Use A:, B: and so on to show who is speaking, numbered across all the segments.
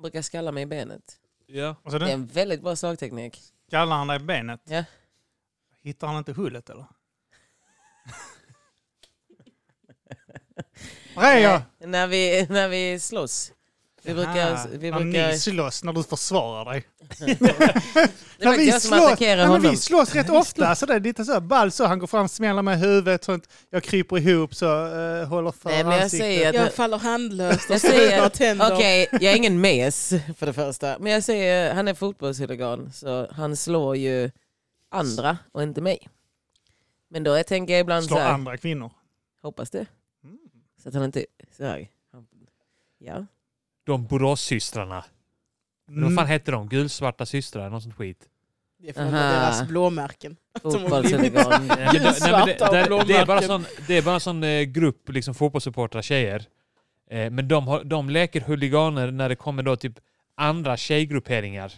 A: brukar skalla mig i benet.
B: Ja.
C: Vad sa
A: Det är
C: du?
A: en väldigt bra slagteknik.
C: Skallar han dig i benet?
A: Ja.
C: Hittar han inte hullet eller? Var är jag?
A: Nej, När vi, när vi slåss. Vi
C: Ah,
A: brukar... Vi
C: när
A: brukar
C: ni slåss, när du försvarar dig.
A: det var jag som attackerade
C: nej, men
A: honom.
C: vi slåss rätt ofta. Så det är lite så här ball så. Han går fram, smäller mig i huvudet. Sånt. Jag kryper ihop så eh, håller för
A: Nej, men jag
C: ansiktet.
A: säger att-
D: Jag faller handlöst
A: Jag
D: och slår
A: säger,
D: ut tänder.
A: okej, jag är ingen mes för det första. Men jag säger, han är fotbollshuligan så han slår ju andra och inte mig. Men då jag tänker jag ibland
C: Slår
A: så här,
C: andra kvinnor.
A: hoppas det.
C: Mm.
A: Så att han inte, så här, han, ja.
B: De Boråssystrarna. Mm. Vad fan hette de? Gulsvarta systrar? Något sånt skit.
D: Det är från
A: Aha.
D: deras blåmärken.
A: Fotbollshuligan.
B: Nej, men det- nej, men det,
D: Gulsvarta och
B: där- det är bara
D: blåmärken.
B: sån, det är bara en sån eh, grupp liksom fotbollssupportrar, tjejer. Eh, men de, har, de leker huliganer när det kommer då typ andra tjejgrupperingar.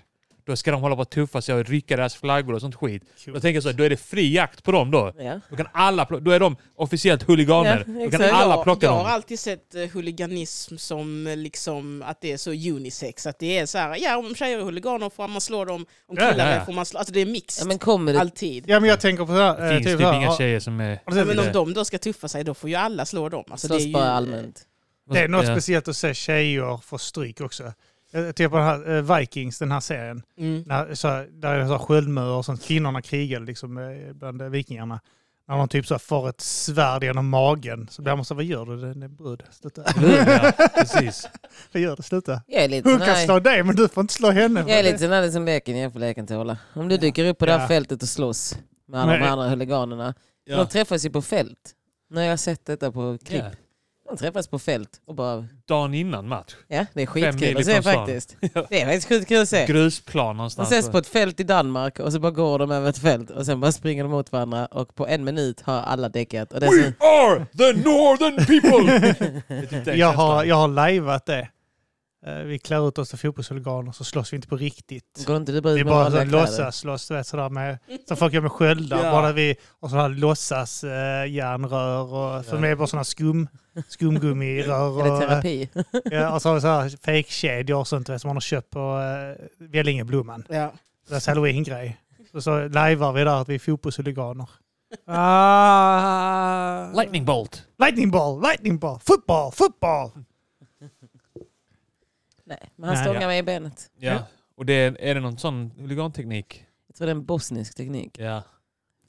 B: Då ska de hålla på att tuffa sig och rycka deras flaggor och sånt skit. Då tänker jag så, här, då är det fri jakt på dem då.
A: Ja.
B: Då, kan alla, plo- då är de officiellt huliganer.
A: Ja,
B: då kan
A: exakt.
B: alla plocka
D: jag, jag har
B: dem.
D: alltid sett eh, huliganism som eh, liksom att det är så unisex. Att det är så här, ja om tjejer är huliganer får man slå dem, om
B: Ja,
D: killar
B: ja, ja.
D: är får man slå. Alltså det är mixed,
A: ja men kommer det,
D: alltid.
C: Ja, men jag tänker på så här.
B: Det
C: eh,
B: finns typ
C: så här,
B: inga
C: ja,
B: tjejer som är...
C: har du sett
D: men
C: det?
D: om de då ska tuffa sig, då får ju alla slå dem. Alltså, det är
A: slåss
D: ju,
A: bara allmänt.
C: Det är något
B: Ja.
C: speciellt att se tjejer få stryk också. Jag tänker på den här eh, Vikings, den här serien.
D: Mm.
C: När, så, här- där är det så här sköldmöar och sånt. Kvinnorna krigade liksom eh, bland eh, vikingarna. När de typ så här får ett svärd genom magen. Så blir man så här, vad gör du? Det är en brud. Sluta.
B: Ja, precis.
C: vad gör du? Sluta.
A: Jag är lite
C: Hon
A: sån
C: kan
A: här,
C: slå dig men du får inte slå henne.
A: jag är lite sån här som leken jämför leken tåla. Om du
C: Ja.
A: dyker upp på det här
C: Ja.
A: fältet och slåss med alla de
C: Nej.
A: andra huliganerna. De träffas ju på fält. När jag har sett detta på klipp.
B: Ja.
A: De träffas på fält och bara...
B: Dagen innan match.
A: Ja, det är
B: mil
A: skitkul att se
B: ifrån stan.
A: faktiskt. Det är faktiskt skitkul att se.
B: Grusplan
A: De
B: någonstans.
A: ses på ett fält i Danmark och så bara går de över ett fält och sen bara springer de mot varandra och på en minut har alla däckat. Och det är så...
B: are the northern people! Det är typ den
C: Jag har,
B: känslan.
C: jag har lajvat det. Eh, Vi klär ut oss till fotbollshuliganer så slåss vi inte på riktigt.
A: Går inte du bara ut
C: Det är
A: med
C: bara så
A: vanliga
C: här
A: kläder?
C: låtsas slåss, du vet sådär med, så folk gör med sköldar.
B: Ja.
C: Bara vi, och sådana här låtsas eh, järnrör och för mig är det bara sådana skum, skumgummirör.
A: Är det
C: Och, eh,
A: terapi?
C: ja, och så har vi så här fejkkedjor och sånt du vet, som man har köpt på eh, Vellingeblomman.
D: Ja.
C: Deras halloween-grej. Så, så lajvar vi där att vi är fotbollshuliganer. Ah.
B: Lightning bolt.
C: Lightning ball, lightning ball, football, football!
A: Nej, men han
C: Nej,
A: stångar
B: ja.
A: mig i benet.
B: Ja. Och det är, är det någon sån huliganteknik?
A: Jag tror det är en bosnisk teknik.
B: Ja.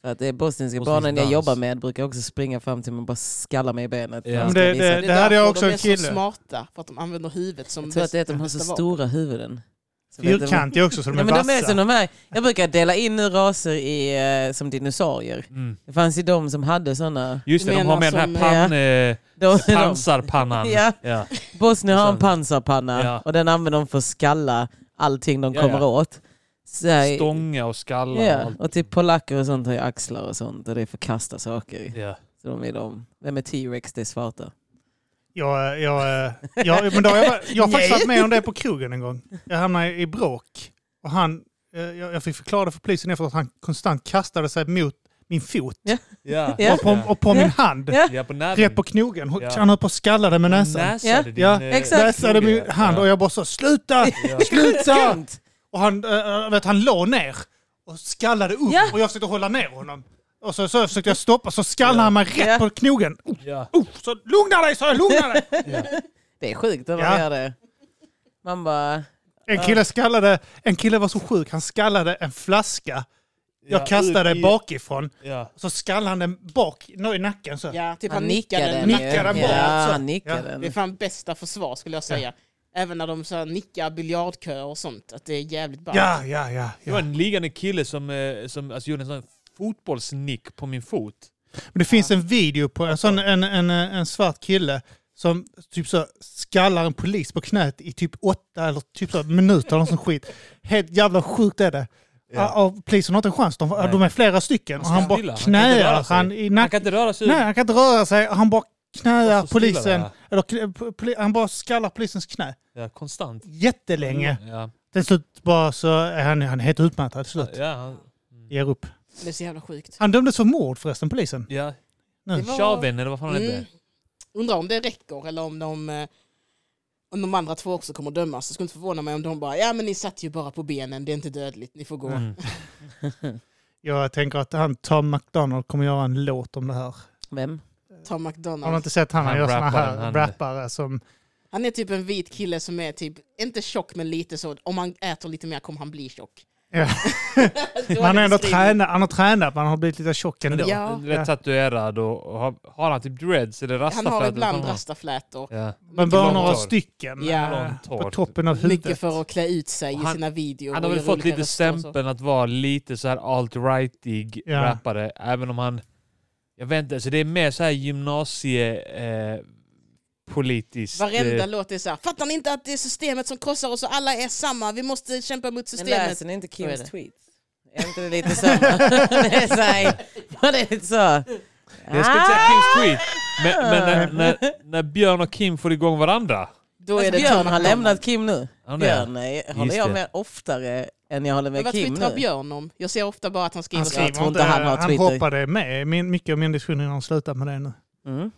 A: För att det är bosniska
B: Bosnisk
A: barnen jag
B: dans.
A: jobbar med brukar också springa fram till mig och bara skalla mig i benet.
B: Ja.
A: när de
B: Men
A: ska
C: det-
A: visa.
C: det-
D: Det är
C: här är
D: därför
C: också
D: de är
C: en kille.
D: så smarta, för att de använder huvudet som
A: Jag tror att det är att de har så
D: bästa vapen.
A: stora huvuden. Så vet de-
C: Fyrkantiga också så de
A: Ja,
C: är
A: men de är som
C: vassa.
A: de här. Jag brukar dela in nu raser i, eh, som dinosaurier.
B: Mm.
A: Det fanns ju de som hade sådana.
B: Just
D: Du
B: det, de har
D: menar
B: med den här
D: som,
B: pan, eh,
A: De, de,
B: pansarpannan.
A: Ja.
B: Ja.
A: Bosnien har en
B: Sen-
A: pansarpanna
B: Ja.
A: och den använder de för att skalla allting de
B: Ja,
A: kommer
B: ja.
A: åt. Så här,
B: Stånga och skallar och
A: ja.
B: allt.
A: Och typ polacker och sånt har ju axlar och sånt och det är för att kasta saker.
B: Ja.
A: Så de är de. Vem är T-Rex? Det är svarta.
C: Jag, jag, jag, men då har jag, jag har
A: Nej.
C: faktiskt varit med om det på krogen en gång. Jag hamnade i bråk och han, eh, jag, jag fick förklara det för polisen efter att han konstant kastade sig mot min fot
A: Ja.
B: Ja.
A: Ja.
C: och på, och på min hand.
A: Ja.
B: Ja, på näven.
C: Rätt på knogen. Hon-
B: Ja.
C: Han höll på att skalla det med näsan.
B: Näsade
A: Ja.
B: din,
C: Ja,
B: eh,
A: exakt.
C: Näsade min hand och jag bara så sluta,
B: Ja.
C: sluta!
A: Skönt!
C: Och han, eh, vet, han låg ner och skallade upp
A: Ja.
C: och jag försökte hålla ner honom. Och så, så försökte jag stoppa så skallade han mig rätt
A: Ja.
C: på knogen. Oh,
B: Ja.
C: oh, så lugna dig sa jag, lugna dig!
A: Det är sjukt när de
C: Ja.
A: gör det. Man bara...
C: En kille, skallade, en kille var så sjuk, han skallade en flaska. Jag
B: Ja,
C: kastade
B: ut i-
C: bakifrån,
B: Ja.
C: så skallade han den bak nå- i nacken. Så.
D: Ja, typ
A: Han,
D: han
A: nickar
D: nickade.
A: den.
C: nickar
A: ju.
C: den bort,
A: Ja,
C: så.
A: han nickar
C: Ja.
D: Det är
A: den.
D: fan bästa försvar skulle jag säga. Även när de så här, nickar biljardköer och sånt. Att det är jävligt ballt.
C: Ja, ja, ja.
B: Det var
C: ja.
B: en liggande kille som, eh, som alltså, gjorde en sån fotbollsnick på min fot.
C: Men det finns en video på en, sån, en, en, en svart kille som typ så skallar en polis på knät i typ åtta eller typ så minuter eller någon sån skit. Helt jävla sjukt är det. Ja. Och polisen har inte en chans, de,
B: Nej.
C: de är flera stycken. Och
B: ska
C: han
B: stilla,
C: bara
B: han kan inte röra
C: knäar
B: sig.
C: han i
B: Han
C: nacken.
B: kan inte röra sig
C: Nej, han kan inte röra sig. Han bara knäar
B: Och så stillar
C: polisen.
B: det.
C: Eller, kn- poli- han bara skallar polisens knä.
B: Ja, konstant.
C: jättelänge.
B: Ja.
C: Till slut bara så är han, han är helt utmattad. till Slut.
B: Ja, han-
C: Ger upp.
D: Det är så jävla sjukt.
C: Han dömdes för mord förresten, polisen.
B: ja.
C: Nu.
D: Det var-
B: Chaven eller vad fan han
D: Mm.
B: hette.
D: Undrar om det räcker eller om de... eh, om de andra två också kommer dömas. Det skulle inte förvåna mig om de bara, ja men ni satt ju bara på benen, det är inte dödligt, ni får gå.
B: Mm.
C: Jag tänker att han Tom McDonald kommer göra en låt om det här.
A: Vem?
D: Tom
C: Har du
D: McDonald.
C: inte sett han? Han
B: Han
C: gör sådana
B: rapparen,
C: här
B: han-
C: rappare som...
D: Han är typ en vit kille som är typ, inte tjock men lite så, om han äter lite mer kommer han bli tjock.
C: Ja.
D: Dålig
C: Man är ändå
D: beskrivning.
C: tränat, han har tränat, man har blivit lite tjock ändå.
D: Ja.
B: Rätt tatuerad och har, har han typ dreads eller
D: Han har
B: rastaflätor?
D: ibland rastaflätor.
B: Ja.
C: Men bara
B: Långt
C: några
B: hår.
C: stycken eh, på
D: Ja.
B: Långt typ. hår.
C: toppen av huvudet.
D: Mycket för att klä ut sig
B: Och
D: i
B: han-
D: sina videor.
B: Han har
D: och
B: väl
D: göra
B: fått
D: olika
B: lite
D: röster och så.
B: stämpeln att vara lite så här alt-rightig
C: Ja.
B: rappare, även om han... Jag vet inte, så det är mer så här gymnasie... Eh, politiskt.
D: Varenda
B: eh,
D: låt är så här, fattar ni inte att det är systemet som krossar oss och alla är samma, vi måste kämpa mot
A: Men
D: systemet.
A: läser ni inte
D: Så är det.
A: Kims tweets? Är inte det lite så? det är så här, det är lite så. Ah,
B: jag ska inte säga
D: Ah!
B: Kims tweet, men, men när, när, när Björn och Kim får igång varandra.
D: Då
A: Fast
D: är det
A: Alltså, Björn
D: Tom
A: har
D: McDonald.
A: lämnat Kim nu.
B: Ja, nej.
A: Björn eh, håller
B: Just
A: jag
B: det.
A: med oftare än jag håller
D: Men
A: med
D: vad
A: Kim
D: twittrar
A: nu.
D: Björn om? Jag ser ofta bara att han skriver
C: Han
D: så här,
C: skriver
A: Jag tror
C: inte,
A: inte han har
C: han
A: Twitter.
C: hoppade med min, mycket av min diskussion innan han slutade med det nu.
A: Mm.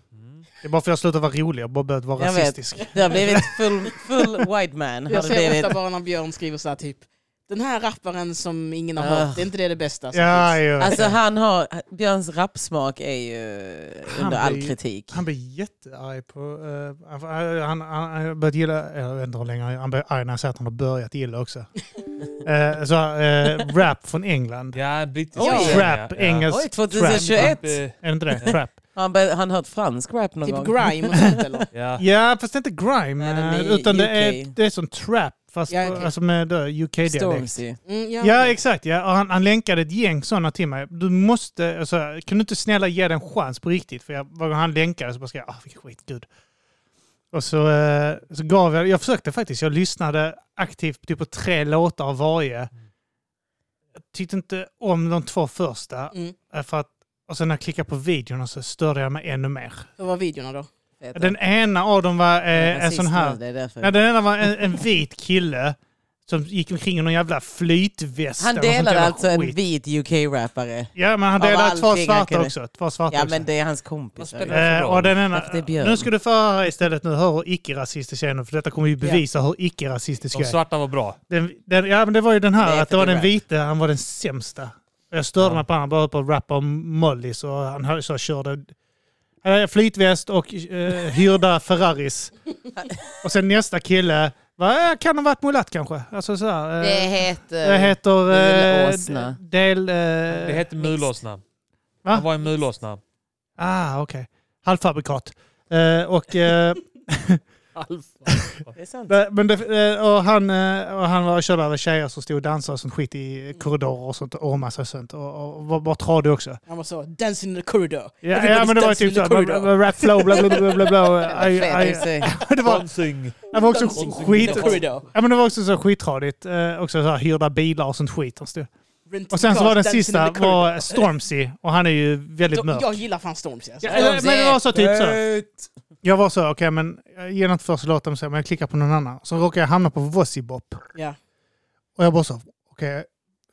C: Det är bara för att jag slutade vara rolig, jag bara började vara
A: Jag vet.
C: rasistisk.
A: Det har blivit full, full white man. Har
D: jag
A: det
D: ser
A: blivit.
D: ofta bara när Björn skriver så här typ, den här rapparen som ingen har
A: Ah.
D: hört, det är inte det det bästa som
C: Ja,
D: finns.
C: ja.
A: Alltså han har, Björns rapsmak är ju
C: Han
A: under all
C: blir-
A: kritik.
C: Han blev jättearg på... eh, han- han, han, han började gilla... eh, Jag vet inte hur länge han blev arg när jag säger att han har börjat gilla också. Eh, så, eh, rap från England.
B: Ja, brittisk
A: Oj.
B: serie,
C: Trap,
B: ja.
C: engelsk
A: Oj,
C: trap.
A: 2021!
B: Eh,
C: Är det inte det? Trap.
A: Har han, bör- han hört fransk rap någon
D: Typ
A: gång?
D: grime och sånt eller?
B: Ja.
C: Ja, fast det är inte grime.
A: Nej,
C: eh,
A: den är i
C: utan det är,
A: UK.
C: det är som trap, fast
D: Ja, okej.
C: på, alltså med då UK-dialekt.
A: Typ Stormzy.
D: Mm, ja,
C: Ja,
D: okej.
C: exakt. Ja. Och han, han länkade ett gäng sådana till mig. Du måste, alltså, kan du inte snälla ge den en chans på riktigt? För jag, varje gång han länkade så bara skrev jag, ah, vilken skitgud. Och så, eh, så gav jag, jag försökte faktiskt, jag lyssnade aktivt typ på tre låtar av varje. Jag tyckte inte om de två första.
D: Mm.
C: eh, För att, och sen när jag klickade på videorna så störde jag mig ännu mer.
D: Hur var videorna då?
A: Heter
C: Den ena av dem var
A: han.
C: eh, en
A: Rasist
C: sån här...
A: nu, Det är därför.
C: Nej, den ena var en, en vit kille som gick omkring i någon jävla flytväst.
A: han
C: eller något sånt
A: delade
C: jävla
A: alltså en
C: skit.
A: vit UK-rappare.
C: Ja, men han
A: av
C: delade två
A: allting han
C: svarta
A: kunde.
C: också. Två svarta
A: Ja
C: också.
A: men det är hans
B: Vad
A: kompis.
B: spelar
C: Eh, och den ena,
A: Därför det är Björn.
C: nu ska du få höra istället, nu hör hur icke-rasistisk jag är nu, för detta kommer ju bevisa hur icke-rasistisk
B: De
C: jag är.
B: svarta var bra.
C: Den, den, ja, men det var ju den
A: Det
C: här,
A: är
C: att det var
A: för
C: den
A: rap.
C: vita, han var den sämsta. Och Jag störde
B: Ja.
C: mig på honom, bara höll på att rappa om Mollys och han hö- så körde han hade flytväst och eh, hyrda Ferraris. och sen nästa kille, va, eh, kan ha varit mulatt kanske. Alltså så här, eh,
A: Det heter...
C: det heter...
A: Del
C: eh,
A: Åsna.
C: del... eh,
B: Det hette mulåsna.
C: Va?
B: Han var en mulåsna.
C: Ah, okej. Halvfabrikat. Eh, och, eh,
A: Det är sant.
C: men- men det, eh, och, han, eh, och han var körd över tjejer som stod och dansade och sånt skit i korridorer och sånt och ormade sig och sånt. Och, och, och var bara tradig också.
D: Han var så, dancing in the corridor.
C: Ja, ja men det var ju
D: Everybody's
C: typ
D: dancing in the corridor.
C: såhär, rap flow, bla bla bla bla bla. Aj,
A: Fett,
C: aj.
A: i sig.
C: Det var,
B: Sponsing.
C: det var också
D: In
C: skit...
D: the corridor.
C: Ja men det var också så skittradigt. Eh, också så här, hyrda bilar och sånt skit. de stod.
D: Rent
C: Och sen så
D: cars,
C: var den
D: dancing in
C: sista
D: the corridor.
C: var Stormzy och han är ju väldigt mörk.
D: Jag gillar fan Stormzy alltså.
C: Ja, eller- men det var så typ så.
A: Fett.
C: Jag var så, okej men jag ger inte första låten, så här, men jag klickar på någon annan. Så råkar jag hamna på Vossibop.
D: Ja.
C: Och jag bara så, okej.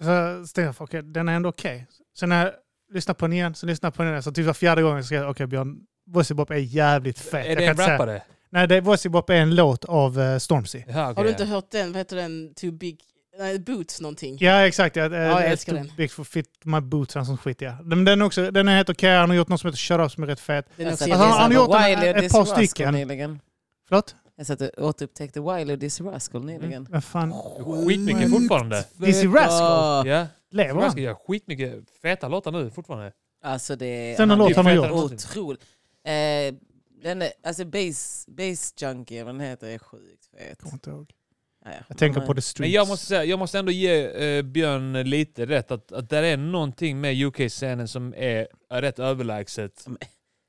C: Så tänkte jag, okej, den är ändå okej. Sen när jag lyssnar på den igen, så lyssnar jag på den igen. Så typ var fjärde gången så skrev jag, okej Björn, Vossibop är jävligt fet.
B: Är
C: jag
B: det
C: kan
B: en
C: inte säga-
B: rappare?
C: Nej, det, Vossibop är en låt av eh, Stormzy.
B: Ja, okej.
D: Har du inte hört den, vad heter den, Too Big, nej, Boots någonting?
C: Ja, exakt. Ja, eh,
D: jag älskar
C: too
D: den.
C: Big for fit my boots, och sån skit ja. Men den, är också, den är helt okej, han har gjort något som heter Shut Up som är rätt fet.
D: Den är också
A: Jag
C: Alltså, han-
A: satte
C: han
D: intressant.
C: har gjort en-
A: Wiley och
C: ett par
A: Dizzy Rascal
C: stycken.
A: nyligen.
C: Förlåt?
A: Jag satte, återupptäckte Wiley och Dizzy Rascal nyligen.
C: Vad fan,
B: Skitmycket fortfarande.
C: Dizzy
A: Fett
C: Rascal?
A: bra.
B: Ja.
C: lever
B: Jag
C: han?
B: ska göra skitmycket feta låtar nu fortfarande. Typ
A: Alltså det
C: Sen en
B: Det är
C: låt han har
B: fetare
C: gjort.
B: än någonsin.
A: Otroligt. Eh, den är, alltså Base, base Junkie, eller vad den heter, är sjukt fet.
C: Jag kommer inte ihåg.
A: Ja, ja.
C: Mm. Jag tänker
A: Men-
C: på The Streets.
B: Men jag måste, säga, jag måste ändå ge eh, Björn lite rätt att, att där är någonting med UK-scenen som är är rätt överlägset.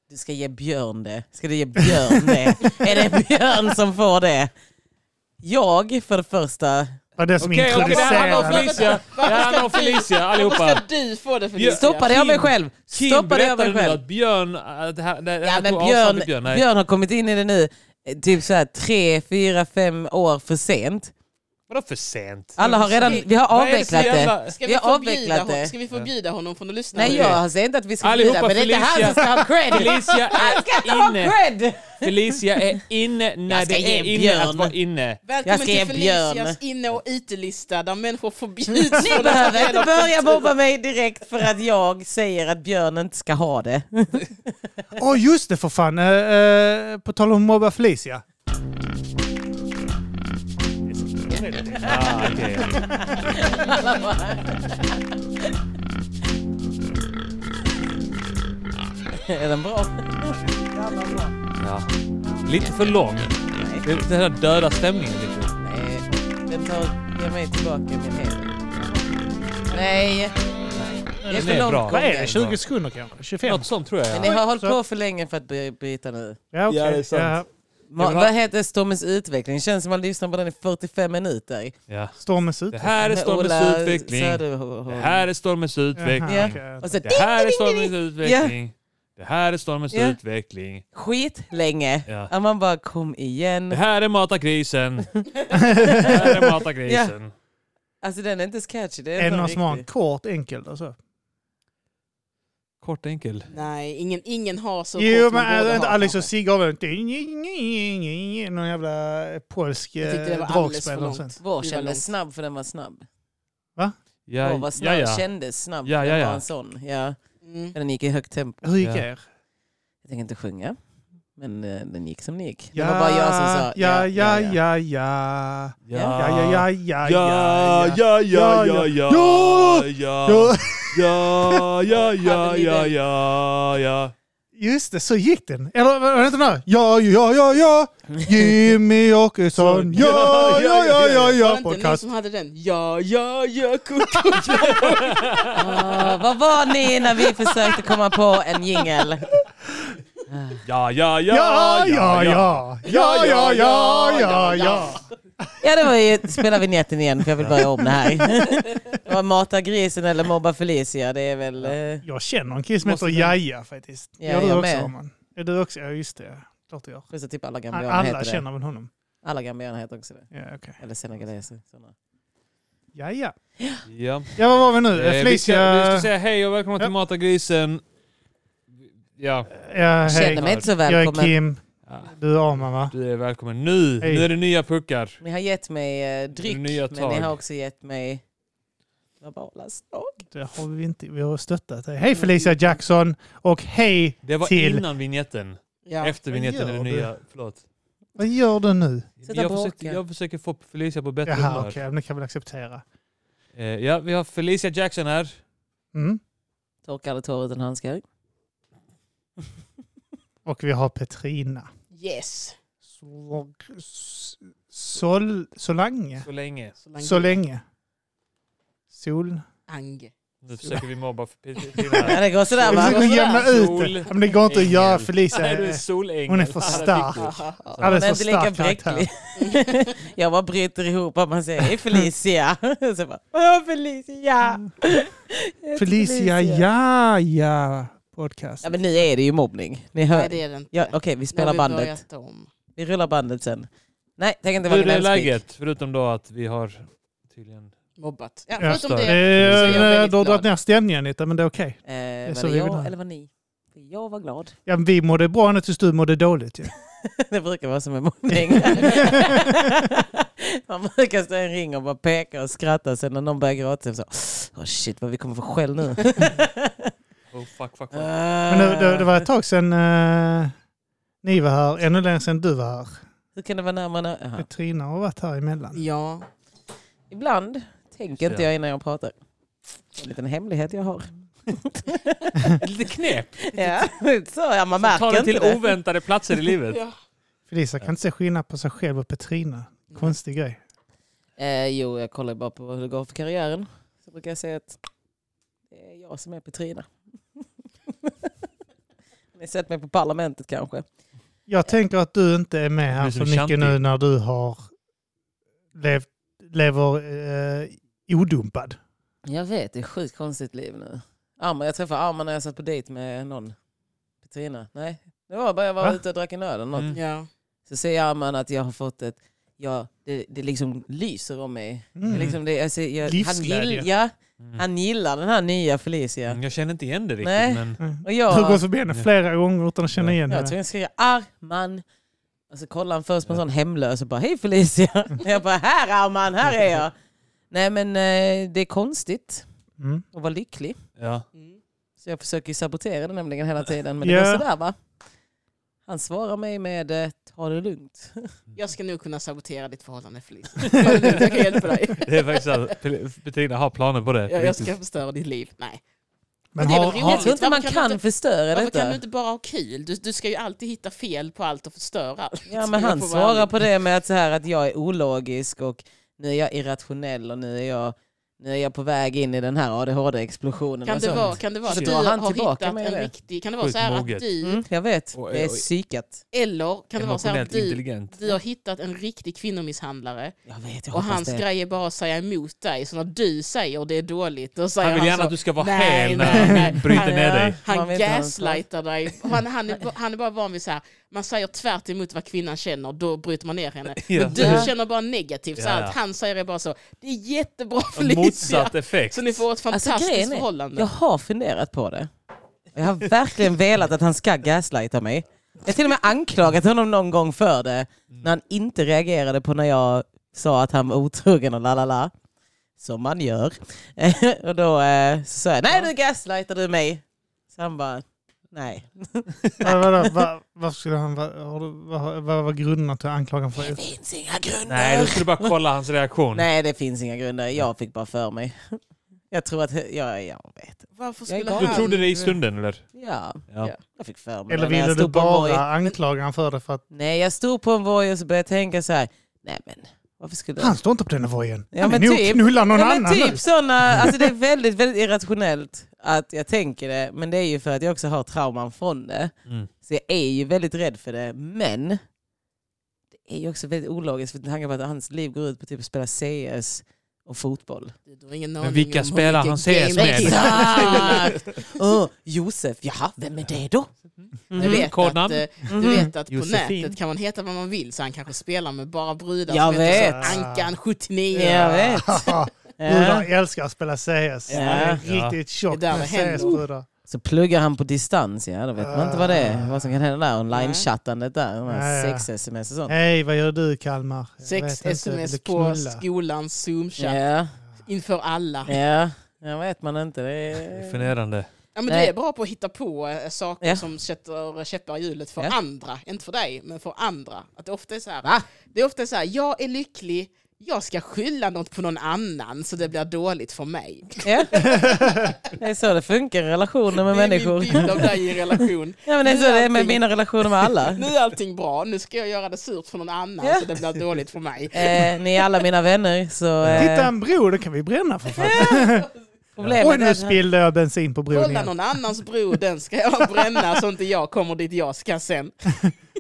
A: Du ska ge Björn det. Ska du ge Björn det? är det Björn som får det? Jag, för det första...
C: Det var det som
B: Okej, okej, det här handlar om
C: introducerade.
B: Felicia. Det här handlar om Felicia
D: Varför
B: allihopa.
D: ska du få det för
B: Björn-
D: det?
A: Stoppade jag mig själv?
B: Kim
A: Stoppade jag
B: berättade
A: mig
B: nu
A: själv?
B: att Björn... Att det här, det, det
A: Ja,
B: här
A: men
B: tog avstånd
A: Björn,
B: till Björn. Nej.
A: Björn har kommit in i det nu eh, typ så här, tre, fyra, fem år för sent.
B: Vadå för sent?
A: Alla har redan, vi har
B: Vad är det för
A: avvecklat det.
B: jävla-
D: Ska
A: Vi
D: vi,
A: har
D: förbjuda,
A: avvecklat det.
D: hon, ska vi förbjuda honom från att lyssna?
A: Nej,
B: Okej.
A: jag säger inte att vi ska
B: Allihopa,
A: bjuda, men det är inte han som
B: Felicia.
A: ska ha cred.
B: Felicia
A: Han ska inte
B: är
A: ha
B: inne.
A: cred!
B: Felicia är inne när
A: Jag ska
B: det
A: ge
B: är inne
A: Björn.
B: att vara inne.
A: Jag
D: Välkommen
A: ska ge
D: till Felicias
A: Björn.
D: inne och utelista där människor förbjuds.
A: Ni
D: från att ta
A: behöver
D: del av
A: inte börja
D: kultur.
A: mobba mig direkt för att jag säger att Björn inte ska ha det.
C: Åh just det för fan, eh, eh, på tal om mobba Felicia.
B: Ah, okej.
A: Är den bra?
B: ja. Lite för lång. Det- Den här döda stämningen lite.
A: Nej, den tar ge mig tillbaka min heder. Nej, det är
B: Den
A: för
B: är
A: långt
B: bra.
A: gången.
C: Vad är det? 20 sekunder kanske? 25?
B: Något sånt tror jag.
A: Men
B: Ja.
A: ni har hållit på för länge för att bry- bryta nu.
C: Ja, okej.
E: Ja, det är sant.
C: Ja.
A: Ma-
B: vill ha-
A: Vad heter Stormens utveckling? Känns som man lyssnar på den i 45 minuter.
B: Ja.
C: Stormens ut.
B: Det här är
A: Med
B: stormens
A: Ola
B: utveckling.
A: Söderholm.
B: Det här är stormens utveckling.
A: Ja.
C: okej.
D: Alltså,
A: Och så
B: Det här är
A: ding,
B: stormens
A: ding.
B: utveckling. Det här är stormens
A: Ja.
B: utveckling.
A: Skit länge.
B: Ja.
A: Att man bara kom igen.
B: Det här är Mata grisen. Det här är Mata grisen.
A: Alltså den är inte så catchy. Det är,
C: Är det
A: bara
C: någon som har en
A: riktig.
C: kort, enkel? Alltså.
B: Kort enkel.
D: Nej, ingen, ingen har så
C: Jo,
D: kort
C: men
D: man borde
C: äh,
D: ha,
C: Alex och
D: kanske.
C: Sigge har väl inte någon jävla eh, polsk
D: Jag tyckte det var
C: eh,
D: alldeles för
C: dragspel och
D: långt.
C: sånt.
A: Vår
D: Det var
A: kändes
D: långt.
A: snabb för den var snabb. Vår
B: Ja,
A: var snabb,
B: ja, ja.
A: kändes snabb
B: Ja,
A: för
B: ja,
A: den
B: ja.
A: var en sån. Ja.
D: Mm.
A: Men Den gick i högt tempo.
C: Hur gick
B: Ja.
C: er?
A: Jag tänker inte sjunga. Men eh, den gick som den gick.
C: Ja,
A: Det var bara jag som sa
C: ja, ja, ja, ja. Ja, ja, ja, ja,
B: Ja, ja, ja, ja, ja, ja, ja, ja,
C: Ja! Ja,
B: ja,
A: Hade ni
B: ja,
A: den?
B: ja, ja.
C: Just det, så gick den. Eller var det inte den här? Ja, ja, ja, ja. Jimmy Åkesson. Ja, ja, ja, ja,
D: Var
C: ja.
D: det inte ni
C: Podcast.
D: som hade den? Ja, ja, ja, kort, kort.
A: Ah, vad var ni när vi försökte komma på en jingel?
B: Ja, ja,
C: Ja, ja, ja. Ja, ja, ja, ja, ja.
A: Ja, det var ju, spela vignetten igen för jag vill börja om det här. Det var Mata grisen eller Mobba Felicia, det är väl... eh,
C: Jag känner en kille som
B: Måste
C: heter Jaja faktiskt.
A: Ja,
C: gör du
A: jag
C: också
A: med.
C: Arman? Är du också? Ja, just det. Klart du gör.
A: Plus att typ alla
C: Alla,
A: gambianer heter det.
C: känner väl honom?
A: Alla gambianer heter också det.
C: Ja, okej.
A: Eller senegaleser. såna.
C: Jaja.
B: ja.
C: Ja, vad var vi nu?
B: Eh,
C: Eh,
B: Vi ska, vi ska
C: Felicia...
B: säga hej och välkomna till
C: Ja.
B: Mata grisen. Ja,
A: Känner
C: Ja, hej.
A: mig inte så
C: Jag är
A: välkommen.
C: Kim.
B: Ja.
C: Du är Arman, va?
B: du är eh, välkommen. Nu,
C: Hej.
B: nu är det nya puckar.
A: Ni har gett mig eh, dryck,
B: Nya
A: men
B: tag.
A: ni har också gett mig verbala slag.
C: Det har vi inte. Vi har stöttat dig.
A: Mm.
C: Hej Felicia Jackson och hej...
B: Det var
C: Till-
B: innan vignetten.
D: Ja.
B: Efter vignetten är det
C: gör du?
B: nya. Förlåt.
C: Vad gör du nu?
A: Sätta
B: Jag
A: på
B: försöker,
A: åker.
B: jag försöker få Felicia på bättre
C: Jaha, okej.
B: humör.
C: Okay. Det kan vi väl acceptera.
B: Eh, Ja, vi har Felicia Jackson här.
C: Mm.
A: Torkar aldrig tår utan handskar.
C: Och vi har Petrina.
D: Yes.
C: Sol... Sol... Solange?
B: Så länge.
D: Så länge.
C: Så länge. Sol...
D: Ange.
B: Nu försöker vi mobba
A: Ja,
B: Felicia.
A: det går sådär
C: Vi
A: va?
C: försöker jämna ut
B: Sol-
C: det. Ja, Men det går inte att göra
B: Engel.
C: Felicia.
B: Nej, du är
C: är
B: solängel.
C: Hon är för
B: Ah,
C: stark.
B: det är viktigt.
A: Man
C: alldeles
A: är
C: för
A: inte lika
C: stark
A: bräcklig.
C: karaktär.
A: Jag bara bryter ihop och man säger hej Felicia. Så bara, Åh, Felicia!
C: Felicia, ja, ja. Podcast.
A: Ja, men nu är det ju mobbning. Ni hör.
D: Nej, det är det inte.
A: Ja, Okej, vi
D: Nu har
A: spelar
D: vi
A: bandet.
D: börjat om.
A: Vi rullar bandet sen. Nej, tänk inte vara
B: Hur är
A: gnällspik.
B: läget? Förutom då att vi har tydligen...
D: Mobbat. Ja,
C: Ja,
D: förutom
B: stör.
C: Eh,
D: det. väldigt
C: Du har
D: glad.
C: dragit ner stämningen lite, men det är okej.
A: Eh,
C: så
A: var det
C: vi vill
A: jag
C: ha.
A: eller var ni? För Jag var glad.
C: Ja, men vi mådde bra ända tills du mådde dåligt ju.
A: Det brukar vara som en mobbning. Man brukar stå i en ring och bara peka och skratta. Sen när någon börjar gråta så oh shit vad vi kommer få skäll nu.
B: Oh, fuck, fuck, fuck.
C: Men det, det, det var ett tag sedan eh, ni var här, ännu längre sedan du var här.
A: Hur kan det vara närmare? när- Jaha.
C: Petrina har varit här emellan.
D: Ja.
A: Ibland tänker inte jag innan jag pratar. En liten hemlighet jag har.
B: Lite knep.
A: ja, så, ja, man
B: Ta
A: märker
B: det till
A: inte det.
B: oväntade platser i
C: Mm.
B: livet.
D: ja.
C: Felicia kan inte se skillnad på sig själv och Petrina. Konstig grej.
A: Eh, jo, jag kollar bara på hur det går för karriären. Så brukar jag säga att det är jag som är Petrina. Ni har sett mig på Parlamentet kanske.
C: Jag tänker att du inte är med
B: Du
C: här
B: är
C: så
B: som
C: mycket
B: Shanti.
C: nu när du har levt, lever eh, odumpad.
A: Jag vet, det är sjukt konstigt liv nu. Arman, jag träffade Arman när jag satt på dejt med någon. Petrina. Nej, det var bara jag var
C: Va?
A: ute och drack en öl eller något.
B: Mm.
D: ja.
A: Så säger Arman att jag har fått ett... jag, det, det liksom lyser om mig.
C: Mm.
A: Liksom det, alltså, jag, han,
C: Livsglädje.
A: gill, ja,
B: Mm.
A: han gillar den här nya Felicia.
B: Mm, Jag känner inte igen det riktigt.
A: Nej.
B: Men,
C: Mm.
A: Och
C: Du har
A: jag,
C: gått förbi henne flera gånger utan att känna igen
A: jag tror
C: henne.
A: jag skriver Arman. Och så kollar han först på en sån hemlös och bara hej Felicia. Och jag bara här Arman, här är jag. Nej men eh, det är konstigt
C: Mm.
A: att vara lycklig.
B: ja.
D: Mm.
A: Så jag försöker ju sabotera det nämligen hela tiden. Men det
C: Ja.
A: var sådär va. Han svarar mig med eh, ta det lugnt.
D: Jag ska nog kunna sabotera ditt förhållande Felicia. Jag kan hjälpa dig.
B: Det är faktiskt att Pel- Petrina har planer på det.
D: Jag, jag ska förstöra ditt liv. Nej.
C: Men
D: Det är väl
C: har,
D: roligt.
A: Jag
C: har,
A: tror inte
D: Varför
A: man
D: kan
A: kan,
D: du inte-
A: förstöra
D: Varför kan du
A: detta.
D: inte bara ha kul? Du, du ska ju alltid hitta fel på allt och förstöra allt.
A: Ja, men han svarar på det med att, så här, att jag är ologisk och nu är jag irrationell och nu är jag, nu är jag på väg in i den här ADHD-explosionen.
D: Kan
A: och
D: det,
A: sånt.
D: vara, kan det vara
A: Alltså, Så
D: att du
A: drar han
D: har
A: tillbaka
D: hittat
A: med
D: en
A: det.
D: riktig... Kan det vara
B: Sjukt
D: så här att
B: moget.
D: du...
A: Mm, jag vet,
B: Och-
A: det är
B: och-
A: psykat.
D: Eller kan det vara så här att
B: Emotionellt
D: alltså, du,
B: intelligent.
D: du har hittat en riktig kvinnomisshandlare
A: Jag vet, jag
D: och
A: hoppas
D: hans
A: det.
D: grej är bara att säga emot dig. Så när du säger det är dåligt, då säger
B: Han
D: han,
B: vill gärna
D: så,
B: att du ska vara
D: Nej,
B: hel
D: nej,
B: när
D: nej.
B: han bryter
A: Han-
B: ner
A: ja.
B: dig.
A: Man
D: Han
A: vet inte vad han
D: gaslightar dig. Och Han, han, är, ba- han är bara van vid så här, man säger tvärt emot vad kvinnan känner, då bryter man ner henne.
B: Ja.
D: Men du
A: Ja.
D: känner bara negativt, så här,
B: Ja, ja.
D: att han säger det bara så, det är jättebra Felicia.
B: Motsatt effekt.
D: Så ni får ett
A: Alltså,
D: fantastiskt
A: grejen är-
D: förhållande.
A: Jag har funderat på det. Jag har verkligen velat att han ska gaslighta mig. Jag har till och med anklagat honom någon gång för det. När han inte reagerade på när jag sa att han var otrogen och la la la. Som man gör. och då eh, så sa jag, nej nu gaslightar du mig. Så han bara, nej.
C: vad, vad, vad, vad skulle han... Vad, har du- vad, vad var grunderna till anklagan för?
A: Det finns inga grunder.
B: Nej, du skulle bara kolla hans reaktion.
A: nej det finns inga grunder. Jag fick bara för mig. Jag tror att, ja, jag vet.
D: Varför
A: Jag är
D: skulle
A: galen.
B: Du
D: han...
B: trodde det i stunden eller?
A: Ja,
B: Ja.
D: Ja.
A: jag fick för mig.
C: Eller
A: när jag
C: ville du
A: stod på en
C: bara
A: borg.
C: anklaga honom för det för att
A: Nej, jag stod på en voj och så började jag tänka så här. Nej men, varför skulle jag...
C: han står inte på denna vojen?
A: Ja,
C: han är
A: men
C: nog
A: typ.
C: knullar någon
A: ja, men
C: annan
A: typ
C: nu.
A: sådana, alltså det är väldigt, väldigt irrationellt att jag tänker det. Men det är ju för att jag också har trauman från det.
B: Mm.
A: Så jag är ju väldigt rädd för det. Men det är ju också väldigt ologiskt för tanken på att hans liv går ut på typ att spela CS och fotboll.
D: Du har ingen
B: Men
D: aning om
B: vilka
D: hur
B: spelar
D: mycket
B: han ses
D: game-
B: med?
A: Exakt! Åh, Josef, jaha, vem är det då?
C: Mm.
D: Du vet, att,
B: Kodnamn?
D: eh,
A: Mhm.
D: du vet att på
B: Josefin.
D: nätet kan man heta vad man vill så han kanske spelar med bara brudar
A: Jag
D: som heter så
C: vet.
D: Ankan 79.
A: Jag vet.
C: Brudar älskar att spela CS. Det är
B: Ja.
C: riktigt tjockt
D: Det där
C: med
D: var hemskt.
C: CS-brudar.
A: Så pluggar han på distans, ja. Då vet man inte vad det
D: Ah.
A: är. Vad som kan hända där. Online-chattandet där. de här
C: Nej.
A: Sex-sms och sånt.
D: Äh,
C: Hej, vad gör du Kalmar? Jag vet
D: Sex
C: inte, vill
D: sms
C: du
D: på
C: knulla?
D: skolans zoom-chatt
A: Ja,
D: inför alla.
A: ja. Jag vet man inte. Det
B: Det är
A: är...
B: Generande.
D: Ja, men
A: Nej.
D: du är bra på att hitta på eh, saker
A: Ja.
D: som sätter eh, käppar i hjulet för
A: Ja.
D: andra. Inte för dig, men för andra. Att det, ofta är så här, det är ofta så här, jag är lycklig, jag ska skylla något på någon annan så det blir dåligt för mig.
A: Ja. Det är så det funkar i relationer med
D: det är
A: människor.
D: min bild av dig i en relation.
A: Ja, men det är så
D: Nu är
A: det är med
D: allting-
A: mina relationer med alla.
D: Nu är allting bra, nu ska jag göra det surt för någon annan
A: Ja.
D: så det blir dåligt för mig.
A: Eh, ni är alla mina vänner, så eh,
C: Titta en bro, den kan vi bränna för fan. Oj,
A: problemet är
C: nu
A: att
C: spillde jag bensin på bron
D: Kolla
C: igen.
D: någon annans bro, den ska jag bränna så inte jag kommer dit jag ska sen.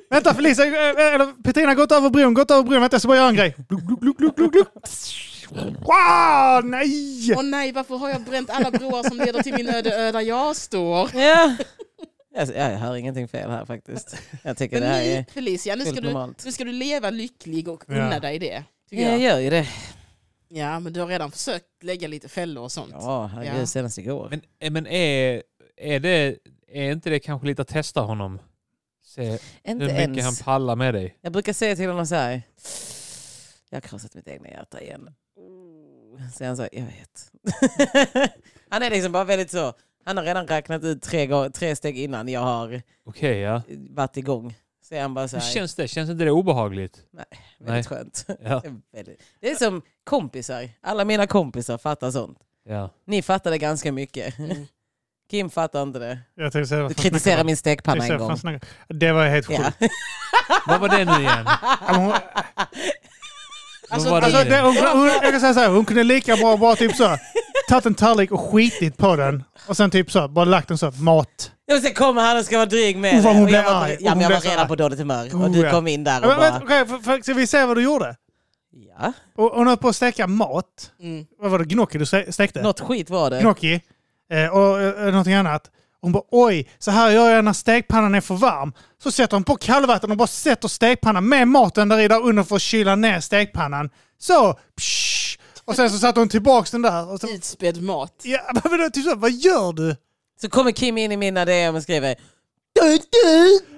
C: Vänta Felicia, eh, eh, eller Petrina, gått över bron, gått över bron. Vänta, jag ska bara göra en grej. Gluk, gluk, gluk, gluk, gluk, gluk. Wow, nej!
D: Åh nej, varför har jag bränt alla broar som leder till min öde ö där jag står?
A: Ja. Alltså, jag hör ingenting fel här faktiskt. Jag tycker
D: Men
A: det här
D: nu,
A: är...
D: Felicia, nu ska,
A: fullt
D: du,
A: normalt.
D: nu ska du leva lycklig och
C: Ja.
D: unna dig det.
A: Ja,
D: Tycker
A: jag
D: jag.
A: gör ju det.
D: Ja, men du har redan försökt lägga lite fällor och sånt.
A: Ja,
D: Ja.
A: herregud, senast igår.
B: Men, eh, men är, är, det, är inte det kanske lite att testa honom? Se
A: Inte
B: hur mycket
A: ens.
B: han pallar med dig.
A: Jag brukar säga till honom så här. Jag har krossat mitt egna hjärta igen. Så han sa, jag vet. han är liksom bara väldigt så. Han har redan räknat ut tre, gång- tre steg innan jag har
B: Okej, ja.
A: varit igång. Så är han bara så
B: Hur
A: här,
B: känns det? Känns inte det obehagligt?
A: väldigt skönt.
B: Ja.
A: Det är väldigt- Det är som kompisar. Alla mina kompisar fattar sånt.
B: ja.
A: Ni fattar det ganska mycket.
D: Mm.
A: Kim fattar inte det.
C: Jag tänkte säga vad
A: Du
C: fan snackar
A: kritiserar
C: om.
A: min stekpanna en
C: Exakt,
A: gång.
C: fan snackar- Det var helt sjukt.
A: Ja.
B: Vad var det nu igen?
C: Ja, men hon-
D: Alltså,
B: Vad var
C: Alltså,
B: det?
C: det, hon, hon, jag kan säga så här, hon kunde lika bra bara typ så, tagit en tallrik och skitit på den och sen typ så, bara lagt den så, mat.
A: Ja, men sen kommer han och ska vara dryg med
C: Oh, vad
A: det.
C: hon
A: Och jag
C: blev
A: var,
C: arg.
A: på-
C: Och
A: ja,
C: hon
A: men jag
C: blev
A: var
C: så här-
A: redan på dåligt humör. Och du
C: Goda.
A: kom in där
C: Ja,
A: och
C: men,
A: bara...
C: vänta, okej, för, för, ska vi se vad du gjorde?
A: Ja.
C: Och, hon höll på att steka mat.
D: Mm.
C: Vad var det? Gnocchi du ste- stekte?
A: Något skit var det.
C: Gnocchi. Eh, och eh, någonting annat. Hon bara oj, så här gör jag när stekpannan är för varm. Så sätter hon på kallvatten och bara sätter stekpannan med maten där i där under för att kyla ner stekpannan. Så! Psh, och sen så satte hon tillbaks den där. Och så,
D: Utspädd mat.
C: ja, men vadå, typ så, vad gör du?
A: Så kommer Kim in i mina DM och skriver...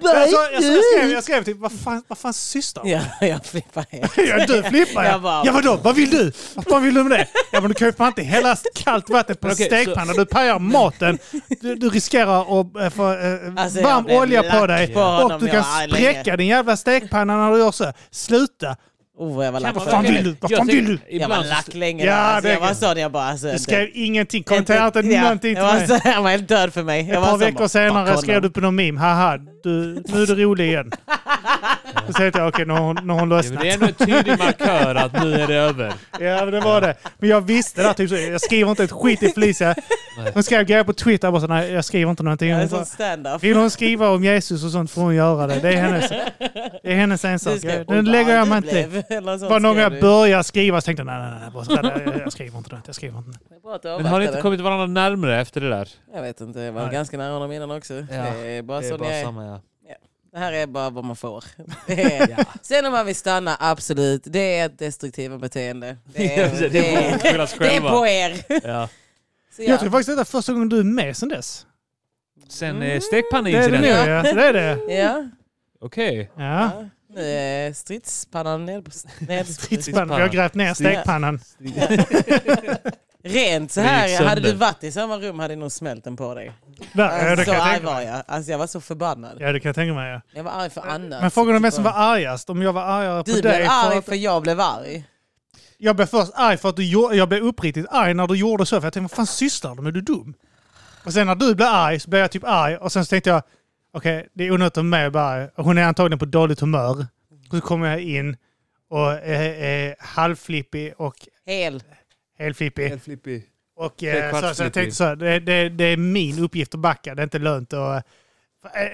C: Jag,
B: alltså-
C: sa- jag, jag, skrev, jag skrev typ, vad fan, vad fan sysslar hon med?
A: Ja, jag flippar helt.
C: Ja, du flippar
A: Jag bara-
C: jag. Ja vadå, vad vill du? Vad fan vill du med det? Ja men du kan ju fan inte hälla kallt vatten på en
B: Okej,
C: stekpanna. Du pajar maten. Du, du riskerar att äh, få eh,
A: Alltså, jag
C: varm
A: blev
C: olja på
A: lack
C: dig.
A: på honom,
C: och du
A: jag
C: kan
A: var arg
C: spräcka
A: länge.
C: din jävla stekpanna när du gör så. Sluta!
A: Oh, jag var lack.
B: Kan man
A: för
C: fan
A: det.
B: verkligen-
C: vill du? Vad
B: Jag
C: fan
B: tycker-
C: vill du?
A: Jag var
B: ibland så-
A: lack länge.
C: Ja,
A: alltså,
C: det-
A: jag var sån, jag bara... Alltså,
C: Du
A: inte-
C: skrev ingenting, kommenterade inte
A: ja,
C: någonting till
A: jag var,
C: mig.
A: så, jag var helt död för mig. Jag
C: Ett
A: var
C: par
A: så
C: veckor
A: bara,
C: senare
A: fuck
C: skrev du
A: honom.
C: på någon meme, haha, du, nu är du rolig igen. Då säger jag, okej, nu har hon- nu har hon
B: Ja,
C: lossnat.
B: men det är ändå en tydlig markör att nu är det över.
C: Ja, men det var det. Men jag visste det. här, Typ, så, jag skriver inte ett skit till Felicia.
B: Nej.
C: Hon skrev grejer på Twitter. Jag bara så, nej, jag skriver inte någonting.
A: Jag är
C: Hon
A: sån
C: bara,
A: stand-up.
C: vill hon skriva om Jesus och sånt får hon göra det. Det är hennes, det är hennes ensak.
A: Du skrev,
C: Nu
A: "Oj, vad
C: lägger jag mig
A: arg du
C: inte
A: blev." Eller
C: Det
A: sånt
C: var någon gång
A: skrev
C: jag
A: du.
C: började skriva så tänkte jag nej, nej, nej. Bara så, nej, nej jag skriver inte något. Jag skriver inte något.
A: Det är bra att du
B: Men har ni
A: avvaktade.
B: inte kommit varandra närmare efter det där?
A: Jag vet inte, jag var
B: Nej.
A: ganska nära honom innan också. det är bara
B: det är
A: sån
B: bara
A: jag är.
B: samma, ja.
A: Det här är bara vad man får. Det är- Sen om man vill stanna, absolut. Det är ett destruktivt beteende. Det
B: Ja,
A: är,
B: det
A: det
B: är bara att
A: är,
B: skylla oss
A: det är
B: själva.
A: på er.
B: Ja.
A: Så
C: Jag
A: ja.
C: tror faktiskt detta är första gången du är med sen dess.
B: Sen
A: Mm.
B: mm.
C: Det är det nu
B: stekpanneincidenten.
C: ja. Så Det är det.
A: Ja.
B: Okej.
C: Ja.
A: Nu är stridspannan ned på... Ned.
C: Tidspannan. Vi har grävt ner stekpannan.
A: Rent så
B: Det gick
A: här,
B: sönder.
A: hade du varit i samma rum hade jag nog smält den på dig.
C: Där, ja, det
A: så
C: kan jag
A: arg
C: tänka
A: var
C: mig.
A: jag. Alltså jag var så förbannad.
C: Ja, det kan jag tänka mig. Ja.
A: Jag var arg för annat.
C: Men frågan är vem
A: Typ
C: som var
A: bara,
C: argast. Om jag var argare på
A: Du
C: dig.
A: blev
C: för
A: arg
C: att-
A: för jag blev arg.
C: Jag blev först arg för att du gjorde, jag blev uppriktigt arg när du gjorde så. För jag tänkte, vad fan sysslar du med? Är du dum? Och sen när du blev arg så blev jag typ arg. Och sen så tänkte jag, okej, det är onödigt av mig att bli arg. Och Hon är antagligen på dåligt humör. Och så kommer jag in och är, är halvflippig och
A: Hel.
C: helflippig.
B: flippig.
C: Och
B: Tre
C: eh,
B: kvarts
C: så, så
B: flippig.
C: jag tänkte så här, det, det, det är min uppgift att backa. Det är inte lönt att... eh,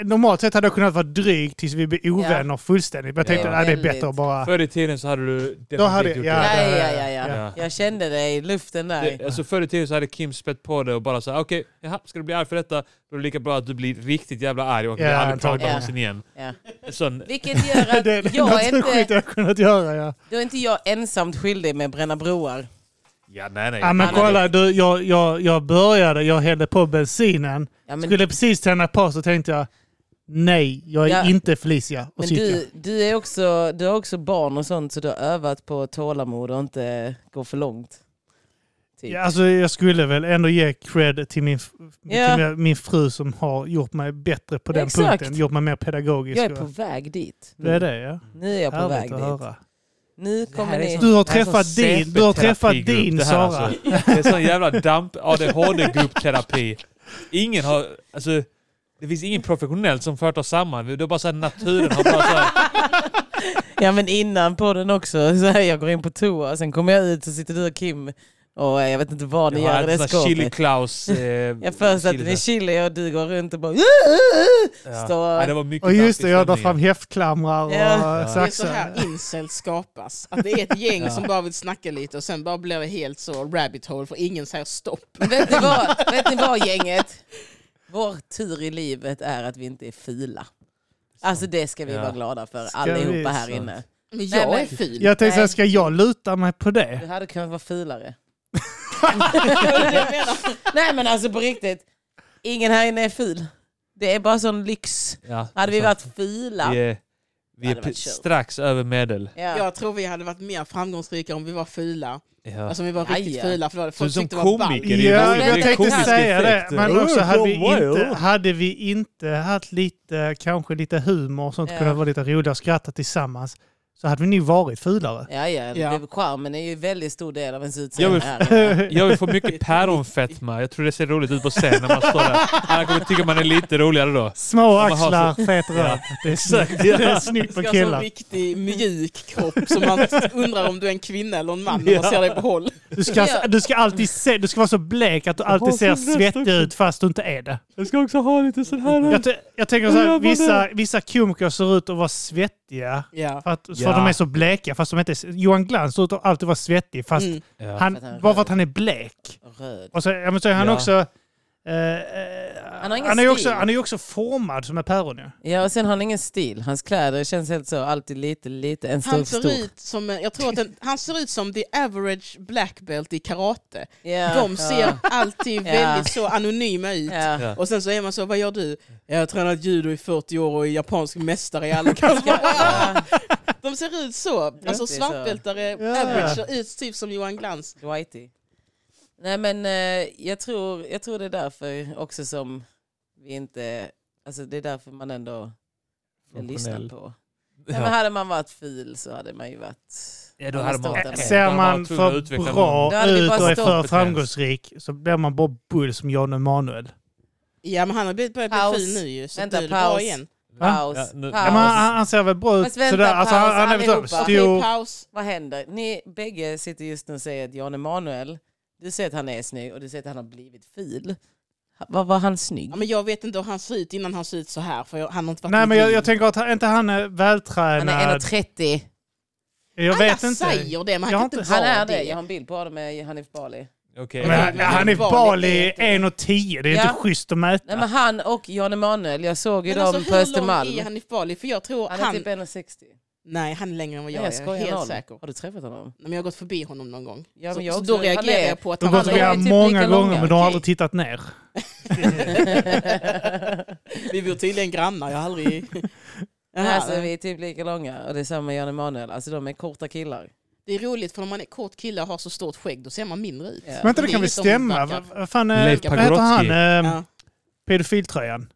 C: Normalt sett hade jag kunnat vara dryg tills vi blev ovänner fullständigt. Men jag
A: Ja.
C: tänkte, nej, det är
A: Väldigt.
C: bättre att bara...
B: Ah. Förr i tiden så hade du definitivt
C: Då hade jag-
B: gjort
C: ja.
A: Ja,
B: det.
A: ja, ja, ja,
B: Ja.
A: Jag kände dig i luften där.
B: Det, alltså förr i tiden så hade Kim spett på det och bara såhär okej, jaha, ska du bli arg för detta? Då är det lika bra att du blir riktigt jävla arg och
C: Ja,
B: vi aldrig pratar
C: antagligen.
B: någonsin igen.
A: Ja.
B: En Sån,
A: Vilket gör
C: Det är
A: att
C: det
A: jag är
C: enda skit
A: inte,
C: jag har kunnat göra, ja.
A: då är inte jag ensamt skyldig med att bränna broar.
B: ja, nej, nej.
C: Ja, men
A: Han
C: kolla, du, jag, jag, jag började, jag hällde på bensinen.
A: Ja, men
C: Skulle precis tända på så tänkte jag, nej, jag är
A: Ja.
C: inte Felicia. Och
A: men
C: så gick jag.
A: du, du, är också, du har också barn och sånt så du har övat på tålamod och inte gå för långt. Typ.
C: Ja, alltså, jag skulle väl ändå ge cred till min, f-
A: Ja.
C: till min, min fru som har gjort mig bättre på den
A: Exakt.
C: punkten. Gjort mig mer pedagogisk.
A: Jag är
C: och-
A: på väg dit. Mm.
C: Det är det, ja.
A: Nu är jag på väg
C: Härligt att
A: dit.
C: höra.
A: Nu kommer
B: är
A: ni...
C: Du har
A: Det här är
C: träffat
A: sån
C: din, du har träffat
B: CP-terapigrupp
C: din
B: det här,
C: Sara.
B: alltså. Det är sån jävla damp ADHD-gruppterapi. Ingen har... Alltså, det finns ingen professionell som fört oss samman. Det är bara såhär naturen har bara såhär...
A: Ja men innan podden också, så här, jag går in på toa, sen kommer jag ut så sitter du och Kim och eh, jag vet inte vad ni
B: Jag
A: gör i
B: hade
A: det
B: sån här Chili
A: skåpet.
B: Klaus... Eh,
A: Jag först att
B: chili-
A: ni chili och du går runt och bara...
B: Ja.
A: står-
B: Ja, det var mycket
C: Och just
B: damp
C: det,
B: i
C: jag drar
B: stämningen.
C: fram häftklamrar och
A: Ja.
C: ja.
D: Det är så
C: saxar.
D: här incels skapas. Att det är ett gäng
B: Ja.
D: som bara vill snacka lite och sen bara blir det helt så rabbit hole för ingen säger stopp.
A: Men vet ni vad, vet ni vad gänget? Vår tur i livet är att vi inte är fula. Alltså det ska vi
B: Ja.
A: vara glada för
C: Ska vi?
A: allihopa här
B: Sant.
A: inne.
D: Men
A: Nej,
D: jag
A: men-
D: är ful.
C: Jag tänkte,
A: Nej.
C: säga, ska jag luta mig på det?
A: Du hade kunnat vara fulare.
D: Det är det jag menar.
A: Nej men alltså på riktigt, ingen här inne är ful. Det är bara sån lyx.
B: Ja,
A: Hade vi
B: sant.
A: varit fula,
B: Vi är, vi är
A: hade varit
B: pe-
A: kört.
B: strax över medel.
A: ja.
D: Jag tror vi hade varit mer framgångsrika om vi var fula.
B: Ja.
D: Alltså om vi var riktigt
A: Jaja.
D: fula. För då hade
B: Som,
D: folk
B: som
D: tyckt det var ballt.
B: komiker. det är ju
C: Ja,
A: jag
B: roligt. Det är
A: tänkte
B: komisk
C: säga
B: effekt.
C: det. Men
B: Oh,
C: också hade vi,
B: don't worry.
C: inte, hade vi inte haft lite, kanske lite humor och sånt,
A: Ja.
C: kunnat vara lite roliga och skratta tillsammans, så hade vi nu varit fulare.
A: Ja, ja.
D: Ja.
A: Det- Charmen är ju en väldigt stor del av ens
B: Jag
A: utseende
B: vill-
A: här. inne.
B: Jag vill få mycket päronfetma. Jag tror det ser roligt ut på scen när man står där. Alla kommer tycka man är lite roligare då.
C: Små
B: man har
C: axlar, fet röv.
B: alltså- Ja.
C: Det är snyggt. Det är snyggt för
D: Ska ha en
C: killar.
D: riktig mjuk kropp som man undrar om du är en kvinna eller en man när man ser dig på håll.
C: Du ska,
A: Ja.
C: du ska alltid se, du ska vara så blek att du alltid
B: har
C: ser
B: sån röst
C: svettig
B: också.
C: ut fast du inte är det.
B: Jag ska också ha lite sån här...
C: Jag, t- jag tänker så här, vissa, vissa komiker ser ut att vara svettiga
D: Ja.
C: för att, för
B: Ja.
C: de är så bleka fast de inte är... Johan Glans ser ut att alltid vara svettig fast
D: Mm.
B: Ja.
C: han,
A: För att han är
C: bara för
A: röd.
C: att han är blek.
A: Röd.
C: Och så, ja, men så är han
B: Ja.
C: också Eh, eh,
A: Han har ingen
C: han är ju också,
A: stil.
C: han är ju också formad som ett päron ju.
A: Ja, och sen har han ingen stil. Hans kläder känns helt så, alltid lite, lite, en stor,
D: Han ser,
A: stor.
D: ut som, en- jag tror att den, han ser ut som the average black belt i karate.
A: Ja,
D: De ser
A: ja,
D: alltid
A: Ja.
D: väldigt så anonyma ut.
A: ja.
B: Ja.
D: Och sen så är man så, vad gör du? Jag har tränat judo i 40 år och är japansk mästare i alla kampsporter.
A: Ja,
D: De ser ut så.
A: så.
D: Alltså svartbältare,
C: Ja.
D: average, ser ut typ som Johan Glans.
A: Dwighty. Nej men eh, jag tror, jag tror det är därför också som vi inte, alltså det är därför man ändå lyssnar
B: Funktionell.
A: på. Nej, men
B: Ja.
A: hade man varit fil så hade man ju varit...
B: Ja, då hade man
A: Stått där.
B: varit
C: Ser man
B: tvungen att
C: för
B: utveckla
C: bra
A: Då hade vi
C: ut
A: bara
C: och är
A: stått
C: för
B: på
C: framgångsrik så blir man bara bull som Jan Emanuel.
D: Ja men han har blivit- börjat bli
A: Paus.
D: fin nu ju. Så
A: Vänta,
D: nu är det bra
A: paus.
D: igen.
A: Paus,
B: Ja, nu-
A: paus.
C: Ja, men han, han ser väl bra ut
A: Fast vänta,
C: sådär. Alltså, han,
A: paus,
C: han är väl så
A: allihopa.
D: Okej,
C: stor.
D: paus.
A: Vad händer? Ni bägge sitter just nu och säger att Jan Emanuel, du säger att han är snygg och du säger att han har blivit fil. Ha- Vad var han snygg?
D: Ja, men jag vet inte hur han ser ut innan han ser ut så här. För jag, han har inte varit
C: Nej
D: en
C: men jag,
D: bild.
C: jag tänker att han, inte han är
A: Han
C: vältränad.
A: är 1,30.
C: jag
D: Alla
C: vet inte.
D: säger det men
C: Jag har
D: han kan inte
C: inte-
D: vara
A: Han är det. Jag har en bild på honom med Hanif Bali.
B: Okej.
C: Men han,
D: Men
C: han är
D: Bali
C: bal
D: är
C: i
D: inte-
C: 1,10. Det är
A: typ. Ja.
C: inte schysst att mäta.
A: Nej, men han och Jan Emanuel, jag såg ju
D: Men
A: dem
D: alltså,
A: på
D: hur lång
A: Östermalm.
D: är
A: Han,
D: Hanif Bali? För jag tror han...
A: är typ 1,60.
D: Nej, han är längre än vad jag,
A: Nej, jag
D: är. Jag är
A: skojar
D: helt
A: noll.
D: säker.
A: Har du träffat honom?
D: Nej, men jag har gått förbi honom någon gång.
A: Ja, men
D: så,
A: jag
D: så
A: också.
D: då
A: Han
D: reagerar
A: är-
D: jag på att
C: De
D: han
C: har
A: går
C: gått
A: till
D: aldrig...
A: vi har
C: förbi
A: typ
C: många
A: lika
C: gånger
A: långa,
C: men de har
A: okej.
C: aldrig tittat ner.
D: Vi bor tydligen grannar, jag har aldrig... eh, Jaha,
A: Alltså, vi är typ lika långa och det är samma med Jan Emanuel. Alltså de är korta killar.
D: Det är roligt för om man är kort kille och har så stort skägg, då ser man mindre ut.
A: Ja.
C: Men inte det
D: Det är
C: kan väl
D: lite
C: stämma?
D: ombackad.
C: Vad vad fan, eh,
B: Leif
C: vad heter han?
B: Pagrotsky.
C: Eh,
D: Ja.
C: Pedofiltröjan.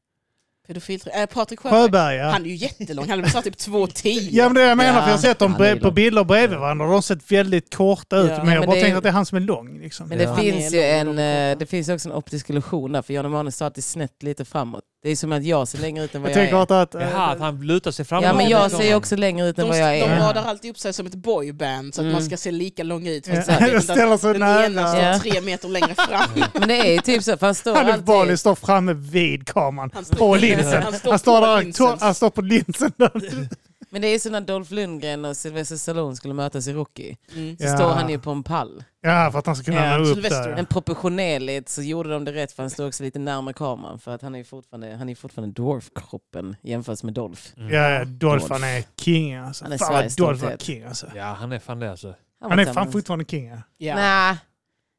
D: Pedofiltr... Äh, Patrik Sjöberg.
C: Sjöberg ja.
D: Han är ju jättelång, han är väl snart typ 2,10.
C: Ja men det är det jag menar för jag har sett dem
A: Ja, han är
C: bre- på
A: lång.
C: bilder bredvid varandra och de har sett väldigt korta ut.
D: Ja.
C: Men
A: Ja,
C: jag
A: men
C: bara
A: det är-
C: tänker att det är han som är lång. Liksom.
A: Men
B: Ja.
A: det
D: Han är
A: finns ju
D: lång och
A: en,
D: lång och
A: eh,
D: korta.
A: det finns ju också en optisk illusion där, för Jan Emanuel står alltid snett lite framåt. Det är som att jag ser längre ut än vad
C: Jag
A: jag,
C: tänker
A: är.
C: att... att eh,
B: Jaha, att han lutar sig framåt.
A: Ja, men jag
D: de-
A: ser ju också längre ut än
D: De,
A: vad jag
D: de
A: är.
C: Ja.
D: radar alltid upp sig som ett boyband så att
A: Mm.
D: man ska se lika lång ut.
C: Ja,
D: Fast jag vet
C: jag
D: inte att
C: ställer sig
D: Den ena
C: nära.
A: Ja.
D: står tre meter längre fram.
A: Men det är ju typ så, för han står
C: Hanif Bali
A: alltid...
C: står framme vid kameran.
D: Han står
C: På
D: på
C: linsen.
D: linsen.
C: Han
D: Han
C: står,
D: står
C: står
D: på
C: där,
D: linsen.
C: han står på linsen. Där.
A: Men det är ju så när Dolph Lundgren och Sylvester Stallone skulle mötas i Rocky.
D: Mm.
A: Så
C: Ja.
A: står han ju på en pall.
C: Ja, för att han ska kunna
A: Ja,
C: nå upp
D: Sylvester.
C: där.
A: Men proportionerligt så gjorde de det rätt för han stod också lite närmare kameran. För att han är ju fortfarande, han är ju fortfarande dwarf-kroppen jämfört med Dolph.
B: Mm.
C: Ja, ja, Dolph han är king alltså.
A: Mm. Han är
C: fan vad
A: Sveriges
C: Dolph
A: stolthet.
C: är king alltså.
B: Ja, han är fan det alltså.
A: var
C: Han är fan
A: tillsammans-
C: fortfarande king. Ja.
D: Ja.
A: Nä.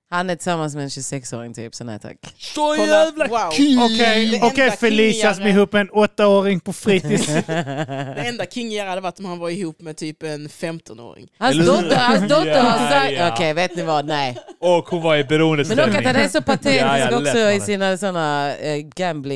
A: Han är tillsammans med en 26-åring typ, så nej tack.
B: Så
D: Kolla, jävla wow. kul!
C: Okej,
D: Det enda
C: okej Felicia som är
D: kingigare-
C: ihop med en åttaåring på fritids.
D: Det enda kingigare hade varit om han var ihop med typ en 15-åring.
A: Hans
B: Eller hur?
A: dotter, hans dotter har
B: Ja,
A: sagt...
B: ja.
A: Okej, vet ni vad? Nej.
B: Och hon var i
A: Men dock att
B: beroendeställning.
A: han är så
B: Ja,
A: patetisk
B: ja, lätt
A: också
B: var
A: i
B: det.
A: sina såna eh,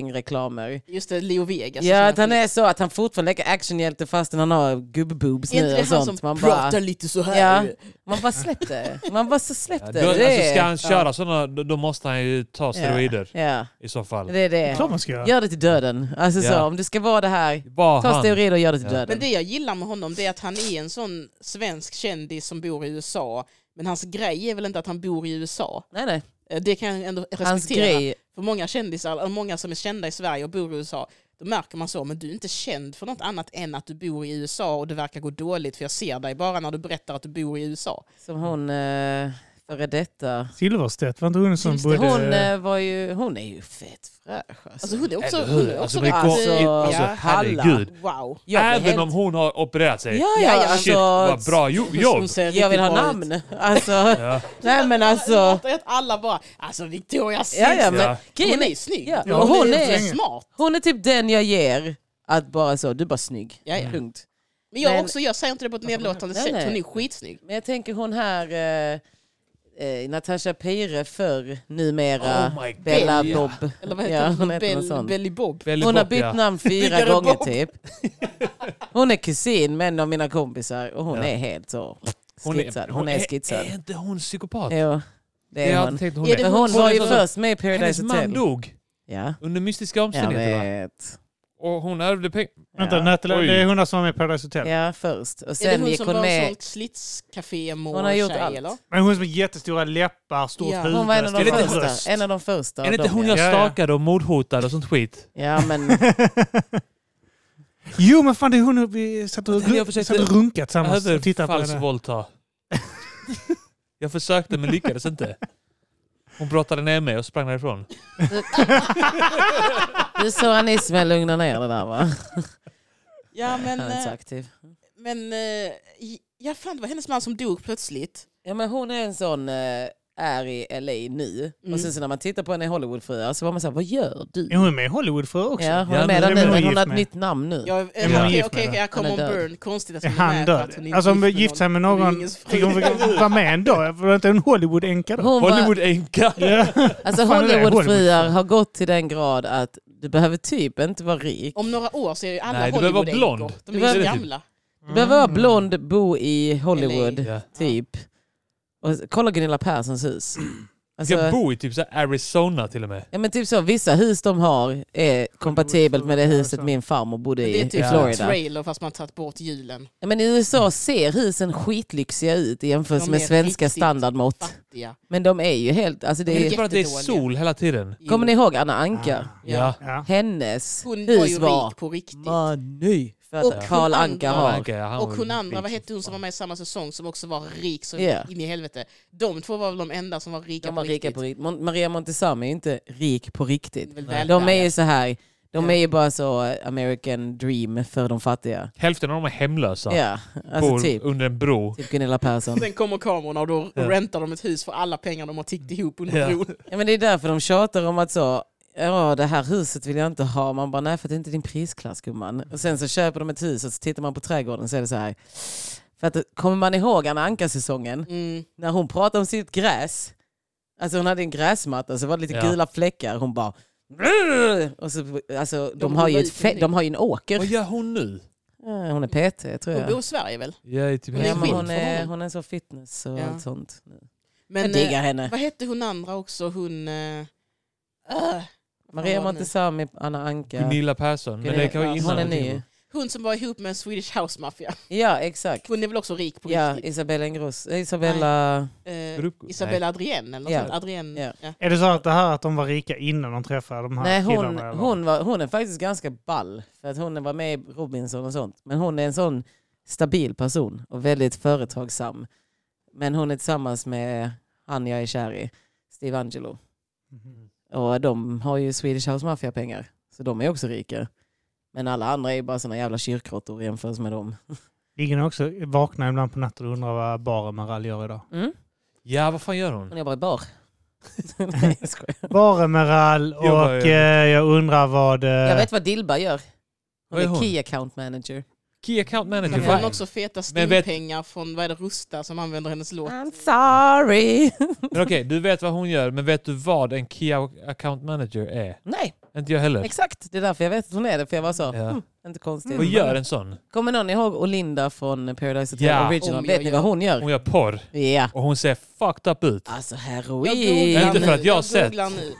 A: gambling-reklamer.
D: Just det, Leo Vegas.
A: Ja, att han är så att han fortfarande leker actionhjälte fastän han har gubb-boobs
D: Är inte
A: nu
D: det
A: och
D: han
A: sånt.
D: som
A: man
D: pratar
A: bara,
D: lite så här?
A: ja, man bara släpp det. Man bara så släpp
B: Ja,
A: det.
B: då,
A: det.
B: alltså,
A: är-
B: ska han köra sådana, då, då måste han ju ta steroider
A: Ja,
B: i så fall.
A: det är det.
C: Klart man ska göra.
A: Gör det till döden. Alltså så,
B: Ja.
A: om du ska vara det här,
B: Bara
A: ta
B: han.
A: steroider och gör det till
B: Ja.
A: döden.
D: Men det jag gillar med honom det är att han är en sån svensk kändis som bor i USA. Men hans grej är väl inte att han bor i USA.
A: Nej, nej.
D: Eh, Det kan jag ändå respektera.
A: Hans grej.
D: För många kändisar, eller många som är kända i Sverige och bor i USA, då märker man så, men du är inte känd för något annat än att du bor i USA och det verkar gå dåligt för jag ser dig bara när du berättar att du bor i USA.
A: Som hon, eh, före detta.
C: Silverstedt, var inte hon som
D: Just det,
C: bodde...
A: Hon, eh, var ju, hon är ju fett fräsch. Alltså.
D: Alltså hon är också...
B: Eller
D: Hon
B: hur?
D: är också
B: Alltså,
D: rätt-
B: det går-
A: alltså,
B: alltså,
D: ja.
B: herregud.
D: Wow.
A: Jag blir
B: Även
A: helt-
B: om hon har opererat sig.
A: Ja,
D: Ja,
A: ja,
D: ja.
B: Shit, vad
A: alltså,
B: bra jo, jobb!
D: Hon ser
A: jag vill
D: riktigt
A: ha
D: bra ut.
A: namn. Alltså, Nej men
D: Jag
A: alltså,
D: hatar att alla bara, alltså Victoria
A: ja, ja,
D: Silvstedt,
A: men,
B: Ja.
A: grejen
D: hon är
A: är,
D: ju snygg.
A: Ja,
D: Och
A: hon
D: hon
A: är-
D: är smart.
A: hon är typ den jag ger att bara så, du är bara snygg.
B: Mm.
D: Ja, ja.
A: Punkt.
D: Men jag,
A: Men-
D: också, jag säger inte det på ett nedlåtande
A: Nej,
D: sätt,
A: nej.
D: hon är skitsnygg.
A: Men jag tänker hon här, eh, eh, Natasha Peire förr, numera
B: Oh my God.
A: Bella
B: Ja.
A: Bob.
D: Eller vad heter
A: ja,
D: hon?
A: hon heter något
D: Bell-
A: sånt.
D: Belly Bob.
B: Väldigt
A: Hon har
B: bra,
A: bytt
B: ja.
A: namn fyra
D: Piggare
A: gånger
D: Bob.
A: typ. Hon är kusin med en av mina kompisar och hon
B: Ja.
A: är helt så skitsad. Hon är skitsad.
B: Är inte hon psykopat?
A: Jo, det
B: jag
A: är
B: har
A: hon.
B: alltid tänkt hon
D: Är
B: är.
D: det
A: Men hon var ju
B: som-
A: först med i
B: Hennes
A: Paradise
B: man
A: Hotel.
B: dog
A: Ja,
B: under mystiska
A: jag
B: omständigheter va?
A: vet.
B: Och hon ärvde pengar.
C: Vänta,
A: Ja.
C: Natalie,
B: Oj.
C: det är hon där som var med i Paradise Hotel.
A: Ja, först. Och
D: är det
A: sen
D: hon
A: gick
D: som
A: hon
D: var en
A: med...
D: sån slitscafé
A: Hon har gjort allt.
D: eller?
C: Men hon som har jättestora läppar, stort
D: Ja.
C: huvud,
A: Hon var en av de
B: Är det inte
C: stor
B: hon-
A: första. En av de första.
B: Är
A: av
B: det inte
A: dem,
B: hon
A: ja.
B: jag
C: ja.
B: stakade och mordhotade och sånt skit?
A: Ja, men...
C: Jo men fan det är hon vi satt och,
B: Jag försökte-
C: satt och runkade tillsammans och tittade på henne.
B: Överfallsvåldta. Jag försökte men lyckades inte. Hon brottade ner mig och sprang därifrån.
A: Du är så Anismen lugna ner det där va?
D: Ja, men,
A: Han är inte så
D: eh,
A: aktiv.
D: men eh, ja, fan, det var hennes man som dog plötsligt.
A: Ja, men hon är en sån, eh, är i LA nu.
D: Mm.
A: Och sen så när man tittar på henne i Hollywoodfruar så var man såhär, vad gör du?
C: Är hon med i Hollywood för också?
A: Ja, hon är med
B: Ja, men
A: där
C: det
A: nu,
C: blir
A: men
C: hon
A: hon har ett
C: gift
A: nytt namn nu.
D: Ja, eh,
C: Är
D: Okej,
C: hon
D: okej,
C: gift
D: okej,
C: med
D: jag kommer
A: Han är
D: om
A: död.
D: Burn. Konstigt att
C: Är
D: hon är
C: han
D: med. för
C: död?
D: att hon inte
C: Alltså hon
D: är
C: gift sig med
D: Hon är
C: någon.
D: ju ingens fru.
C: Fick hon fick vara med ändå? Var inte en Hollywood-änka då?
A: Hon var,
B: Hollywood-änka!
A: alltså
C: Fan, det
A: Hollywoodfruar
C: är Hollywoodfruar.
A: har gått till den grad att du behöver typ inte vara rik.
D: Om några år så är ju alla
B: Nej, du behöver vara
D: Hollywood
B: blond.
A: Du
D: De är ju
B: behöver-
D: gamla.
A: Du behöver vara blond, bo i Hollywood,
D: LA.
B: Ja.
A: typ. Och, s- kolla Gunilla Perssons hus. Alltså,
B: Ska bo i typ så här Arizona till och med.
A: ja, men typ så, vissa hus de har är kompatibelt med det huset
C: Alltså.
A: min farmor bodde
D: Det
A: i
D: är
A: i
D: typ
B: Ja.
D: en
A: Florida.
D: trailer fast man tagit bort hjulen.
A: Ja, men I USA ser husen skitlyxiga ut i jämförelse
D: De
A: med
D: är
A: svenska
D: riktigt
A: standardmått.
D: Fattiga.
A: Men de är ju helt... Alltså
B: Det är
A: det
B: inte
A: är,
B: bara att det är
D: jättedåliga.
B: sol hela tiden.
D: Jo.
A: kommer ni ihåg Anna Anka?
D: Ah.
B: Ja.
C: Ja.
A: Hennes
D: Hon var ju
A: hus var
D: rik på riktigt.
A: many för
D: Och
A: att Karl
D: hon
A: Anka
D: andra-
A: har.
B: Anka, ja, Ah, han
D: Och
B: var
D: hon
B: ju
D: andra,
B: rik
D: vad hette hon
B: fan.
D: som var med i samma säsong som också var rik så
A: Ja.
D: in i helvete. De två var väl de enda som var rika
A: De
D: på
A: var rika
D: riktigt.
A: på riktigt. Mon- Maria Montazami är ju inte rik på riktigt.
D: Väl
A: De är
D: välbärgade.
A: ju så här, de
D: Ja.
A: är ju bara så eh, American dream för de fattiga.
B: Hälften av dem är hemlösa.
A: Ja,
B: Bor
A: alltså typ,
B: under en bro.
A: typ Gunilla Persson.
D: Sen kommer kamerorna och då
B: Ja.
D: räntar de ett hus för alla pengar de har tiggt ihop under
B: Ja.
D: bron.
A: Ja, men det är därför de tjatar om att så, ja det här huset vill jag inte ha. Man bara, nej för att det är inte din prisklass gumman. Och sen så köper de ett hus och så tittar man på trädgården så är det så här. För att kommer man ihåg Anna Anka-säsongen,
D: Mm.
A: när hon pratade om sitt gräs, alltså hon hade en gräsmatta så var det lite
B: Ja.
A: gula fläckar. Hon bara, "Brr!" och så, alltså, de,
D: De
A: har ju
D: rullar
A: ett
D: ut en
A: fe- de har ju en åker.
B: Vad gör hon nu?
A: Ja, Hon är PT tror
D: Hon bor
A: jag.
D: i Sverige väl?
B: Jag är typ
D: Hon är
A: Ja, men
D: skit
A: hon,
D: för
A: är,
D: honom.
A: hon är så fitness och
D: Ja.
A: allt sånt.
D: Men
A: jag diggar
D: eh,
A: henne.
D: vad hette hon andra också? Hon... eh, äh,
A: Maria
D: vad var det nu?
A: Montazami, Anna Anka.
B: Gunilla Persson. Men det kan vara
D: Gunilla
B: innan.
A: hon är
D: hon
A: ny.
D: Hon som var ihop med en Swedish House Mafia.
A: Ja, exakt.
D: Hon är väl också rik på
A: Ja,
D: riktigt?
A: Isabella Ingrosso. Isabella...
D: Eh,
B: Grupp-
D: Isabella Adrienne eller något
A: Ja.
D: sånt. Adrienne.
A: Ja.
D: Ja.
C: Är det så att det här att de var rika innan de träffade de här
A: Nej, hon,
C: killarna? eller?
A: hon, var, hon är faktiskt ganska ball. För att hon var med i Robinson och sånt. Men hon är en sån stabil person och väldigt företagsam. Men hon är tillsammans med han jag är kär i, Steve Angelo.
C: Mhm.
A: Och de har ju Swedish House Mafia-pengar. Så de är också rika. Men alla andra är ju bara såna jävla kyrkråttor jämfört med dem.
C: Ligger ni också vakna ibland på natten och undrar vad baren Merall gör idag?
A: Mm.
B: Ja, vad fan gör hon?
A: Hon jobbar i bar. Nej, jag skojar.
C: Baren Merall och
B: Jobbar jag.
C: jag, jag undrar vad... eh,
A: Jag vet vad Dilba gör. Hon
B: Vad
A: är,
B: är hon?
A: Key Account Manager.
B: Key account manager.
D: Men
A: Ja.
D: får hon
B: Fine.
D: också feta
B: Men vet-
D: stimpengar från vad är det, Rusta som använder hennes låt?
A: I'm sorry.
B: Men okej, du vet vad hon gör, men vet du vad en Key account manager är?
A: Nej,
B: Inte jag heller.
A: exakt. Det är därför jag vet att hon är det. För jag var så,
B: Ja.
A: hmm, inte konstigt.
B: Vad gör en sån?
A: Kommer någon ihåg Olinda från Paradise Hotel
B: Ja.
A: Original?
D: Om jag
A: Vet ni vad
D: gör.
A: hon gör?
B: Hon gör porr
A: Ja.
B: och hon ser fucked up ut.
A: Alltså
D: Jag googlar
A: heroin.
B: Inte för att
D: nu,
B: jag har sett.
D: googlar Nu.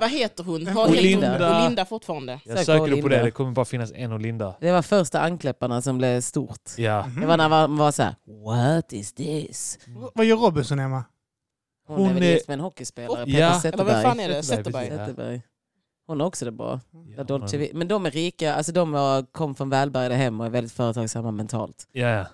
D: Vad heter hon? Har
B: Olinda.
D: Olinda. Hon Olinda fortfarande?
B: Jag
A: Sök
B: söker upp på det,
A: Olinda.
B: det kommer bara finnas en Olinda.
A: Det var första ankläpparna som blev stort.
B: Ja.
A: Det var när man var så här, what is this?
C: Vad gör Robinson hemma?
A: Hon,
B: Hon
A: är väl
B: är-
A: gift med en hockeyspelare,
B: Oh,
A: Peter
B: ja.
A: Zetterberg.
D: Eller vem fan är det?
B: Zetterberg,
D: Zetterberg?
B: precis.
A: Zetterberg. Hon har också det bra.
B: Ja,
A: Ja, Dolce Vi- Men de är rika, alltså de var- kom från välbärgade hem och är väldigt företagsamma mentalt.
B: Ja, ja.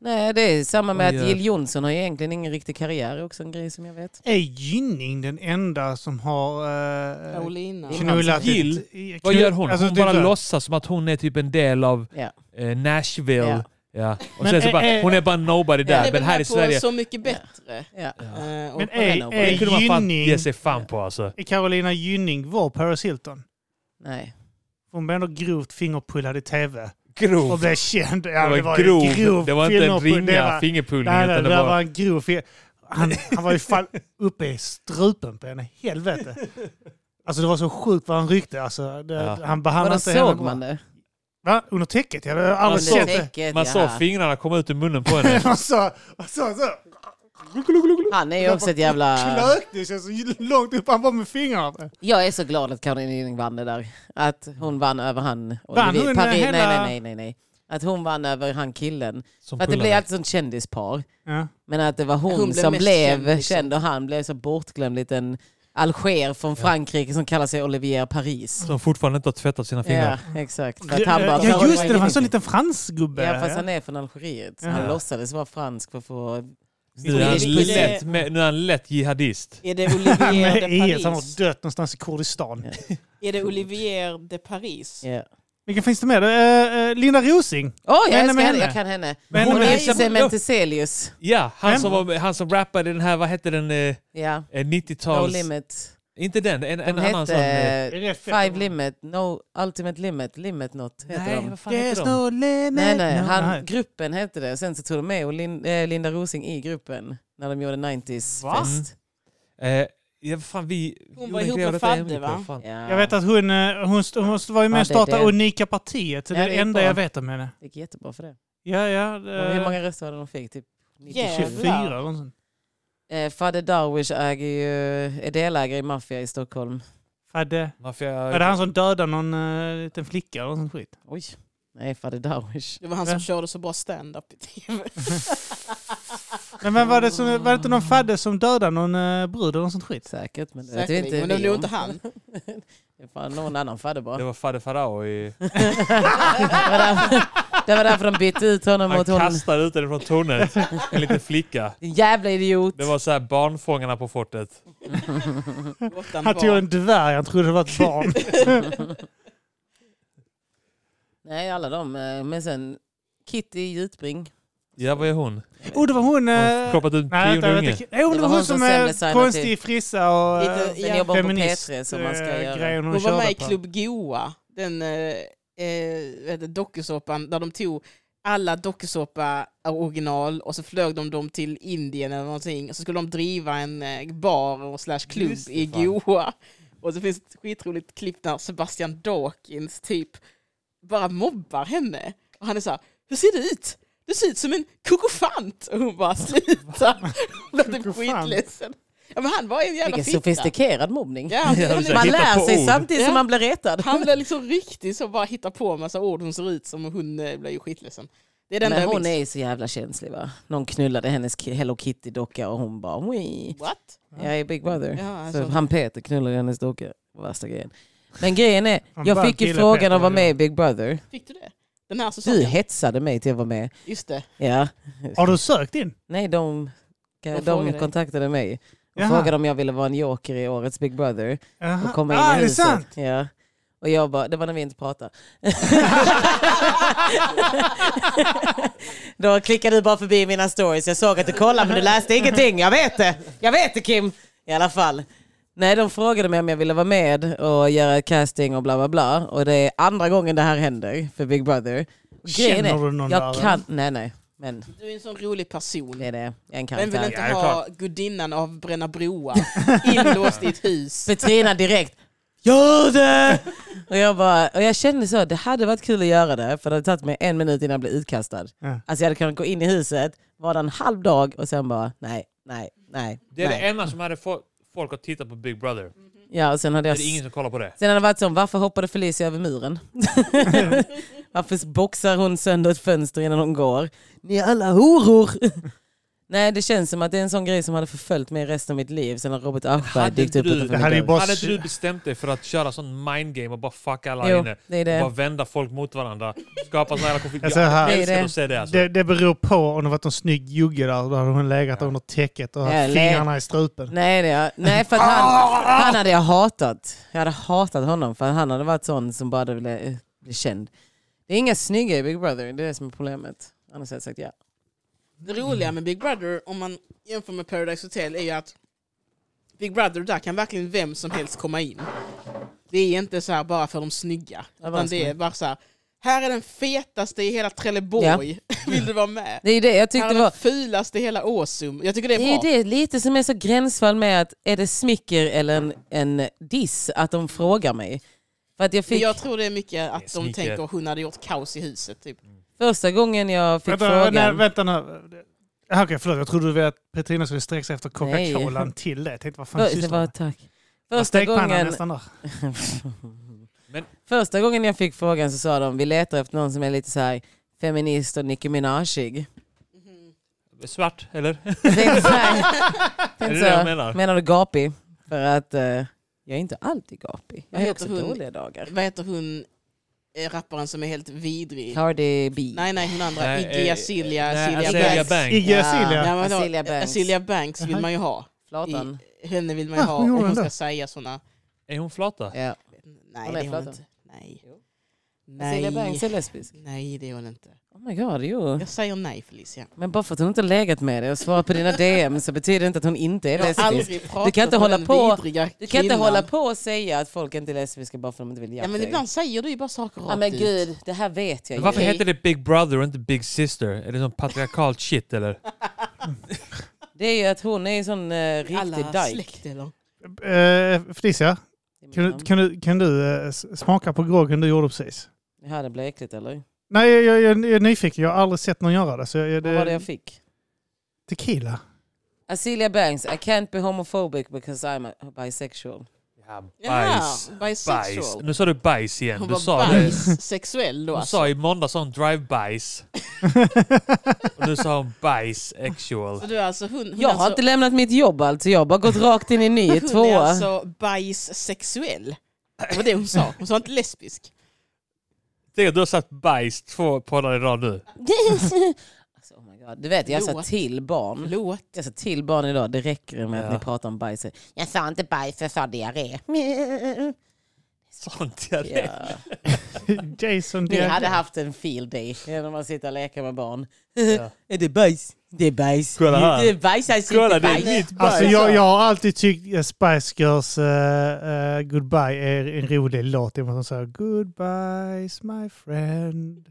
A: Nej, det är samma med
B: Oj,
A: att
B: ja.
A: Jill Johnson har ju egentligen ingen riktig karriär, är också en grej som jag vet.
C: Är Gynning den enda som har eh,
D: Paulina.
A: Kino-
C: knullat...
B: Jill?
C: Knull-
B: Vad gör hon?
C: Alltså,
B: Hon
C: typ
B: bara
C: så här.
B: låtsas som att hon är typ en del av
A: Ja.
B: eh, Nashville.
A: Ja.
B: Ja. Och
C: Men
B: sen så
C: är-
B: bara,
C: är-
B: hon är bara nobody
A: Ja.
B: där,
D: Det
B: men
D: är väl
B: här i Sverige...
D: på Så mycket bättre.
A: Ja.
B: Ja.
D: Eh, och-
C: Men
A: Helena
C: är,
A: och Bonnie.
B: Det
C: är,
B: kunde man fan
C: Gynning,
B: ge sig fan på alltså.
C: är Carolina Gynning var Paris Hilton?
A: Nej.
C: Hon blev ändå grovt fingerpullad i tv och
B: Grov.
C: blev känd. Ja,
B: Det var,
C: det var ju
B: grov.
C: grov
B: Det var inte en
C: fingerpull- det
B: ringa
C: var-
B: fingerpullning.
C: Nej, nej,
B: utan
C: det
B: det
C: där
B: var...
C: var en grov fel. Han, han var ju fall uppe i strupen på henne. Helvete. Alltså det var så sjukt vad han ryckte. Alltså, det,
B: Ja.
C: Han behandlade
A: Vadå,
C: inte henne
A: såg
C: bra.
A: man det?
C: Va? Under täcket? Jag hade aldrig
A: Under
C: sett det.
A: täcket,
B: Man såg
A: jaha.
B: fingrarna komma ut ur munnen på henne.
C: Man sa så. så.
A: Han är ju också ett jävla...
C: Klök, det känns så långt upp han var med fingrarna.
A: Jag är så glad att Caroline Gynning vann det där. Att hon vann över han...
C: Vann
A: Olivier-
C: hon
A: Paris-
C: hela-
A: Nej, nej, nej, nej, nej. Att hon vann över han killen.
B: Som
A: För att det
B: pullade.
A: blev alltid sånt kändispar.
C: Ja.
A: Men att det var hon,
D: Hon blev
A: som
D: mest
A: blev
D: känd, liksom.
A: känd och han blev så bortglömd liten Alger från Frankrike som kallar sig Olivier Paris.
B: Som fortfarande inte har tvättat sina
A: Ja,
B: fingrar.
A: exakt. För att han bara,
C: ja just det, det var en sån liten fransgubbe.
A: Ja, fast han är från Algeriet. så Han
B: Ja.
A: låtsades vara fransk för att få
B: Nu är han
A: Swedish pussy.
B: lätt, med, nu är han lätt jihadist.
D: Är det
B: E
D: Olivier
C: Med
D: de
C: IS, han
D: Paris?
C: har dött någonstans i Kurdistan.
D: Är det Olivier de Paris?
A: Yeah.
C: Vilken finns det mer? Eh, eh, Linda Rosing.
A: Åh, jag
C: Men-
A: älskar
C: men-
A: henne. Jag kan henne.
C: Men-
A: Hon
C: men-
A: gifte sig med
B: Ja.
A: Teselius.
B: Ja,
C: Vem?
B: han som, var, han som rappade den här, vad hette den, eh,
A: Ja.
B: eh,
A: No
B: 90-tals...
A: limit.
B: inte den, en, en
A: Hon
B: annan sån... Eh,
A: hette Five Limit, No Ultimate Limit, Limit något heter
B: nej,
A: de.
B: vad fan heter de?
C: limit.
A: Nej, nej,
C: No-
A: han,
C: nej.
A: gruppen hette det. Sen så tog de med och Lin, eh, Linda Rosing i gruppen när de gjorde 90s-fest.
B: Eh, ja, vad fan, vi...
D: Hon
B: jo,
D: var
B: den
D: ihop
B: grejen
D: med
B: detta är
D: Fadde,
B: Emily på,
D: va?
B: fan.
A: Ja.
C: Jag vet att hon, eh, hon, st- hon var ju med
A: Ja,
C: och
A: det-
C: startade
A: det-
C: Unika Partiet. Det
A: Ja,
C: är det
A: det är
C: enda
A: bra.
C: jag vet om henne.
A: Det gick jättebra för det.
C: Ja, ja.
A: Men Hur
C: Det,
A: många röster hade de fick? Typ 97?
D: Jävlar.
C: 24 eller något sånt.
A: Eh, Fadde Darwish äger ju, är delägare i maffia i Stockholm.
C: Fadde.
B: Mafia...
C: Var det han som dödade någon eh, liten flicka eller något sånt skit?
A: Oj. Nej, Fadde Darwish.
D: Det var han som
C: Ja.
D: körde så bra stand-up i tv.
C: Men vem var det som, var det inte någon Fadde som dödade någon eh, brud eller något sånt skit?
A: Säkert, men det vet vi
D: Säkerligen,
A: inte
D: men det var
A: vi
D: nog
A: om.
D: inte han.
A: Det är fan någon annan Fadde bara.
B: Det var Fadde Farao i...
A: det, var därför, det var därför de bytte ut honom
B: Han
A: mot hon.
B: kastade ut henne från tornet. En liten flicka.
A: Din jävla idiot.
B: Det var så här barnfångarna på fortet.
D: Råttan
C: Han tog
D: var-
C: en dvärg, han trodde det var ett barn.
A: Nej, alla de. eh, Men sen Kitty Jutbring.
B: Ja, vad är hon?
C: oh, det var hon...
B: Hon
C: eh,
B: har ploppat ut en
C: Nej, vänta,
B: miljon
C: vänta.
B: unge.
C: Jo, det var hon som
A: sen
C: är
A: designade
C: konstig frissa och eh,
A: Lite- sen
D: ja.
A: jobbar hon på
C: feminist,
A: P3 som man ska
C: eh,
A: göra.
C: grejen hon
D: Hon var
C: körde
D: med i
C: på.
D: Club Goa, den eh, eh, vad heter det, dokusåpan där de tog alla dokusåpa original och så flög de dem till Indien eller någonting och så skulle de driva en eh, bar och slash klubb
B: Just det,
D: i
B: fan.
D: Goa. Och så finns ett skitroligt klipp där Sebastian Dawkins typ bara mobbar henne. Och han är så här, hur ser du ut? Du ser ut som en kokofant! Och hon bara sluta! Hon blev typ
C: Kokofant?
D: skitledsen. Ja, men han var en jävla
A: Vilken
D: fitta.
A: sofistikerad mobbning.
D: Ja, han, han,
B: precis.
A: Man
B: Hitta
A: lär
B: på
A: sig
B: ord.
A: samtidigt som
D: Ja.
A: man blir retad.
D: Han blev liksom riktigt så bara hitta på en massa ord hon ser ut som och hon eh, blev ju skitledsen. Det är den
A: Men
D: där
A: hon
D: hon
A: är ju så jävla känslig va. Någon knullade hennes ki- Hello Kitty-docka och hon bara Wii.
D: What?
A: Jag är Big Brother.
D: Ja,
A: Så
D: alltså.
A: han Peter knullade hennes docka. Värsta grejen. Men grejen är,
C: Han
A: jag
C: bara
A: fick ju
C: gillar
A: frågan
C: Peter,
A: att vara
C: ja.
A: med i Big Brother.
D: Fick du det? Den här
A: Du
D: säsongen?
A: hetsade mig till att vara med.
D: Just det.
A: Ja.
C: Har du sökt in?
A: Nej, de, eh, de,
D: frågade dig.
A: kontaktade mig och
C: Jaha.
A: frågade om jag ville vara en joker i årets Big Brother
C: Jaha.
A: och komma in
C: ah,
A: i
C: är det
A: huset.
C: sant?
A: Ja. Och jag bara, det var när vi inte pratade. Då klickade du bara förbi mina stories. Jag såg att du kollade men du läste ingenting. Jag vet det. Jag vet det Kim. I alla fall. Nej, de frågade mig om jag ville vara med och göra casting och bla bla bla. Och det är andra gången det här händer för Big Brother. Och grejen
C: Känner
A: är,
C: du någon
A: Jag
C: där,
A: kan, nej nej. Men
D: Du är en sån rolig person.
A: det är det. Jag är en
D: Vem vill
A: karaktär.
D: inte
B: Ja, det är
D: ha gudinnan av Bränna broar inlåst i ett hus?
A: Petrina direkt Gör det! Och jag, bara, och jag kände så, det hade varit kul att göra det för det hade tagit mig en minut innan jag blev utkastad.
C: Ja.
A: Alltså jag hade kunnat gå in i huset, vara där en halv dag och sen bara nej, nej, nej.
B: Det är det
A: nej.
B: enda som hade fått folk att titta på Big Brother.
A: Ja, och sen hade
B: Det
A: jag...
B: är ingen som kollar på det.
A: Sen hade det varit så, varför hoppade Felicia över muren? varför boxar hon sönder ett fönster innan hon går? Ni är alla horor! nej, det känns som att det är en sån grej som hade förföljt mig resten av mitt liv sen när Robert Aschberg
B: hade
A: dykt upp
B: du-
A: utanför
C: Det
A: min
C: hade ju
A: dörr.
C: bara...
B: Hade inte du bestämt dig för att köra sån mind game och bara fucka alla
A: Jo,
B: inne?
A: det är det.
B: Bara vända folk mot varandra. Skapa sån här konflikt.
C: Alltså, här-
B: Jag
A: Det är det.
B: älskar att se det alltså.
C: Det, det beror på om det varit en snygg jugge där. Då hade hon legat under täcket och haft
A: Eller-
C: fingrarna i strupen.
A: Nej, det är, nej för att han, han hade jag hatat. Jag hade hatat honom för han hade varit sån som bara ville eh, bli känd. Det är inga snygga i Big Brother, det är det som är problemet. Annars hade jag sagt ja.
D: Det roliga med Big Brother, om man jämför med Paradise Hotel, är ju att Big Brother, där kan verkligen vem som helst komma in. Det är inte så här bara för de snygga.
A: Ja,
D: utan
A: vad
D: det
A: snygg.
D: är bara så här, här är den fetaste i hela Trelleborg. Vill du vara med?
A: Det är ju det jag
D: här
A: tyckte
D: är den
A: var...
D: fulaste i hela Åsum. Jag tycker det är
A: Det är ju
D: bra.
A: det lite som är så gränsfall med att är det smicker eller en, en diss att de frågar mig. För att jag
D: Men
A: fick,
D: jag tror det är mycket att de
B: smicker.
D: tänker hon hade gjort kaos i huset. Typ.
A: första gången jag fick
C: Vänta, nej,
A: frågan...
C: vänta nu. Ah, Okej, förlåt. Jag trodde du ville att Petrina skulle sträcka sig efter Coca-Colan till det. Jag tänkte, vad fan
A: För, det
C: sysslar
A: var,
C: hon
A: tack.
C: med?
A: Första
C: Stekpannan
A: gången,
C: nästan där.
A: första gången jag fick frågan så sa de vi letar efter någon som är lite så här feminist och Nicki Minajig. Mm.
B: alltså? Svart, eller?
A: Det är så här, det
B: Är
A: är
B: det
A: så,
B: det de
A: menar?
B: menar?
A: du gapig? För att eh, jag är inte alltid gapig. Jag
D: Vad
A: har
D: heter
A: också
D: hon?
A: dåliga dagar.
D: Vad heter hon? eh, rapparen som är helt vidrig.
A: Cardi B.
D: Nej, nej, hon andra.
B: Nej,
D: Iggy
B: eh,
D: Azilia.
B: nej,
D: Azilia
B: Azealia
D: Banks.
B: Banks.
C: Iggy
A: Ja.
C: Azealia.
D: Ja, men då-
A: Azealia Banks.
D: Azealia Banks vill man ju ha.
A: Flatan.
D: I, henne vill man ju
C: Ah,
D: ha.
C: hon
D: Om
C: gjorde
D: hon
C: det.
D: ska säga sådana...
B: Är hon flata?
A: Ja.
D: Nej,
A: Hon
D: det
A: är
D: är hon
A: flatan.
D: inte. Nej.
A: Jo. Azealia Banks är
D: Nej.
A: lesbisk.
D: nej, det är hon inte.
A: Oh my god, jo.
D: Jag säger nej, Felicia.
A: Men bara för att hon inte har legat med dig och svarat på dina DM så betyder det inte att hon inte är
D: Jag har
A: lesbisk.
D: aldrig pratat
A: Du kan inte
D: med
A: hålla
D: den
A: på-
D: vidriga
A: Du kan inte
D: kvinnan.
A: hålla på och säga att folk inte är lesbiska bara för att de inte vill
D: Ja,
A: hjälpa
D: men
A: dig.
D: ibland säger du ju bara saker rakt
A: Ja, men
D: ut.
A: gud, det här vet jag
B: Men
A: ju.
B: varför
D: Okej.
B: heter det Big Brother och inte Big Sister? Är det sån patriarkalt shit eller?
A: Det är ju att hon är en sån eh, riktig
D: Alla
A: dyke.
D: släkt eller?
C: Eh, Felicia, kan du, kan du, kan du eh, s- smaka på groggen du gjorde precis?
A: Det här det blir äckligt eller?
C: Nej, jag, jag, jag är nyfiken. Jag har aldrig sett någon göra det. Så jag,
A: Vad var det
C: det
A: jag fick?
C: tequila.
A: Azealia Banks, I can't be homophobic because I'm a- bisexual.
B: Ja, bajs.
D: Jaha, bisexual.
B: Bajs. Nu sa du bajs igen.
D: Hon
B: Du
D: var
B: sa det.
D: bisexuell då
B: Hon
D: alltså.
B: sa i måndags sa hon drive-bajs. och nu sa hon bajs-actual.
D: Så du är alltså hon, hon
A: Jag
D: är
A: har
D: alltså,
A: inte lämnat mitt jobb alltså, jag har bara gått rakt in i en ny
D: Hon är
A: tvåa.
D: alltså bajssexuell. Det var det hon sa. Hon sa inte lesbisk.
B: Tänk att du har satt bajs två poddar i rad nu.
A: alltså, oh my God. Du vet, jag sa
D: Förlåt.
A: till
B: Mm.
A: barn.
D: Förlåt.
A: Jag sa till barn idag, det räcker med att
B: Ja.
A: ni pratar om bajs. Jag sa inte bajs, jag sa diarré.
B: Sånt jag
A: Ja.
C: Jason
A: Ni
C: Derulo.
A: hade haft en field day genom att sitta och leka med barn.
B: Ja.
A: Är det bajs? Det är bajs.
B: Kolla här.
A: Det är bajs, alltså
B: Kolla,
A: inte
B: det
A: bajs.
B: är mitt bajs.
C: Alltså jag, jag har alltid tyckt eh, Spice Girls eh, eh, Goodbye är en rolig låt. I och med att de säger Goodbyes my friend.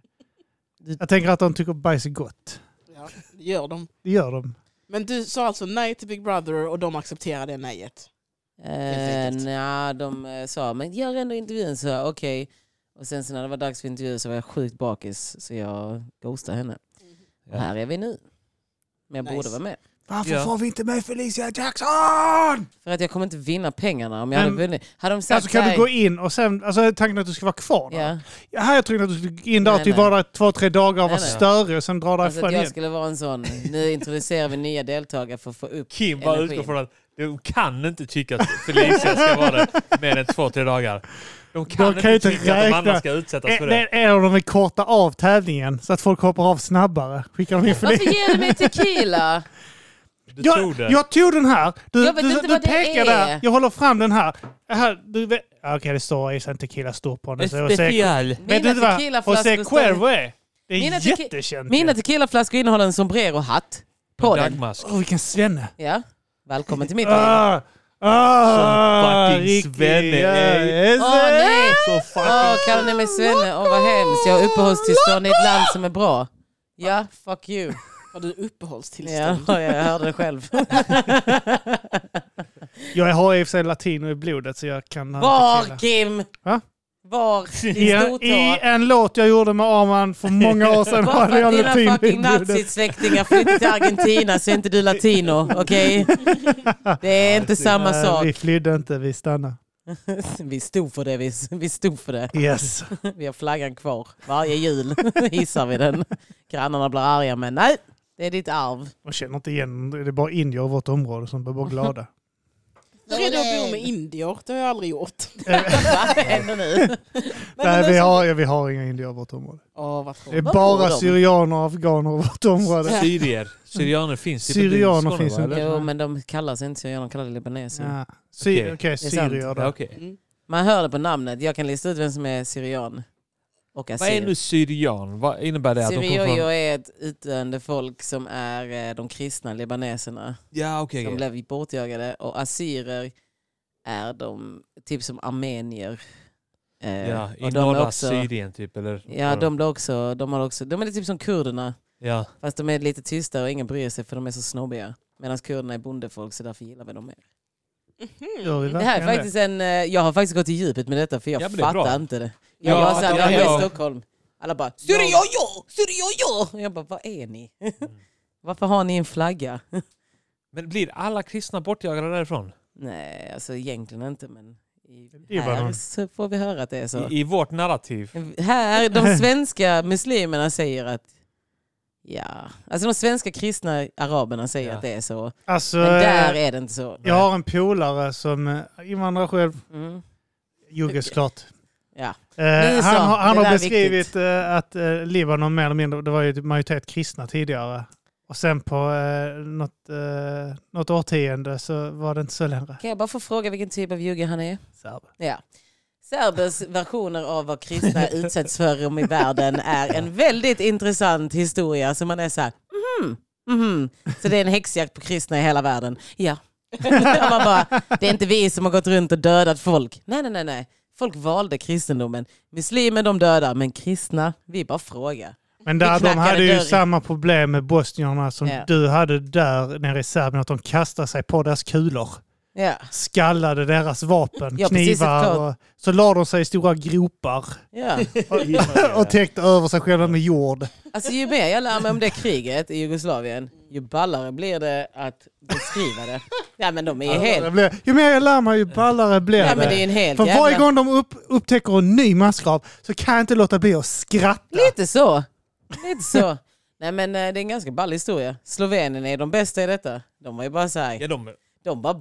C: Jag tänker att de tycker bajs är gott.
D: Ja, det gör de.
C: Det gör de.
D: Men du sa alltså nej till Big Brother och de accepterade det nejet.
A: Eh,
D: enkelt.
A: nja, de eh, sa, men gör ändå intervjun. Så jag, okej. Och sen så när det var dags för intervju så var jag sjukt bakis så jag ghostade henne.
C: Mhm.
A: Och här är vi nu. Men jag
D: Nice.
A: borde vara med.
C: Varför
B: Ja.
C: får vi inte med Felicia Jackson?
A: För att jag kommer inte vinna pengarna om jag hade
C: Men-
A: vunnit. Hade de sagt
C: Alltså kan
A: så
C: du
A: här-
C: gå in och sen, alltså tanken att du ska vara kvar där.
A: Ja.
C: Ja, här jag trodde att du skulle gå in där,
A: Nej,
C: att du
A: nej.
C: var där två, tre dagar och var
A: Nej, nej.
C: störig och sen dra
A: Alltså
C: därifrån
A: att jag
C: igen.
A: skulle vara en sån, nu introducerar vi nya deltagare för att få upp
B: Kim bara
A: energin.
B: utgår från att de kan inte tycka att Felicia ska vara där mer än två, tre dagar. De kan
C: De
B: inte
C: kan ju inte
B: tycka att de
C: räkna. Eh,
B: andra ska utsättas för
C: En,
B: det.
C: en av dem vill korta av tävlingen så att folk hoppar av snabbare. Skickar de in
A: Varför
C: Felicia?
A: ger du mig tequila?
B: Du
C: Jag,
B: tror det.
C: jag tog den här. Du,
A: Jag vet
C: du,
A: inte
C: du
A: vad det
C: pekar
A: är.
C: där. Jag håller fram den här. här du vet, ja, okej, det står i sen tequila står på den. Så jag säger- Vet du
A: Mina
C: inte vad José
A: tequilaflaskor står-
C: Cuervo är? Det är
A: Mina tequi-
C: jättekänt. ju.
A: Mina tequilaflaskor innehåller en sombrero-hatt på den.
B: Dagmask.
C: Åh, vilken svenne.
A: Ja. Välkommen till mitt liv.
C: Ah, ah,
B: Som fucking
C: riktig-
B: svenne,
C: ja,
B: ey.
C: yes,
A: Åh nej!
B: Så
A: Åh,
B: fucking...
A: kallar ni mig svenne? Åh vad hemskt, jag har uppehållstillstånd i ett land som är bra. Ja, fuck you.
D: Har du
A: Ja,
D: uppehållstillstånd?
A: jag hörde det själv.
C: Jag har i och för sig latino i blodet så jag kan... ha
A: Var
C: tequila.
A: Kim?
C: Va?
A: Var
C: I
A: din
C: en, I
A: stortå?
C: en låt jag gjorde med Arman för många år sedan
A: Bara
C: hade
A: för att
C: jag
A: dina
C: latino i
A: fucking
C: blodet.
A: nazisläktingar flyttade till Argentina så är inte du latino, okej? Det är inte samma
C: Nej,
A: sak.
C: Eh, Vi flydde inte, vi stannade.
A: Vi stod för det, vi, vi stod för det.
C: Yes.
A: Vi har flaggan kvar. Varje jul hissar vi den. Grannarna blir arga, men nej, det är ditt arv.
C: Man känner inte igen, det är bara indier i vårt område som blir bara glada. Eh,
D: Jag är redo att bo med indier, det har jag aldrig gjort.
A: Vad händer nu?
C: Nej, vi har, ja, vi har inga indier i vårt område.
D: Åh, vad
C: Det är
D: tråkigt.
A: Var
C: bara
A: bor de?
C: syrianer och afghaner i vårt område.
B: Syrier. Syrianer finns typ inte i
C: Syrianer
B: Skåne,
C: finns
B: va,
C: inte.
B: eller?
A: Jo, men de kallar sig inte så. De kallar det libaneser.
C: Ja. Sy-
B: Okej.
C: Okej,
A: sant.
C: syrier
B: Ja,
C: då.
B: okej.
D: Mm.
A: Man hör det på namnet. Jag kan lista ut vem som är syrian och
B: Vad är
A: assyrier.
B: nu syrian? Vad innebär det? Att de kommer
A: Syrier
B: från...
A: är ett utdöende folk som är eh, de kristna libaneserna
B: Ja, okej.
A: som
B: okej.
A: blev bortjagade. Och assyrier är de, typ som armenier. Eh,
B: Ja, I
A: och de är
B: norra
A: också-
B: Syrien typ, eller?
A: Ja, de, blir också, de, har också, de är typ som kurderna.
B: Ja.
A: Fast de är lite tystare och ingen bryr sig för de är så snobbiga. Medan kurderna är bondefolk så därför gillar vi dem mer.
D: Mhm.
C: Gör vi
A: Det här är
C: verkligen
A: faktiskt en, eh, jag har faktiskt gått i djupet med detta för jag
B: Ja, men det är
A: fattar
B: bra.
A: inte det.
B: Ja,
A: Jag var såhär,
B: ja,
A: när jag var
B: ja.
A: i Stockholm. Alla bara “Syrijojo! Syrijojo!” Och Jag bara, vad är ni? Varför har ni en flagga?
B: Men blir alla kristna bortjagade därifrån?
A: Nej, alltså egentligen inte men
C: Det
A: i,
C: är bara
A: här
C: någon-
A: så får vi höra att det är så.
B: I, I vårt narrativ?
A: Här, de svenska muslimerna säger att Ja, alltså de svenska kristna araberna säger
B: Ja.
A: att det är så.
C: det. Alltså,
A: Men där
C: eh,
A: är det inte så.
C: jag har en polare som eh, invandrar själv.
A: Mm.
C: Jugge såklart.
A: Ja.
C: Eh,
A: Ni sa,
C: han, har- han
A: det där
C: har
A: är
C: beskrivit
A: viktigt.
C: eh, att eh, Libanon mer eller mindre, det var ju typ majoritet kristna tidigare. Och sen på eh, något, eh, något årtionde så var det inte så längre.
A: Kan jag bara få fråga vilken typ av jugge han är?
C: Serber.
A: Ja. Serbers versioner av vad kristna utsätts för om i världen är en väldigt intressant historia. Så man är så här, mhm, mhm. Så det är en häxjakt på kristna i hela världen. Ja. Och man bara, det är inte vi som har gått runt och dödat folk. Nej, nej, nej. nej. Folk valde kristendomen. Muslimer de dödar, men kristna, vi bara frågar.
C: Men där, de
A: knackade
C: hade ju
A: dörren.
C: samma problem med bosnierna som
A: Ja.
C: du hade där nere i Serbien, att de kastade sig på deras kulor.
A: Ja,
C: Skallade deras vapen,
A: Ja, precis,
C: knivar.
A: såklart.
C: Och, så la de sig i stora gropar
A: ja.
C: och täckte över sig själva med jord.
A: Alltså ju mer jag lär mig om det kriget i Jugoslavien, ju ballare blir det att beskriva det. Ja men de är ju helt...
C: Det blev, ju mer jag lär mig ju ballare blir
A: Ja men det är ju en helt
C: För varje
A: jävla...
C: gång de upp, upptäcker en ny massgrav så kan jag inte låta bli att skratta.
A: Lite så. Lite så. Nej men eh, det är en ganska ball historia. Slovenien är de bästa i detta. De var ju bara så här,
B: Ja, de,
A: de bara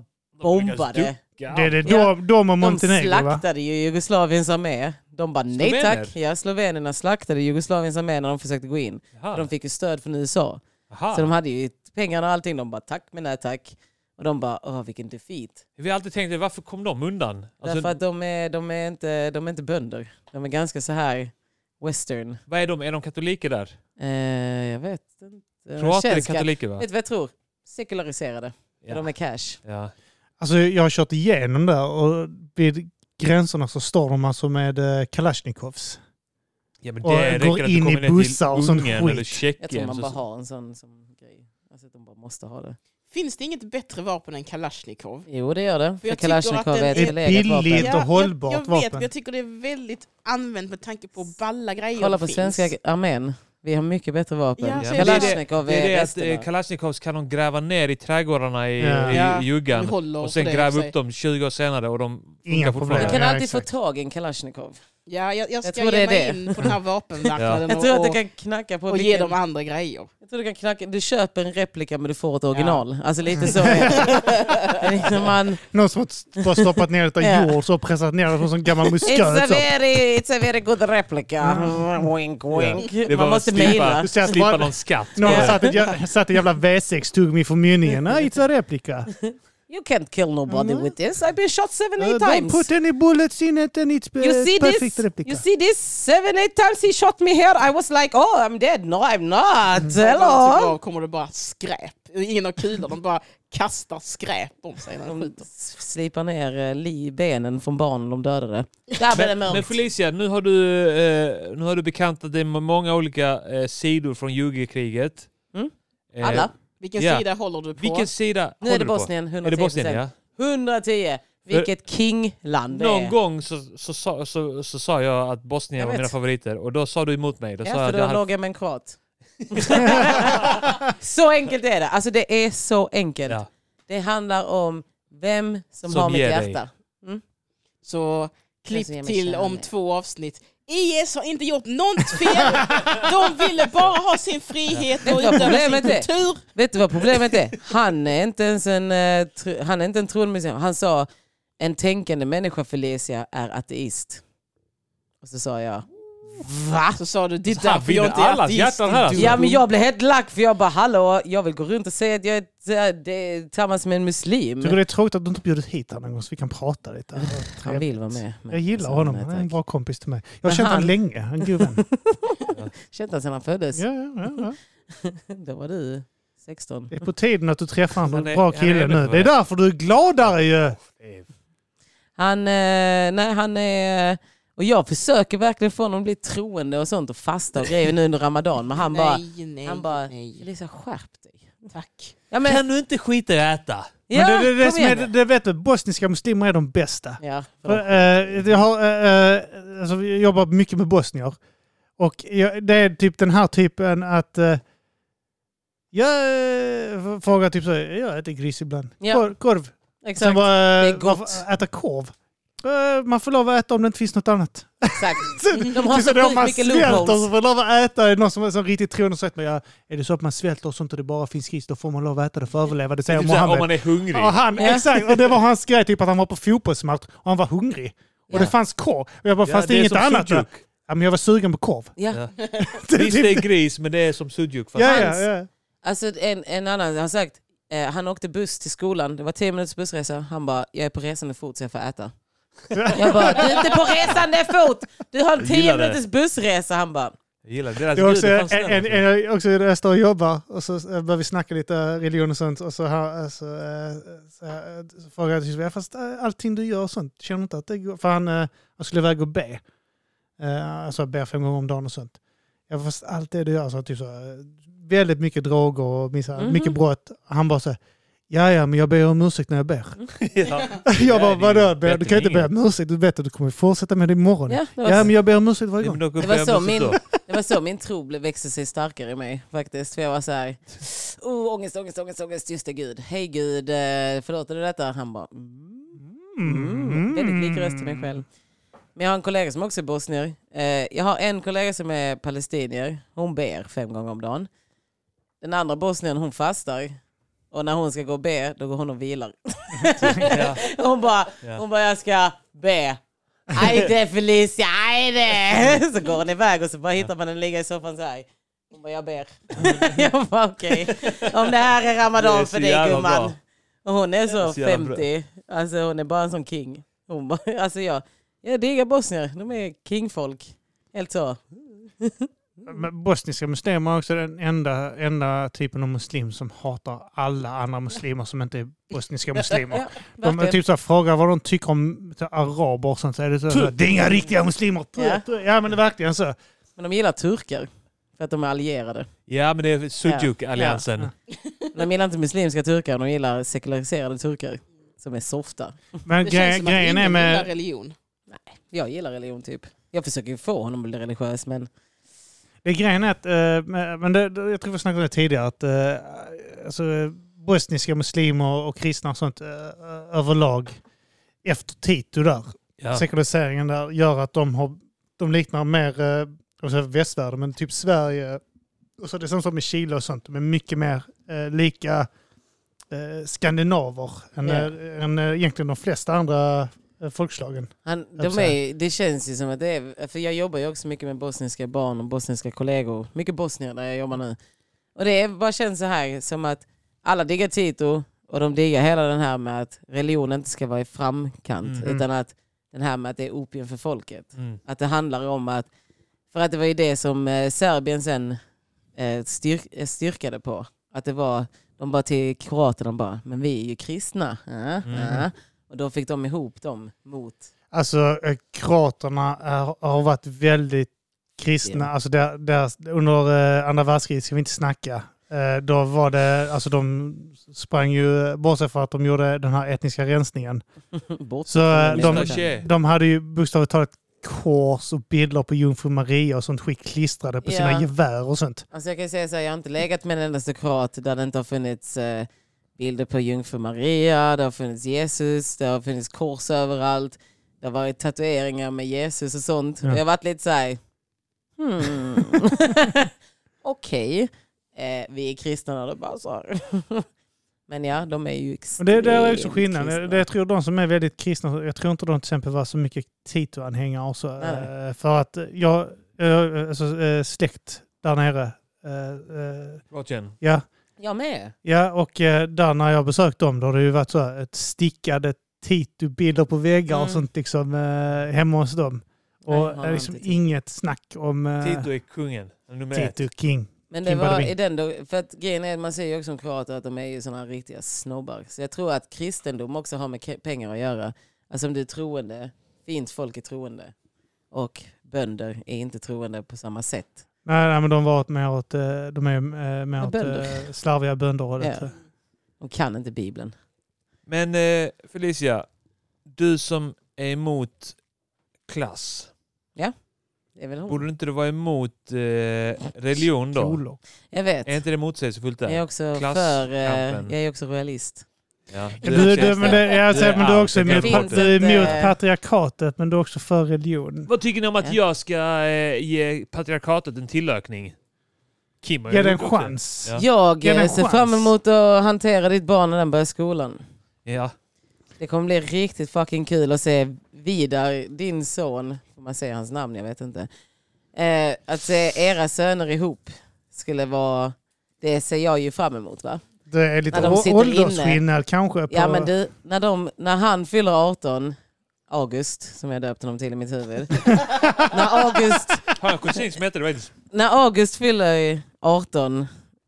B: de lyckas
A: bombade.
B: ducka.
C: Det är det,
A: Ja.
C: de, de och
A: De
C: Montenegro va?
A: slaktade ju Jugoslaviens armé. De bara nej
B: Slovener?
A: tack. Ja, slovenerna slaktade Jugoslaviens armé när de försökte gå in.
B: Jaha.
A: De fick ju stöd från USA.
B: Aha.
A: Så de hade ju pengarna och allting. De bara tack men nej tack. Och de bara åh vilken defeat.
B: Vi har alltid tänkt, varför kom de undan?
A: Därför
B: Alltså,
A: att de är, de, är inte, de är inte bönder. De är ganska så här western.
B: vad är de? Är de katoliker där?
A: Eh, jag vet inte.
B: Kroater är
A: Känns ga-
B: katoliker va?
A: Vet du vad jag tror? Sekulariserade.
B: Ja.
A: De är cash.
B: Ja.
C: Alltså jag har kört igenom där och vid gränserna så står de alltså med eh, Kalashnikovs.
B: Ja, men
C: Och
B: det
C: går
B: räcker att du
C: in
B: kommer
C: i
B: ner till
C: bussar och sånt
B: Ungern
C: skit.
B: eller
A: Jag tror
B: Tjeckien.
A: man
B: så-
A: bara har en sån, sån grej. Alltså att de bara måste ha det.
D: Finns det inget bättre vapen än Kalashnikov?
A: Jo det gör det. För
D: jag tycker
A: Kalashnikov
D: att
A: är
D: den är
A: ett förlegat
C: billig.
A: vapen.
C: Inte hållbart
D: jag, jag vet,
C: vapen.
D: men jag tycker det är väldigt använt med tanke på balla grejer
A: Kolla
D: som
A: på
D: finns.
A: svenska armén. Vi har mycket bättre vapen.
D: Ja,
B: Ja,
D: så
B: men det är det-
A: Kalashnikov
B: Det är det
A: är
B: att eh,
A: resterna.
B: Kalashnikovs kan de gräva ner i trädgårdarna i,
C: Ja.
B: i,
D: Ja,
B: i
D: de
B: juggan.
D: håller
B: Och sen
D: på det
B: gräva
D: sig.
B: upp dem 20 år senare och de
C: Inga
B: funkar
C: problem.
A: Man
B: fortfarande.
A: kan
C: Ja,
A: alltid få
C: exakt.
A: tag i en Kalashnikov.
D: Ja, jag, jag ska
A: tror det
D: ge
A: är
D: mig
A: det.
D: in på den här vapenmarknaden
A: Jag tror att
D: och,
A: du kan knacka på
D: och ge
A: vilken...
D: dem andra grejer.
A: Jag tror du kan knacka... Du köper en replika men du får ett original. Alltså lite så är det. det. är liksom man...
C: Någon som har st- bara stoppat ner detta
A: Ja.
C: jord så och pressat ner det som en gammal
A: It's a
C: musköt. så.
A: very, it's a very good replica. Wink wink.
B: Ja. Det
A: Man
B: var
A: måste
B: slippa-
A: mejla.
C: Du ser att
B: Slippa
C: bara-
B: någon skatt.
C: Någon har
B: Ja.
C: satt ett, jä- satt ett jävla V6-tuggummi för mynningen. Nej, it's a replika.
A: You can't kill nobody
C: No.
B: Mm.
A: with this. I've been shot seven,
C: Uh,
A: eight
C: don't
A: times.
C: put any bullets in it and
B: uh,
C: it's
A: you
C: a
A: see
C: perfect
A: this?
C: replica.
A: You see this? Seven, eight times he shot me here. I was like, oh, I'm dead. No, I'm not.
B: Mm.
D: När de tycker
A: Hello.
D: av kommer det bara skräp. Ingen har kulor, de bara kastar skräp om sig när de
A: De
D: skjuter.
A: s- slipar ner eh, li- benen från barnen de dödade. Där blev det
B: Men, men
A: mörkt.
B: Felicia, nu har, du, eh, nu har du bekantat dig med många olika eh, sidor från jugokriget.
A: Mm.
B: Eh,
A: Alla.
D: Vilken
B: Ja.
D: sida håller du på?
B: Vilken sida
A: Nu är
B: håller
A: det
B: du på?
A: Bosnien,
B: Är det
A: 110
B: Bosnien, ja?
A: 110. Vilket kingland det
B: Eh, Någon
A: är.
B: gång så, så, sa- så, så sa jag att Bosnien
A: Jag
B: var
A: vet.
B: mina favoriter och då sa du emot mig. Då
A: Ja,
B: sa jag
A: för
B: att
A: då
B: jag hade...
A: låg jag med en kroat. så enkelt är det. Alltså det är så enkelt.
B: Ja.
A: Det handlar om vem som,
B: Som
A: har mitt
B: ger
A: hjärta.
B: dig.
A: Alltså,
D: Så
A: ge
D: klipp
A: mig
D: till om
A: kärlek.
D: två avsnitt. IS har inte gjort något fel. De ville bara ha sin frihet och
A: Vet du vad
D: utöva sin
A: problemet är?
D: kultur.
A: Vet du vad problemet är? Han är inte ens en, eh, tr- han är inte en tronmuslim. Han sa en tänkande människa Felicia är ateist. Och så sa jag Va?
D: Så sa du, det är
B: Så här
D: därför jag
B: vinner
D: inte är
B: allas
D: ateist.
B: hjärtan här,
D: din
B: alltså.
D: dum."
A: Ja men jag blev helt lack för jag bara hallå, jag vill gå runt och säga att jag är t- eh, det är tillsammans med en muslim.
C: Tycker det är tråkigt att du inte bjudit hit honom någon gång så vi kan prata lite.
A: Han vill vara med. men
C: Jag gillar
A: alltså,
C: honom,
A: nej,
C: han är en
A: tack.
C: bra kompis till mig. Jag har
A: Men
C: känt honom
A: han-
C: länge, han är en god vän.
A: Känt honom sedan alltså, han föddes.
C: Ja, ja, ja, ja.
A: Då var du 16.
C: Det är på tiden att du träffar en
B: Han är-
C: bra
B: han är
C: kille
B: även
C: nu.
B: för
C: Det är
B: det.
C: därför du är gladare ju!
B: Eh,
A: Han, eh, nej, han är... eh, Och jag försöker verkligen få honom att bli troende och sånt och fasta och grejer nu under ramadan. Men han bara,
D: nej, nej,
A: han bara
D: nej.
A: Lisa skärp dig.
D: Tack.
A: Ja, men,
B: Kan du inte skita i att äta?
A: ja,
C: Men det, det, det,
A: kom
C: som är,
A: igen
C: det,
A: nu.
C: det vet du, bosniska muslimer är de bästa.
A: Ja,
C: För, eh, jag, har, eh, eh, alltså, jag jobbar mycket med bosnier. Och jag, det är typ den här typen att... Eh, jag eh, frågar typ så, här, jag äter gris ibland.
A: Ja.
C: Kor, korv.
A: exakt.
C: Sen bara,
A: Det
C: eh,
A: är gott.
C: varför äta korv. Eh, man får lov att äta om det inte finns något annat.
A: exakt.
C: Typ De
A: har så Alltså, sjukt
C: man
A: mycket
C: svälter
A: loopholes.
C: så får man lov att äta. Är det någon som är så riktigt troende så vet man, ja, är det så att man svälter och sånt och det bara finns ris, då får man lov att äta det för att överleva. Det säger
B: Typ såhär, om
C: Mohammed.
B: man är hungrig.
C: Och han,
A: Ja.
C: exakt, och det var hans grej, typ att han var på fotbollsmatch och han var hungrig. Och det fanns korv. Och jag bara, fanns det,
B: är
C: inget
B: som
C: annat? där?
B: sujuk.
C: Ja, men jag var sugen på korv.
A: Ja.
B: Ja.
C: Det är
B: Visst,
C: typ-
B: det är gris, men det är som sujuk. fast-
C: ja, ja,
A: Hans.
C: ja.
A: Alltså en, en annan har sagt, eh, han åkte buss till skolan, det var 10 minuters bussresa. Han bara, jag är på resande fot så jag får äta. jag bara, du är inte på resande fot! Du har en 10
B: gillar det.
A: minuters bussresa. Han bara,
B: Jag gillar det. Deras
C: Det är
B: Alltså,
C: också
B: gud, det fanns
C: en,
B: där
C: en, en, jag är också när jag står och jobbar och så eh, börjar vi snacka lite religion och sånt och så, har- eh, så, eh, så, eh, så frågar jag till Sofia, fast eh, allting du gör och sånt, känner du inte att det går? För han, eh, han skulle iväg och be. Eh, Alltså ber fem gånger om dagen och sånt. Ja, fast allt det du gör, så, typ så, eh, väldigt mycket droger och misshandel,
A: Mhm.
C: mycket brott. Han bara så här, ja ja, men jag ber om ursäkt när jag ber.
B: Ja.
C: Jag bara,
B: Nej, det är
C: vadå?
B: bättre
C: Du kan inte
B: än
C: be
B: inget."
C: om ursäkt, du vet att du kommer fortsätta med det imorgon. Ja,
A: ja, det var,
C: men jag ber om ursäkt varje
B: Ja,
C: gång.
B: men då går
A: Det var
B: jag
A: så
B: bussen
A: min-
B: då.
A: det var så min tro blev- växte sig starkare i mig faktiskt. För jag var så här, oh, ångest, ångest, ångest, ångest, just det Gud. Hej Gud, eh, förlåter du detta? Han bara, mm. Mm. Väldigt lik röst till mig själv. Men jag har en kollega som också är bosnier. Eh, jag har en kollega som är palestinier. Hon ber fem gånger om dagen. Den andra bosnien hon fastar. Och när hon ska gå och be, då går hon och vilar.
B: Ja.
A: Hon bara,
B: Ja.
A: hon bara jag ska be. Ajde Felicia, ajde! Så går hon iväg och så bara hittar man henne ligga i soffan så här. Hon bara, jag ber. jag bara, okej. Om det här är
B: Mm. Det
A: ramadan
B: är så
A: för dig
B: jävla
A: gumman.
B: bra.
A: Och hon är så,
B: Så jävla bra.
A: 50. Alltså hon är bara en sån king. Hon bara, alltså jag, jag diggar bosnier. De är kingfolk. Helt så.
C: Mm. Men bosniska muslimer är också den enda, enda typen av muslim som hatar alla andra muslimer som inte är bosniska muslimer.
A: Ja,
C: De är
A: verkligen.
C: typ så här, frågar vad de tycker om så här, araber och sånt. Så är det, så här, det är inga riktiga muslimer.
A: Ja.
C: Ja, ja men det är verkligen så.
A: Men de gillar turkar. För att de är allierade.
B: ja, men det är Sujuk-alliansen.
C: Ja.
A: De gillar inte muslimska turkar, de gillar sekulariserade turkar. Som är softa.
C: Men
D: Det
C: gre-
D: känns som att
C: grejen
D: ingen
C: är
D: gillar
C: med...
D: religion.
A: Jag gillar religion typ. Jag försöker ju få honom att bli religiös men
C: Det är grejen är att, eh, med- men det, det, jag tror vi snackade om det tidigare, att eh, alltså, eh, bosniska muslimer och kristna och sånt eh, eh, överlag, efter Tito där,
B: Ja.
C: sekulariseringen där gör att de, har, de liknar mer eh, jag säga västvärlden, men typ Sverige. Och så det är samma sak med Chile och sånt. De är mycket mer eh, lika eh, skandinaver än,
A: Ja.
C: eh, än eh, egentligen de flesta andra eh, folkslagen.
A: han, de
C: Absolut.
A: är, det känns ju som att det är, för jag jobbar ju också mycket med bosniska barn och bosniska kollegor. Mycket bosnier där jag jobbar nu. Och det är, bara känns så här som att alla diggar Tito och de diggar hela den här med att religion inte ska vara i framkant
B: Mm.
A: utan att den här med att det är opium för folket.
B: Mm.
A: Att det handlar om att, för att det var ju det som eh, Serbien sen eh, styr, eh, styrkade på. Att det var, de bara till kroaterna bara, men vi är ju kristna. Ja, ja. Och då fick de ihop dem mot,
C: Alltså eh, kroaterna är, har varit väldigt kristna.
A: Ja.
C: Alltså där, där, under eh, andra världskriget ska vi inte snacka. Eh, då var det, alltså de sprang ju, eh, bortsett från att de gjorde den här etniska rensningen.
A: bort.
C: Så, eh,
A: från
C: de-
A: människan.
C: De hade ju bokstavligt talat kors och bilder på jungfru Maria och sånt skit klistrade på
A: Ja.
C: sina gevär och sånt.
A: Alltså jag kan ju säga så här, jag har inte legat med en endaste kroat där det inte har funnits eh, bilder på jungfru Maria, det har funnits Jesus, det har funnits kors överallt. Det har varit tatueringar med Jesus och sånt.
C: Ja.
A: Och jag har varit lite så här, hmm. okej, eh, vi är kristna när det bara så här. Men ja, de är ju
C: Men
A: extremt
C: det, det är också skillnaden.
A: kristna.
C: Det, jag tror de som är väldigt kristna, jag tror inte de till exempel var så mycket Tito-anhängare och så.
A: Nej.
C: eh, För att jag, jag alltså, eh, släkt där nere, eh, eh,
B: Kroatien.
C: ja,
A: Jag med.
C: ja, och eh, där när jag besökt dem, då har det ju varit så här, ett stickade Tito-bilder på väggar
A: Mm.
C: och sånt liksom eh, hemma hos dem.
A: Nej,
C: Och
A: jag har
C: eh, liksom
A: inte Tito.
C: inget snack om eh,
B: Tito är kungen. Nummer ett.
C: Tito King.
A: Men det
C: Kim
A: var
C: Badabing.
A: i den då, för att grejen är att man ser ju också om kroater att de är ju sådana riktiga snobbar. Så jag tror att kristendom också har med ke- pengar att göra. Alltså om du är troende, fint folk är troende. Och bönder är inte troende på samma sätt.
C: Nej, nej, men de var åt mer åt, eh, de är eh, mer åt
A: Bönder.
C: eh, slarviga bönder. Och det.
A: Ja. De kan inte bibeln.
B: Men eh, Felicia, du som är emot klass,
A: Det är väl hon.
B: borde inte du vara emot eh, religion då?
C: Skolor.
A: Jag
B: Är
A: vet.
B: inte det motsägelsefullt
A: Jag är
B: där?
A: också för,
B: Klasskampen.
A: eh, jag är också royalist.
B: Ja,
C: Du, du, men det, jag
B: Du
C: säger,
B: är
C: men du är
B: allt,
C: också
B: det kan
C: emot,
A: jag
C: pat-
A: inte.
C: du är emot
A: Eh.
C: patriarkatet, men du är också för religion.
B: Vad tycker ni om att
A: Ja.
B: jag ska eh, ge patriarkatet en tillökning? Kim har ju
C: Ge det en
B: gjort också.
C: chans.
B: Ja.
A: Jag
C: Ge den
A: eh,
C: en
A: ser
C: chans.
A: fram emot att hantera ditt barn när den börjar skolan.
B: Ja.
A: Det kommer bli riktigt fucking kul att se Vidar, din son, får man säga hans namn? Jag vet inte. Eh, att se era söner ihop skulle vara, det ser jag ju fram emot va?
C: Det är lite
A: När de
C: å-
A: sitter
C: åldersskillnad kanske. På,
A: Ja men du, när, de, när han fyller 18, August, som jag döpte honom till i mitt huvud. när August
B: Har jag en kusin som heter det faktiskt?
A: när August fyller 18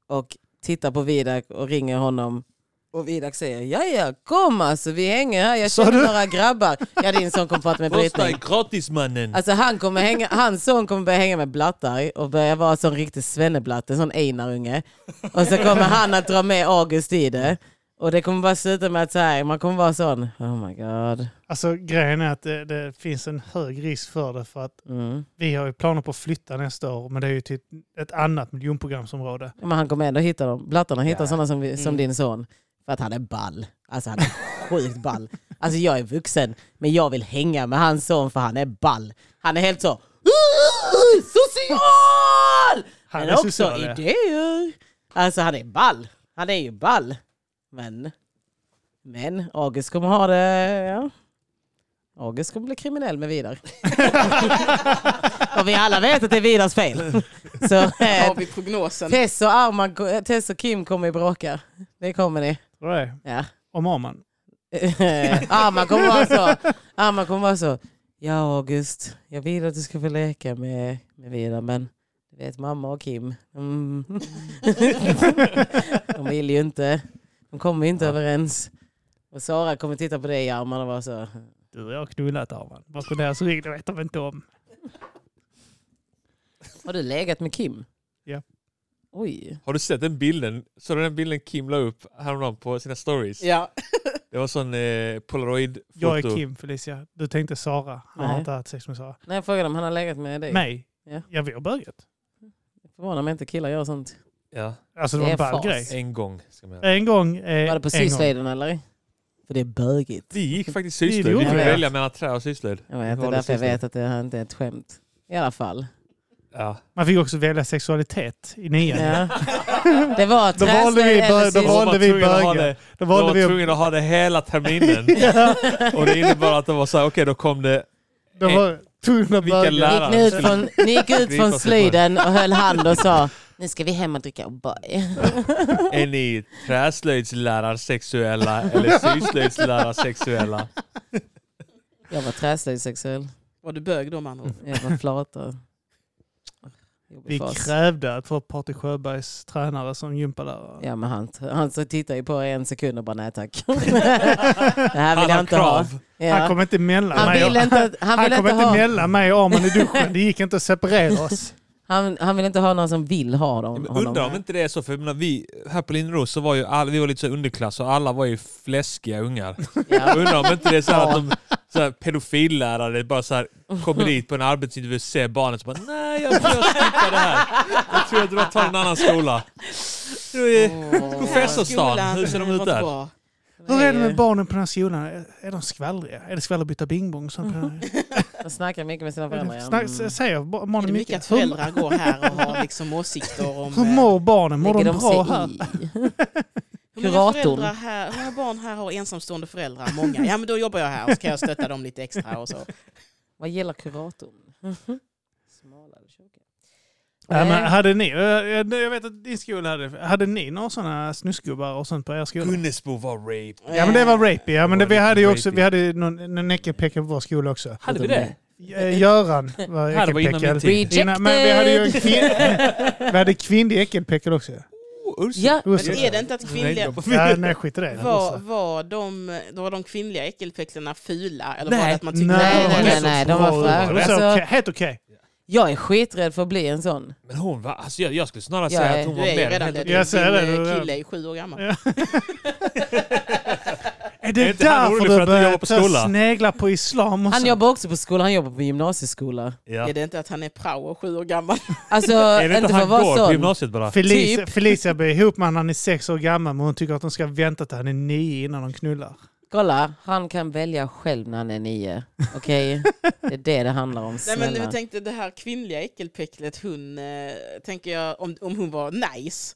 A: och tittar på Vidak och ringer honom och Vidak säger ja ja kom alltså vi hänger här, jag
C: Sa
A: känner
C: du?
A: några grabbar. Ja din son kommer prata med
B: Första
A: Britney.
B: är gratismannen.
A: Alltså han kommer hänga, hans son kommer börja hänga med blattar och börja vara en sån riktig svenneblatte, en sån einarunge. Och så kommer han att dra med August i det. Och det kommer bara sluta med att så här, man kommer vara sån, oh my god.
C: Alltså grejen är att det, det finns en hög risk för det för att
A: Mm.
C: vi har ju planer på att flytta nästa år men det är ju till ett- ett annat miljonprogramsområde.
A: Men han kommer ändå hitta dem. Blattarna hittar
C: Ja.
A: sådana som, vi, som
D: Mm.
A: din son. För att han är ball. Alltså han är sjukt ball. Alltså jag är vuxen, men jag vill hänga med hans son för han är ball. Han är helt så... "Åh, Social!
C: Han
A: men
C: är
A: också
C: social, ja.
A: idéer. Alltså han är ball. Han är ju ball. Men... Men August kommer ha det... Ja. August kommer bli kriminell med Vidar. och vi alla vet att det är Vidars fel. Så, eh,
D: Har vi prognosen?
A: Tess och, Arman, eh, Tess och Kim kommer ju bråka. Det kommer ni.
C: Tror du det?
A: Ja.
C: Om Arman.
A: Arman kommer vara så. Arman kommer vara så. Ja August, jag vill att du ska få leka med, med Vida men du vet mamma och Kim. Mm. De vill ju inte. De kommer ju inte överens. Och Sara kommer titta på dig i Arman och vara så.
C: Du och jag har knullat Arman. Bakom deras rygg, det vet de inte om.
A: Har du legat med Kim?
C: Ja.
A: Oj.
B: Har du sett den bilden? Såg du den bilden Kim la upp häromdagen på sina stories?
D: Ja.
B: Det var sån eh, polaroid-foto.
C: Jag är Kim Felicia. Du tänkte Sara. Han
A: Nej.
C: har inte haft sex med Sara.
A: När jag frågade om han har legat med dig.
C: Mig?
A: Ja.
C: Ja, vi har börjat.
A: Förvånar mig inte killar gör sånt.
B: Ja,
C: Alltså
A: Det
C: det, var
A: är
C: en ball
A: fas.
C: grej.
B: en gång. Ska man göra.
C: En gång. Eh,
A: Var det på
C: en gång.
A: syslöjden eller? För det är bögigt.
B: Vi gick faktiskt
C: Det
B: sysslor.
C: gjorde
B: Vi fick
A: vi.
B: välja mellan trä och sysslor.
A: Jag vet, det är
B: Valde
A: därför jag
B: sysslor.
A: vet att det här inte är ett skämt. I alla fall.
B: Ja.
C: Man fick också välja sexualitet i nian.
A: Ja. Det var
C: Då valde vi
A: träslöjd eller
C: bö- då
B: Jag
A: syslöjd.
B: var
C: valde vi
B: tvungen att ha
C: bögar.
B: det-
C: Då
B: Jag var
C: valde vi att
B: tvungen att ha det hela terminen. Och det innebar att det var så här, okej då kom det
C: Det var tunna
B: Eh, Vilka
C: bögar.
B: lä-
A: Gick ni, ut
B: skulle-
A: från, ni gick ut
B: Gripa
A: från
B: sig
A: slöjden och höll hand och sa nu ska vi hem och dricka O'boy.
B: Är ni träslöjdlärarsexuella eller syslöjdlärarsexuella?
A: Jag var träslöjdssexuell.
D: Var du bög då med andra ord?
A: Jag var flata. Jobbig
C: Vi
A: fas.
C: krävde att få Patrik Sjöbergs tränare som gympalärare.
A: Ja, men han, han så tittar ju på er en sekund och bara nej tack. det här vill
B: Han
A: jag
B: har
A: inte ha.
B: krav.
A: Ja.
C: Han kom inte mellan
A: Han
C: mig och,
A: ville inte, att- han
C: han
A: ville
C: kom
A: inte
C: inte
A: ha
C: mellan mig och Arman i duschen. Det gick inte att separera oss.
A: han, han vill inte ha någon som vill ha dem,
B: Men undrar om
A: honom.
B: inte det är så, för jag menar, vi här på Linderos så var ju alla, vi var lite så underklass och alla var ju fläskiga ungar.
A: Ja.
B: Jag undrar om inte det är så här att de så här, pedofillärare bara så här, kommer dit på en arbetsintervju och ser barnet och bara nej jag tror jag skippar det här. Jag tror jag drar tar en annan skola. Du är Professorstan, hur ser de ut där?
D: Bra.
C: Hur är det med barnen på den här skolan? Är- Är de skvallriga? Är det skvallerbytta bingbong? Som
A: De snackar mycket med sina föräldrar. ja.
C: Snack,
A: Mm.
C: säger
D: Är det
C: barnen
D: mycket
C: mycket?
D: att
C: Hur,
D: föräldrar går här och har liksom åsikter om...
C: hur
D: eh,
C: mår barnen? Mår de
A: Lägger
C: bra
A: sig
C: här?
A: i?
D: Hur många,
A: Kuratorn.
D: föräldrar här, hur många barn här har ensamstående föräldrar? Många. Ja, men då jobbar jag här och så kan jag stötta dem lite extra och så.
A: Vad gillar kuratorn? Smalare kyrka.
C: Ja, men
A: Nej.
C: hade ni, eh, jag jag vet att din skola hade, hade ni några sådana snusgubbar och sånt på er skola?
B: Gunnesbo var rape.
C: Ja men det var rapey. Ja, men det,
B: Det var
C: vi hade ju
B: riktigt
C: också, vi hade ju någon, någon äckelpäcka på vår skola också.
B: Hade vi det?
C: Eh, Göran var
B: här var innan min
C: äckelpäckel.
B: tid.
A: Rejected!
C: Innan- Men vi hade ju en kvin, vi hade kvinnlig äckelpäckel också.
B: Oh, Ursula.
A: Ja,
D: Men
C: Ursula.
D: är det inte att kvinnliga...
C: Ja, nej skit i det.
D: Var,
C: Ursula.
D: var, de, var de kvinnliga äckelpäcklarna fula? Eller var
B: Nej.
D: det att man tyckte
A: Nej,
D: att
A: nej,
D: de var
A: nej,
D: så-
A: nej, de var
C: bra.
A: för-
C: Det var så
A: alltså-
C: okej, Helt okej.
A: jag är skiträdd för att bli en sån.
B: Men hon var, alltså jag, jag skulle snarare
A: Jag
B: säga
A: är-
B: att hon
D: Du
B: var
D: är ju
B: mer
D: redan
B: helt
D: det.
B: okej.
C: Jag säger det,
D: Din
C: du är-
D: eh, kille är sju år gammal.
C: Är
B: Är
C: det
B: inte han
C: därför
B: orolig för
C: du
B: att du jobbar
C: börjar
B: på
C: ta
B: skola?
C: snegla på islam och
A: Han
C: sånt?
A: jobbar också på skola, han jobbar på gymnasieskola.
B: Ja.
D: Är det inte att han är prao och sju år gammal?
A: Alltså,
B: Är det
A: inte
B: inte
A: för
B: han
A: att vara
B: går på
A: sån.
B: gymnasiet bara?
C: Felicia,
A: Typ.
C: Felicia blir ihop med honom när han är sex år gammal men hon tycker att de ska vänta till han är nio innan de knullar.
A: Kolla, han kan välja själv när han är nio. Okej? Det är det det handlar om.
D: Nej men jag
A: Snälla.
D: tänkte det här kvinnliga äckelpäcklet, hon, eh, tänker jag, om, om hon var nice,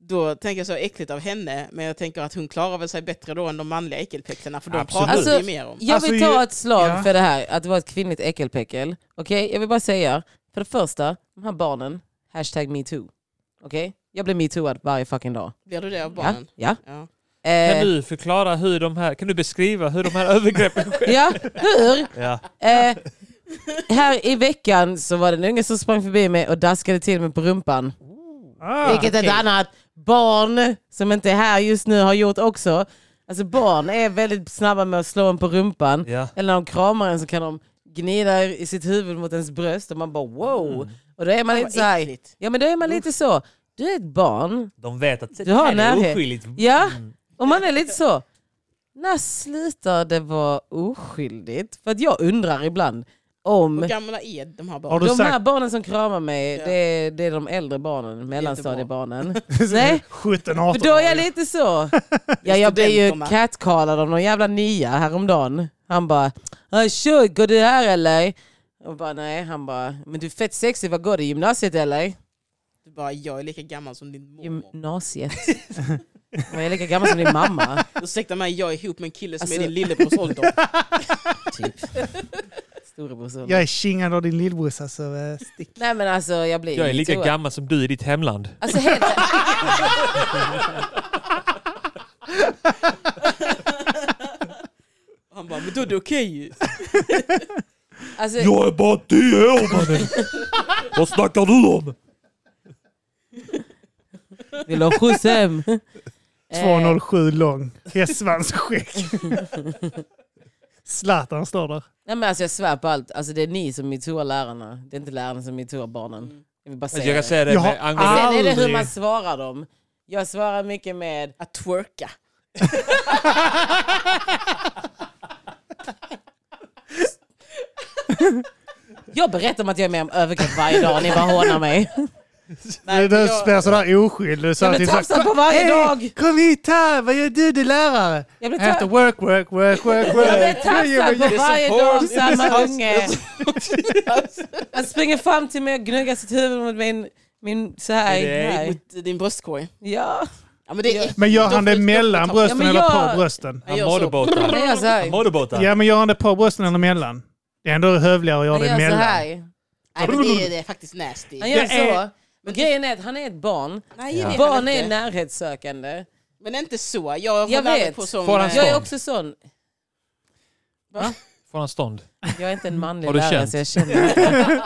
D: Då tänker jag så äckligt av henne, men jag tänker att hon klarar väl sig bättre då än de manliga äckelpäcklarna, för de
C: Absolut.
D: pratar vi ju
A: Alltså,
D: mer om.
A: Jag vill
C: Alltså,
A: ta
C: ju-
A: ett slag
C: ja.
A: för det här, att det var ett kvinnligt äckelpäckel. Okej, jag vill bara säga, för det första, de här barnen, hashtag metoo. Okej? Jag blir metooad varje fucking dag.
D: Blir du det av
A: Ja,
D: barnen?
A: ja.
D: Ja.
A: Eh,
B: Kan du förklara hur de här, kan du beskriva hur de här övergreppen sker?
A: ja, hur?
B: Ja.
A: Eh, här i veckan så var det en unge som sprang förbi mig och daskade till mig på rumpan.
C: Ah,
A: Vilket ett annat barn som inte är här just nu har gjort också. Alltså barn är väldigt snabba med att slå en på rumpan.
B: Ja.
A: Eller när de kramar en så kan de gnida i sitt huvud mot ens bröst och man bara wow. Och då är man
D: Mm. Fan,
A: lite
D: vad
A: så här,
D: äckligt.
A: Ja men då är man lite så. Du är ett barn.
B: De vet att
A: Du har närhet.
B: oskyldigt.
A: Ja.
D: Mm.
A: Och man är lite så. När slutar det vara oskyldigt? För att jag undrar ibland om
D: Hur gamla är de här
C: Har
D: barnen?
C: du
A: de här
C: sagt
A: barnen som kramar mig,
D: Ja.
A: det, är, det är de äldre barnen, mellanstadiebarnen. Nej,
C: 17,
A: för
C: 18?
A: då är jag lite så. Ja, jag blev ju
D: studenterna.
A: catcallad av någon jävla nia häromdagen. Han bara, "Ah, tjo, går du här eller? Och bara nej, han bara, men du är fett sexig, vad går du i gymnasiet eller?
D: Du bara, jag är lika gammal som din mormor.
A: Gymnasiet. Men jag är lika gammal som din mamma.
D: Ursäkta mig, jag är ihop med en kille som
A: Alltså-
D: är din lillebrors ålder.
A: Typ. Storebrorson.
C: Jag är kingad av din lillbrorsa så eh, stick.
A: Nej men alltså jag blir
B: Jag är lika
A: toa.
B: gammal som du i ditt hemland.
A: Alltså helt...
D: Och Han bara, men då är det okej ju.
A: Alltså,
B: Jag är bara tio år mannen! Vad snackar du om?
A: vill du ha skjuts hem? Eh.
C: 2,07 lång. Hästsvansskägg. Zlatan står där.
A: Nej men alltså jag svär på allt. Alltså det är ni som metooar lärarna. Det är inte lärarna som metooar barnen. Jag vill bara säga
B: Alltså,
A: det.
B: Jag kan säga det
C: Jag
B: med
C: har
B: angående...
A: Sen är det hur
C: aldrig.
A: man svarar dem. Jag svarar mycket med
D: Att twerka.
A: jag berättar om att jag är med om övergrepp varje dag, ni bara hånar mig.
D: Nej,
C: du
D: men
C: jag... spelar sådär oskyldig. Så
A: Jag blir
C: alltid så-
A: tafsad på varje
C: Hej,
A: dag.
C: Kom hit här, vad gör du? Du är lärare.
A: Jag blir
C: Efter
A: ta-
C: work, work, work, work,
A: jag blir
C: work.
A: tafsad på varje dag, samma unge. Han springer fram till mig och gnuggar sitt huvud mot min, min så här.
B: Det är
A: här.
D: Mot din bröstkorg.
A: Ja.
D: Ja, men det är
C: Men gör
D: äckligt.
C: han det
D: Då-
C: mellan
D: då-
C: brösten
A: men
C: eller
A: jag-
C: på brösten?
D: Jag
B: Han
D: gör så.
A: Han
B: modebåtar.
A: gör så
B: Han
A: här.
B: modebåtar.
C: Ja, men gör han det på brösten eller mellan? Det är ändå hövligare att göra
A: Han
C: det
A: gör så
C: mellan.
A: här.
D: Nej, men det, är, det är faktiskt nasty.
A: Han gör
C: Det är-
A: så. Men grejen är att han är ett barn.
D: Nej, det är
A: Barn
D: han
A: är
D: inte.
A: närhetssökande.
D: Men inte så. Jag, jag håller
A: Jag
D: aldrig
A: vet.
D: på som...
B: Får han
D: eh,
A: Jag är
B: Stånd.
A: också sån.
B: Får han stånd?
A: Jag är inte en manlig
B: Har du
A: lärare
B: känt?
A: så jag känner inte.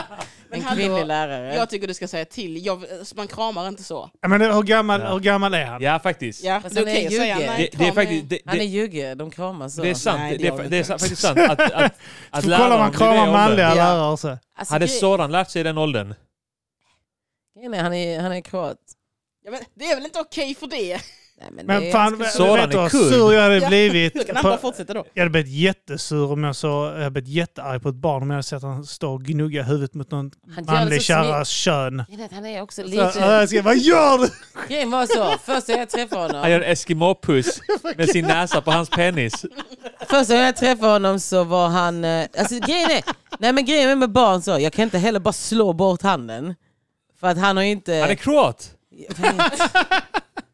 D: Men
A: En
D: hallå,
A: kvinnlig lärare.
D: Jag tycker du ska säga till. Jag, man kramar inte så.
C: Ja, men hur gammal,
B: Ja.
C: hur gammal är han?
B: Ja, faktiskt.
D: Ja,
A: Fast
D: det är
A: han är
D: okej att säga
A: ljuger.
D: nej.
B: Det, det är
D: kram är-
B: faktiskt... Det,
A: Han är
B: det,
A: ljuge, de kramas så.
B: det är sant.
D: Nej, det
B: Det
D: gör
B: är,
D: vi
B: det är
D: inte.
B: faktiskt sant. Att, att, att
C: För kollar man
B: om det
C: kramar
B: är
C: manliga
A: åldern. Ja.
C: lärare och så.
A: Alltså,
B: Hade
A: gre-
B: Soran lärt sig i den åldern?
A: grejen är, han, är, han är kroat.
D: Ja, men det är väl inte okej för det?
A: Nej, men det
C: Men
A: är-
C: fan,
A: jag
C: vet
A: skulle-
B: Soran är
C: du vad
B: kurd.
C: sur jag hade
D: Ja.
C: blivit?
D: Kan han bara
C: på-
D: fortsätta då?
C: Jag hade blivit jättesur om jag såg, jag hade blivit jättearg på ett barn om jag hade sett han stå och gnugga huvudet mot någon
A: Han gör det
C: manlig
A: så
C: kärras kön.
A: Grejen är att Han är också
C: Så,
B: Alltså,
C: ja,
A: lite...
C: jag ska, vad gör du?
B: äh.
A: Grejen var så, första jag träffade
B: Han
A: honom,
B: gör en Eskimo-puss med sin näsa på hans penis.
A: första gången jag träffade honom så var han... eh, Alltså grejen är, nej men grejen är med barn så, jag kan inte heller bara slå bort handen. För att han har ju inte...
B: Han är kroat!
A: Jag vet.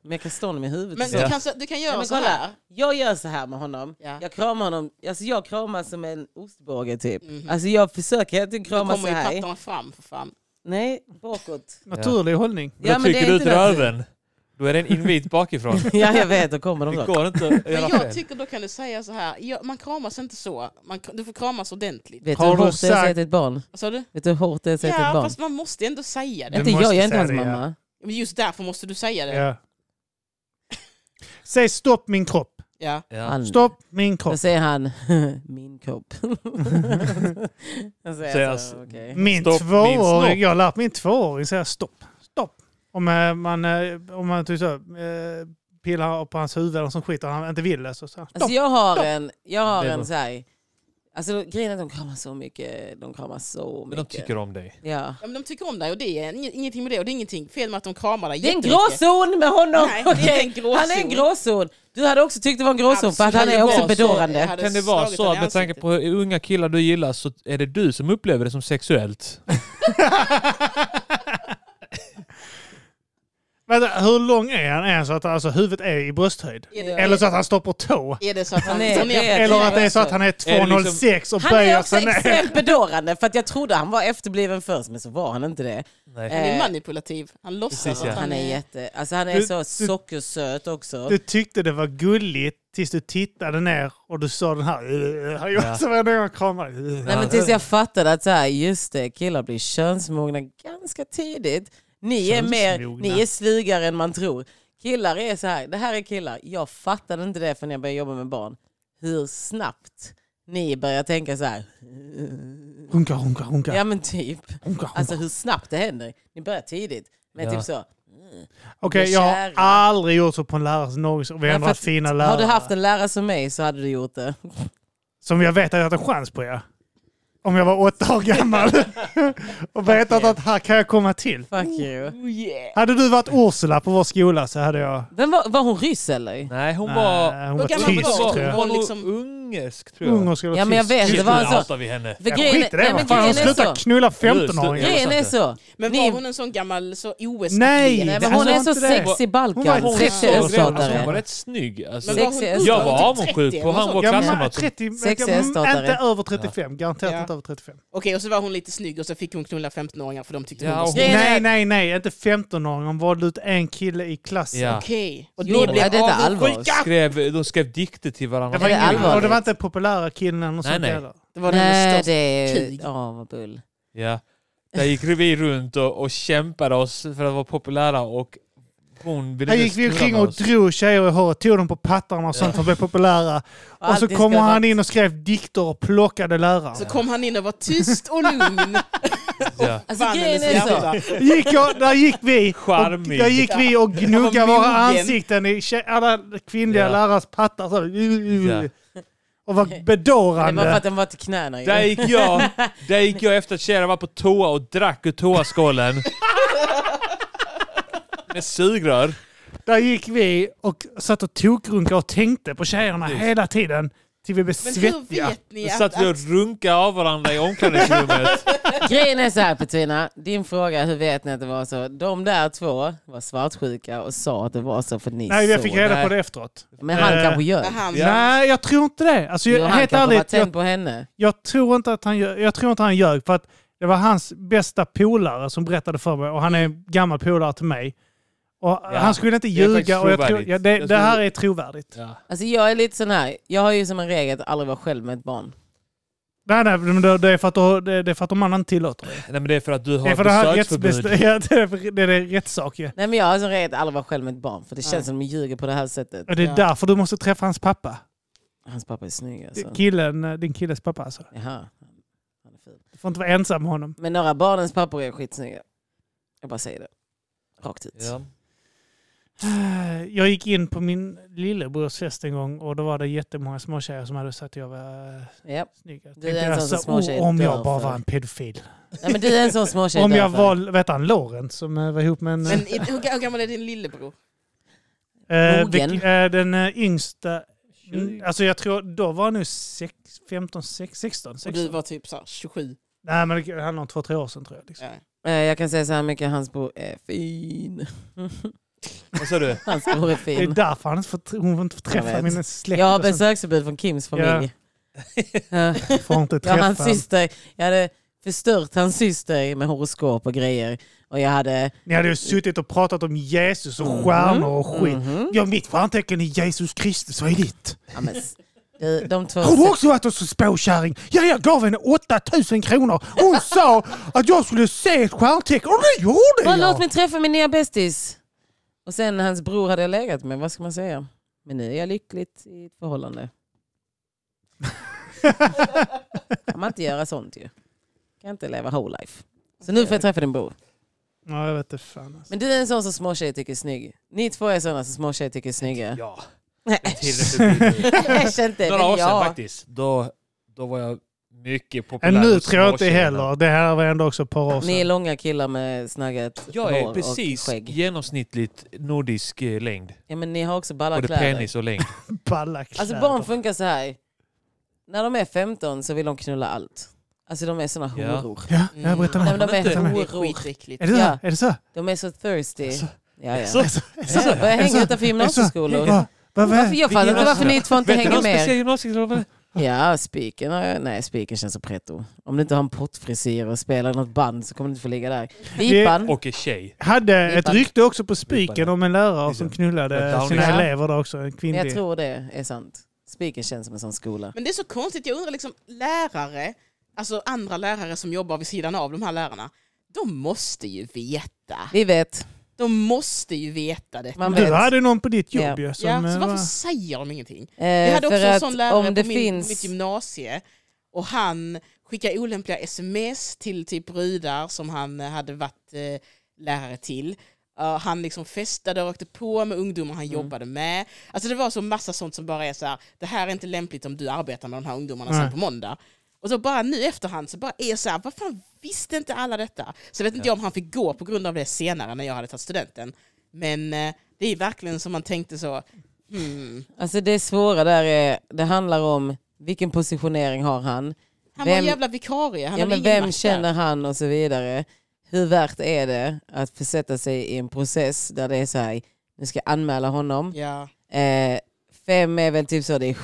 A: Men jag kan stå honom i huvudet.
D: Men
A: och så.
D: du, kan, så- du kan göra
A: Nej, men
D: så
A: kolla.
D: här.
A: Jag gör så här med honom.
D: Ja.
A: Jag kramar honom. Alltså jag kramar som en ostbåge typ. Alltså jag försöker hela tiden
D: Mm. Då
A: krama så
D: kommer ju
A: här.
D: pattarna fram för fan.
A: Nej, bakåt.
C: Naturlig hållning.
A: Ja,
B: Då
A: men det
B: trycker
A: är
B: du ut
A: inte naturligt.
B: röven. Då är det en invit bakifrån.
A: Ja, jag vet. Då kommer de
B: Det
A: då.
B: går inte att
D: Men
B: göra
D: jag
B: fel.
D: tycker då kan du säga så här. Ja, man kramas inte så. Man, kr- du får kramas ordentligt.
A: Vet du
C: Har
A: hur
C: du
A: hårt det är att säga
C: sagt-
A: till ett barn?
D: Vad sa du?
A: Vet du hur hårt det är att säga till ett
D: Ja,
A: barn?
D: fast man måste ändå säga det.
C: Du
A: Inte jag,
C: måste
A: jag är inte
C: säga
A: hans
C: det, ja.
A: mamma.
D: Men just därför måste du säga det.
C: Ja. Säg stopp min kropp.
D: Ja.
B: Ja.
A: Han,
C: Stopp min
A: då
C: kropp.
A: säger han, min kopp. jag
B: Säger
A: säger så,
B: jag-
A: okej.
C: Min
B: Stopp min snopp.
C: tvååring. Jag har lärt min tvååring säga stopp. Stopp. Om eh, man, eh, om man typ så, eh, pillar på hans huvud eller något sånt skit och han inte vill det så säger han stopp.
A: Alltså jag har en, jag har
B: Det är
A: en
B: bra.
A: så här, alltså grejen är att de kramar så mycket, de kramar så
B: Men de
A: mycket.
B: tycker om dig.
A: ja.
D: Ja, men de tycker om dig och det är ing- ingenting med det. Och det är ingenting fel med att de kramar dig
A: Det är en
D: jättemycket.
A: gråzon med honom!
D: Nej, det är
A: okej?
D: en gråzon.
A: Han är en gråzon! Du hade också tyckt det var en gråzon för att han
D: Absolut.
A: är också
D: Alltså, Det var så- jag
A: bedårande.
D: hade
B: Kan det vara
D: slagit
B: så
D: henne i
B: att med tanke
D: ansiktet.
B: på hur unga killar du gillar så är det du som upplever det som sexuellt?
C: Vänta, hur lång är han? Är han så att alltså, huvudet är i brösthöjd?
D: Är det,
C: Eller så att han står på tå?
D: är det så att han...
A: Nej,
D: han
A: det är-
D: är,
C: Eller att det är så att han är
B: det liksom-
C: 2,06 och
A: Han är
C: böjer
A: också
C: sig ner?
A: extremt bedårande för att jag trodde han var efterbliven först men så var han inte det.
B: Nej.
D: han är
A: Eh,
D: manipulativ. Han låtsas
B: Precis, ja.
D: att han,
A: han är
D: är...
A: jätte... Alltså han är
C: Du-
A: så
C: du-
A: sockersöt också.
C: Du tyckte det var gulligt tills du tittade ner och du såg den här... "Ugh", Han gjorde
B: Ja.
C: så var det någon kramade. "Ugh".
A: Nej men tills jag fattade att så här, just det, killar blir könsmogna ganska tidigt. Ni är, mer,
C: Könsmogna.
A: ni är slugare än man tror. Killar är så här, det här är killar. Jag fattade inte det förrän jag började jobba med barn. Hur snabbt ni börjar tänka så här.
C: Runka, runka, runka.
A: Ja men typ.
C: runka, runka.
A: Alltså hur snabbt det händer. Ni börjar tidigt. Men
B: Ja.
A: typ så.
C: Okej,
A: blir
C: jag har
A: kära.
C: aldrig gjort så på en lärare som någonsin. Vi har
A: för
C: ändå
A: att-
C: haft fina lärare.
A: Har du haft en lärare som mig så hade du gjort det.
C: Som jag vet att jag hade en chans på, ja. Om jag var åtta år gammal. och vetat att här kan jag komma till.
A: Fuck you.
D: Oh, yeah.
C: Hade du varit Ursula på vår skola så hade jag...
A: Den var, var hon ryss eller?
B: Nej, hon var...
C: Nej, hon var
D: Vad gammal var
C: tysk,
D: hon?
C: tror jag.
B: Hon var nog
D: Liksom-
B: ungersk, tror jag.
C: Ungersk eller
A: Ja, men jag
C: tysk.
A: vet, Alltså, det
B: Just
A: var
B: nu
A: en sån-
B: hatar vi henne.
A: För
C: Ja,
A: grejen är-
C: skit i det.
A: nej, men
C: Vad fan,
A: grejen
C: hon
A: är
C: slutar
A: så.
C: knulla
B: Ja,
C: 15-åringar.
B: det är
A: Grejen är
B: sant
A: så.
D: Men
A: Ni-
D: var hon en sån gammal så os
C: Nej!
A: Nej,
C: det
A: men hon
C: här
A: är
C: Alltså, var
A: så
C: inte det.
A: sexig
C: Hon var
A: Balkan.
C: hon-
A: Sexig
C: hon-
B: Alltså, hon var
A: öststatare.
B: rätt snygg. Alltså,
D: Men var hon
A: Sexig-
D: ung?
B: jag var
D: Hon typ
B: avundsjuk
D: 30
B: på
D: eller
B: han
D: något
B: var
D: sånt.
C: Jag
B: klasskamrat.
C: är 30,
A: Sexiga
C: jag,
A: öststatare.
C: inte över 35. Garanterat
D: Ja.
C: inte över 35.
D: Okej, och så var hon lite snygg och så fick hon knulla 15-åringar för de tyckte hon
B: Ja,
D: var
B: och-
D: snygg.
A: Grejen
C: Nej,
A: är-
C: nej, nej. Inte 15-åringar. Hon valde ut en kille i klassen.
B: Ja.
D: Okej.
A: Och
D: Jo,
A: ni blev
D: det-
A: detta allvar?
B: skrev, de skrev dikter till varandra.
C: Det
A: Är
C: var
A: det
C: ingen,
A: allvarligt?
C: och det var inte populära killen eller något
B: Nej,
C: sånt
B: nej.
C: heller.
D: Det var den
A: Nej,
D: med
A: det
D: störst...
A: är...
D: krig.
A: Ja, vad bull.
B: Ja. Där gick vi runt och, och kämpade oss för att vara populära och hon ville
C: Här
B: inte
C: gick
B: knulla
C: vi omkring
B: med
C: och
B: oss.
C: drog tjejer i håret, tog dem på pattarna och sånt för att bli populära. Och så
A: alltid
C: kommer
A: ska vara-
C: han in och skrev dikter och plockade lärare.
D: Så kom han in och var tyst och lugn.
B: Ja.
A: Alltså
D: Fan,
A: grejen
D: hennes
A: är så.
D: jävla-
C: Gick jag, där gick vi och,
B: Charmig.
C: där gick vi och gnuggade
D: Han var
C: våra
D: mogen.
C: ansikten i tje- alla kvinnliga
B: Ja.
C: lärares pattar. Så,
B: Ja.
C: Och var
A: Det var för
C: bedårande.
A: att den var till knäna ju.
B: Där gick jag, där gick jag efter att tjejerna var på toa och drack ur toaskålen. Med sugrör.
C: Där gick vi och satt och tokrunkade och tänkte på tjejerna
B: Precis.
C: hela tiden. Till vi blev
D: Men hur
C: svettiga.
D: vet
B: Då
D: ni att...
B: satt vi
D: att
B: och runkade av varandra i omklädningsrummet.
A: Grejen är så här Petrina, din fråga hur vet ni att det var så? De där två var svartsjuka och sa att det var så för ni
C: Nej, jag
A: såg.
C: fick reda
B: Nej.
C: på det efteråt.
A: Men han
C: Eh,
A: kanske ljög.
D: han,
B: Ja.
C: Nej, jag tror inte det. Alltså,
A: Jo,
C: jag,
A: Han
C: helt
A: kanske var
C: ärligt, jag,
A: tänd på henne.
C: jag, tror inte att han, gör- jag tror inte han ljög. För att det var hans bästa polare som berättade för mig. Och han är en gammal polare till mig. Och
B: Ja,
C: Han skulle inte
B: det är faktiskt
C: ljuga. Och jag tror,
B: trovärdigt.
C: ja, det,
B: Jag
C: det här
B: tror-
C: är trovärdigt.
B: Ja.
A: Alltså jag är lite sån här, jag har ju som en regel att aldrig vara själv med ett barn.
C: Nej, nej, men det, det, är för att, då- det, det är för att de andra inte tillåter det.
B: Nej men det är för att du har
C: Det är
B: ett
C: för att det här är
B: besöksförbud.
C: rättsbest- ja, det är för- det är det är rättssak ju.
A: Nej men jag har som regel att aldrig vara själv med ett barn för det känns
D: Nej.
A: som att de ljuger på det här sättet.
C: Och det är
D: Ja.
C: därför du måste träffa hans pappa.
A: Hans pappa är snygg alltså.
C: Killen, eh, din killes pappa alltså.
A: Jaha. Han är fin.
C: Du får inte vara ensam med honom.
A: Men några av barnens pappor är skitsnygga. Jag bara säger det. Rakt ut.
B: Ja.
C: Eh, Jag gick in på min lillebrors fest en gång och då var det jättemånga småtjejer som hade sagt att jag var eh,
A: Ja.
C: snygg. Jag
A: Du
C: tänkte
A: är en sån som
C: alltså,
A: småtjejer
C: "Oh, om jag
A: dör
C: bara
A: för."
C: var en pedofil.
A: Nej, men du är en sån småtjej.
C: Om jag
A: därför.
C: var, vet han, Lorentz som eh, var ihop med en...
D: men är- hur ga- hur gammal är din lillebror?
C: eh,
A: mogen.
C: vilk- eh, den eh, yngsta... Mm, alltså jag tror, då var han nu sex, 15, sex, 16,
D: Och du
C: 16.
D: var typ så här 27.
C: Nej men det handlar om två, tre år sedan tror jag. Liksom.
D: Ja.
A: Eh, Jag kan säga så här mycket, hans bror är fin.
B: Vad sa du?
A: Hans bror är
C: Det är
A: fin.
C: därför han inte får, hon får inte få
A: Jag
C: träffa
A: vet.
C: min släkt.
A: Jag har
C: och sånt.
A: besöksförbud från Kims familj. Ja.
C: Får inte
A: Jag,
C: träffa
A: hans
C: han.
A: syster, jag hade förstört hans syster med horoskop och grejer. Och jag hade...
C: Ni hade ju suttit och pratat om Jesus
A: Mm.
C: och stjärnor och skit.
A: Mhm.
C: Ja, mitt stjärntecken är Jesus Kristus, vad är ditt?
A: Ja, men, s- de, de två...
C: Har du också varit hos en spåkärring? Ja, jag gav henne 8000 kronor. Hon sa att jag skulle se ett stjärntecken och det
A: Bara
C: gjorde
A: låt
C: jag!
A: mig träffa min nya bästis. Och sen hans bror hade jag legat med, vad ska man säga? Men nu är jag lyckligt i ett förhållande. kan man inte göra sånt ju. Kan inte leva whole life. Så nu får jag träffa din bror.
C: Ja, jag vet inte fan. Alltså.
A: Men du är en sån som småtjejer tycker är snygg. Ni två är såna som småtjejer tycker är snygga.
B: Ja.
A: Nej,
B: det är tillräckligt.
A: Äsch inte.
B: Några år
A: Men
B: sedan
A: jag.
B: faktiskt. Då, då var jag mycket populär
C: Men nu
B: hos
C: tror jag inte
B: småtjejerna.
C: heller. Det här var ändå också ett par år
A: Ni är
C: sedan.
A: långa killar med snaggat
B: Jag
A: hår
B: är
A: och
B: precis
A: skägg.
B: genomsnittligt nordisk eh, längd.
A: Ja, men ni har också balla
B: Både
A: kläder.
B: penis och längd.
C: Balla
A: Alltså
C: kläder.
A: barn funkar så här. När de är 15 så vill de knulla allt. Alltså de är såna
B: Ja.
A: horor.
C: Ja, jag berättar
A: Mm. Nej, men
C: med.
A: de
B: Men
A: är
B: inte-
C: Vänta
A: horor.
C: nu.
D: Det är skitäckligt.
C: Är det så?
A: Ja.
C: Är det så?
B: Alltså,
A: De är så thirsty. Ja, ja.
B: Så,
A: Ja, jag börjar
B: alltså,
A: hänga utanför gymnasieskolor.
C: Va, va, va?
A: Varför, jag fattar inte varför ni två inte
B: vet du
A: hänger
B: någon
A: med.
B: speciell gymnasieskola?
A: Ja, spiken har jag... Nej, spiken känns så pretto. Om du inte har en pottfrisyr och spelar i något band så kommer du inte få ligga där. Vipan.
B: Och är tjej.
C: Hade ett
A: Vipan.
C: rykte också på spiken om en lärare som
B: Vipan.
C: knullade
B: Downing.
C: sina
A: Ja.
C: elever där också. En
A: Jag
C: kvinnlig.
A: tror det är sant. Spiken känns som en sån skola.
D: Men det är så konstigt, jag undrar liksom lärare, alltså andra lärare som jobbar vid sidan av de här lärarna, de måste ju veta.
A: Vi vet.
D: De måste ju veta det.
A: Man
C: Du
A: vet.
C: hade någon på ditt
A: Ja.
C: jobb ju. som,
D: ja,
C: eh,
D: så varför
C: var-
D: säger de ingenting?
A: Eh,
D: Jag hade också
A: för
D: en
A: att
D: sån lärare
A: om det
D: på min,
A: finns...
D: mitt gymnasie och han skickade olämpliga sms till typ brudar som han eh, hade varit eh, lärare till. Eh, han liksom festade och rökte på med ungdomar
A: Mm.
D: han jobbade med. Alltså det var så massa sånt som bara är så här, det här är inte lämpligt om du arbetar med de här ungdomarna
C: Nej.
D: sen på måndag. Och så bara nu i efterhand så bara är så här, vad fan visste inte alla detta? Så vet inte jag om han fick gå på grund av det senare när jag hade tagit studenten. Men eh, det är verkligen som man tänkte så, hmm.
A: Alltså det svåra där är, det handlar om vilken positionering har han?
D: Han var
A: Vem-
D: en jävla vikarie. Han
A: Ja,
D: hade
A: men
D: ingen
A: vem
D: makt
A: känner
D: där.
A: han och så vidare? Hur värt är det att försätta sig i en process där det är så här, nu ska jag anmäla honom.
D: Ja.
A: Eh, fem är väl typ så, det är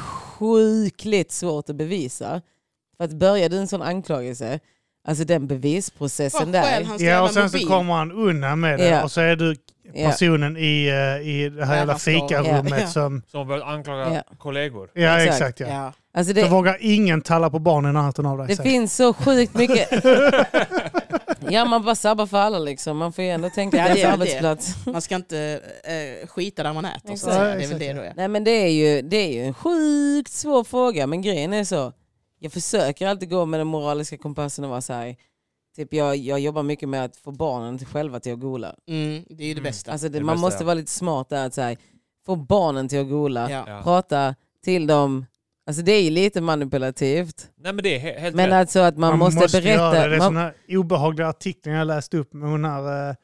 A: sjukligt svårt att bevisa. För att börja du en sån anklagelse, alltså den bevisprocessen
D: Vad
A: där.
D: skäl hans
C: Ja, och
D: jävla
C: sen så
D: mobil.
C: kommer han undan med det
A: Ja.
C: och så är du
A: Ja.
C: personen i, eh, i det här jävla
D: Lärarskap.
C: fikarummet
D: Ja.
C: som...
B: Som har börjat anklaga
A: Ja.
B: kollegor.
C: Ja,
A: Exakt.
C: exakt. ja.
D: Ja.
A: Alltså
C: Så
A: det,
C: vågar ingen talla på barnen annat än av dig.
A: det
C: säger jag.
A: finns så sjukt mycket. ja, man bara sabbar för alla liksom. Man får ju ändå tänka
D: Ja,
A: på
D: det
A: ens
D: är väl det.
A: arbetsplats.
D: Man ska inte eh, skita där man äter. Så
A: Exakt.
D: att säga. det är väl
C: Exakt,
D: det
C: ja.
D: då. Ja.
A: Nej men det är, ju, det är ju en sjukt svår fråga men grejen är så. Jag försöker alltid gå med den moraliska kompassen och vara så här. Typ jag, jag jobbar mycket med att få barnen till själva till att gola.
D: Mm, det är ju det
B: Mm.
D: bästa.
A: Alltså det,
B: Det
A: man
B: bästa,
A: måste
B: ja.
A: vara lite smart där. Att så här, få barnen till att gola.
D: ja.
B: Ja.
A: Prata till dem. Alltså det är ju lite manipulativt.
B: Nej men det är he- helt
A: Men
B: rätt.
A: alltså att man, måste, berätta.
C: Göra det. det är
A: man,
C: sådana obehagliga artiklar jag läste upp med hon här... eh,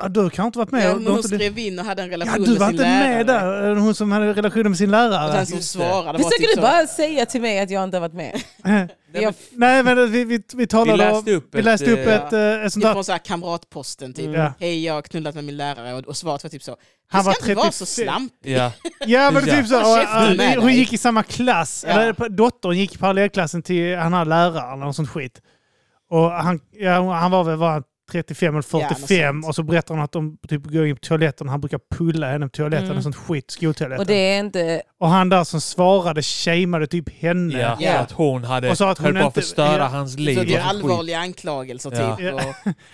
C: ja, du kan inte varit med.
D: Ja,
C: Du
D: men
C: har
D: hon
C: inte-
D: skrev in och hade en
C: ja,
D: relation
C: du var
D: med sin
C: inte
D: lärare.
C: med där. Hon som hade relationer med sin
D: Och den
C: lärare.
D: som
B: Just det.
D: svarade var
A: försöker
D: typ
A: du bara säga till mig att jag inte har varit med?
B: Nej,
A: jag,
C: Nej, men vi, vi, vi talade
B: Vi läste
C: om...
B: upp
C: Vi läste
B: ett,
C: upp
D: eh,
C: ett, eh, ett sånt
D: så,
C: där...
D: från så här kamratposten typ.
C: Ja.
D: Hej, jag har knullat med min lärare. Och, och svaret var typ så.
C: Han
D: Han var
C: var
D: ska inte vara så
C: 35.
D: slamp.
B: Ja.
C: Ja, men det är typ så.
D: Ja.
C: Och,
D: Käften
C: eh,
D: med
C: hon
D: dig.
C: gick i samma klass.
D: Ja.
C: Eller, dottern gick i parallellklassen till han här läraren och sånt skit. Och han, ja, han var väl var han 35 eller
D: Ja, något
C: 45
D: sånt.
C: och så berättar han att de typ går in på toaletten. Han brukar pulla henne på toaletten
A: Mm.
C: och sånt skit. Skoltoaletten.
A: och
C: Och,
A: det är inte...
C: han där som svarade shameade typ henne.
B: Ja,
A: Ja.
B: för att hon hade
C: Och så att hon
B: höll på att
C: inte-
B: förstöra
C: ja.
B: hans
D: Så
B: liv.
D: det är
B: och sånt skit.
D: allvarliga anklagelser
B: Ja.
D: typ. Och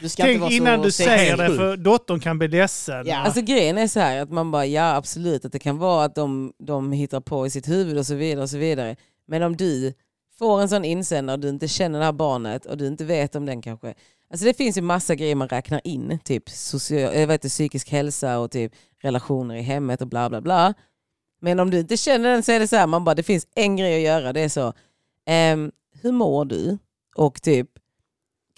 D: du ska inte
C: Tänk
D: vara så
C: innan du säger det
D: sexig.
C: för dottern kan bli ledsen.
D: Ja.
A: Alltså grejen är så här att man bara ja absolut att det kan vara att de, de hittar på i sitt huvud och så vidare och så vidare. Men om du får en sån insändare och du inte känner det här barnet och du inte vet om den kanske. Alltså det finns ju massa grejer man räknar in. Typ social, jag vet, inte, psykisk hälsa och typ relationer i hemmet och bla bla bla. Men om du inte känner den så är det så här, man bara det finns en grej att göra. Det är så, ehm, hur mår du? Och typ,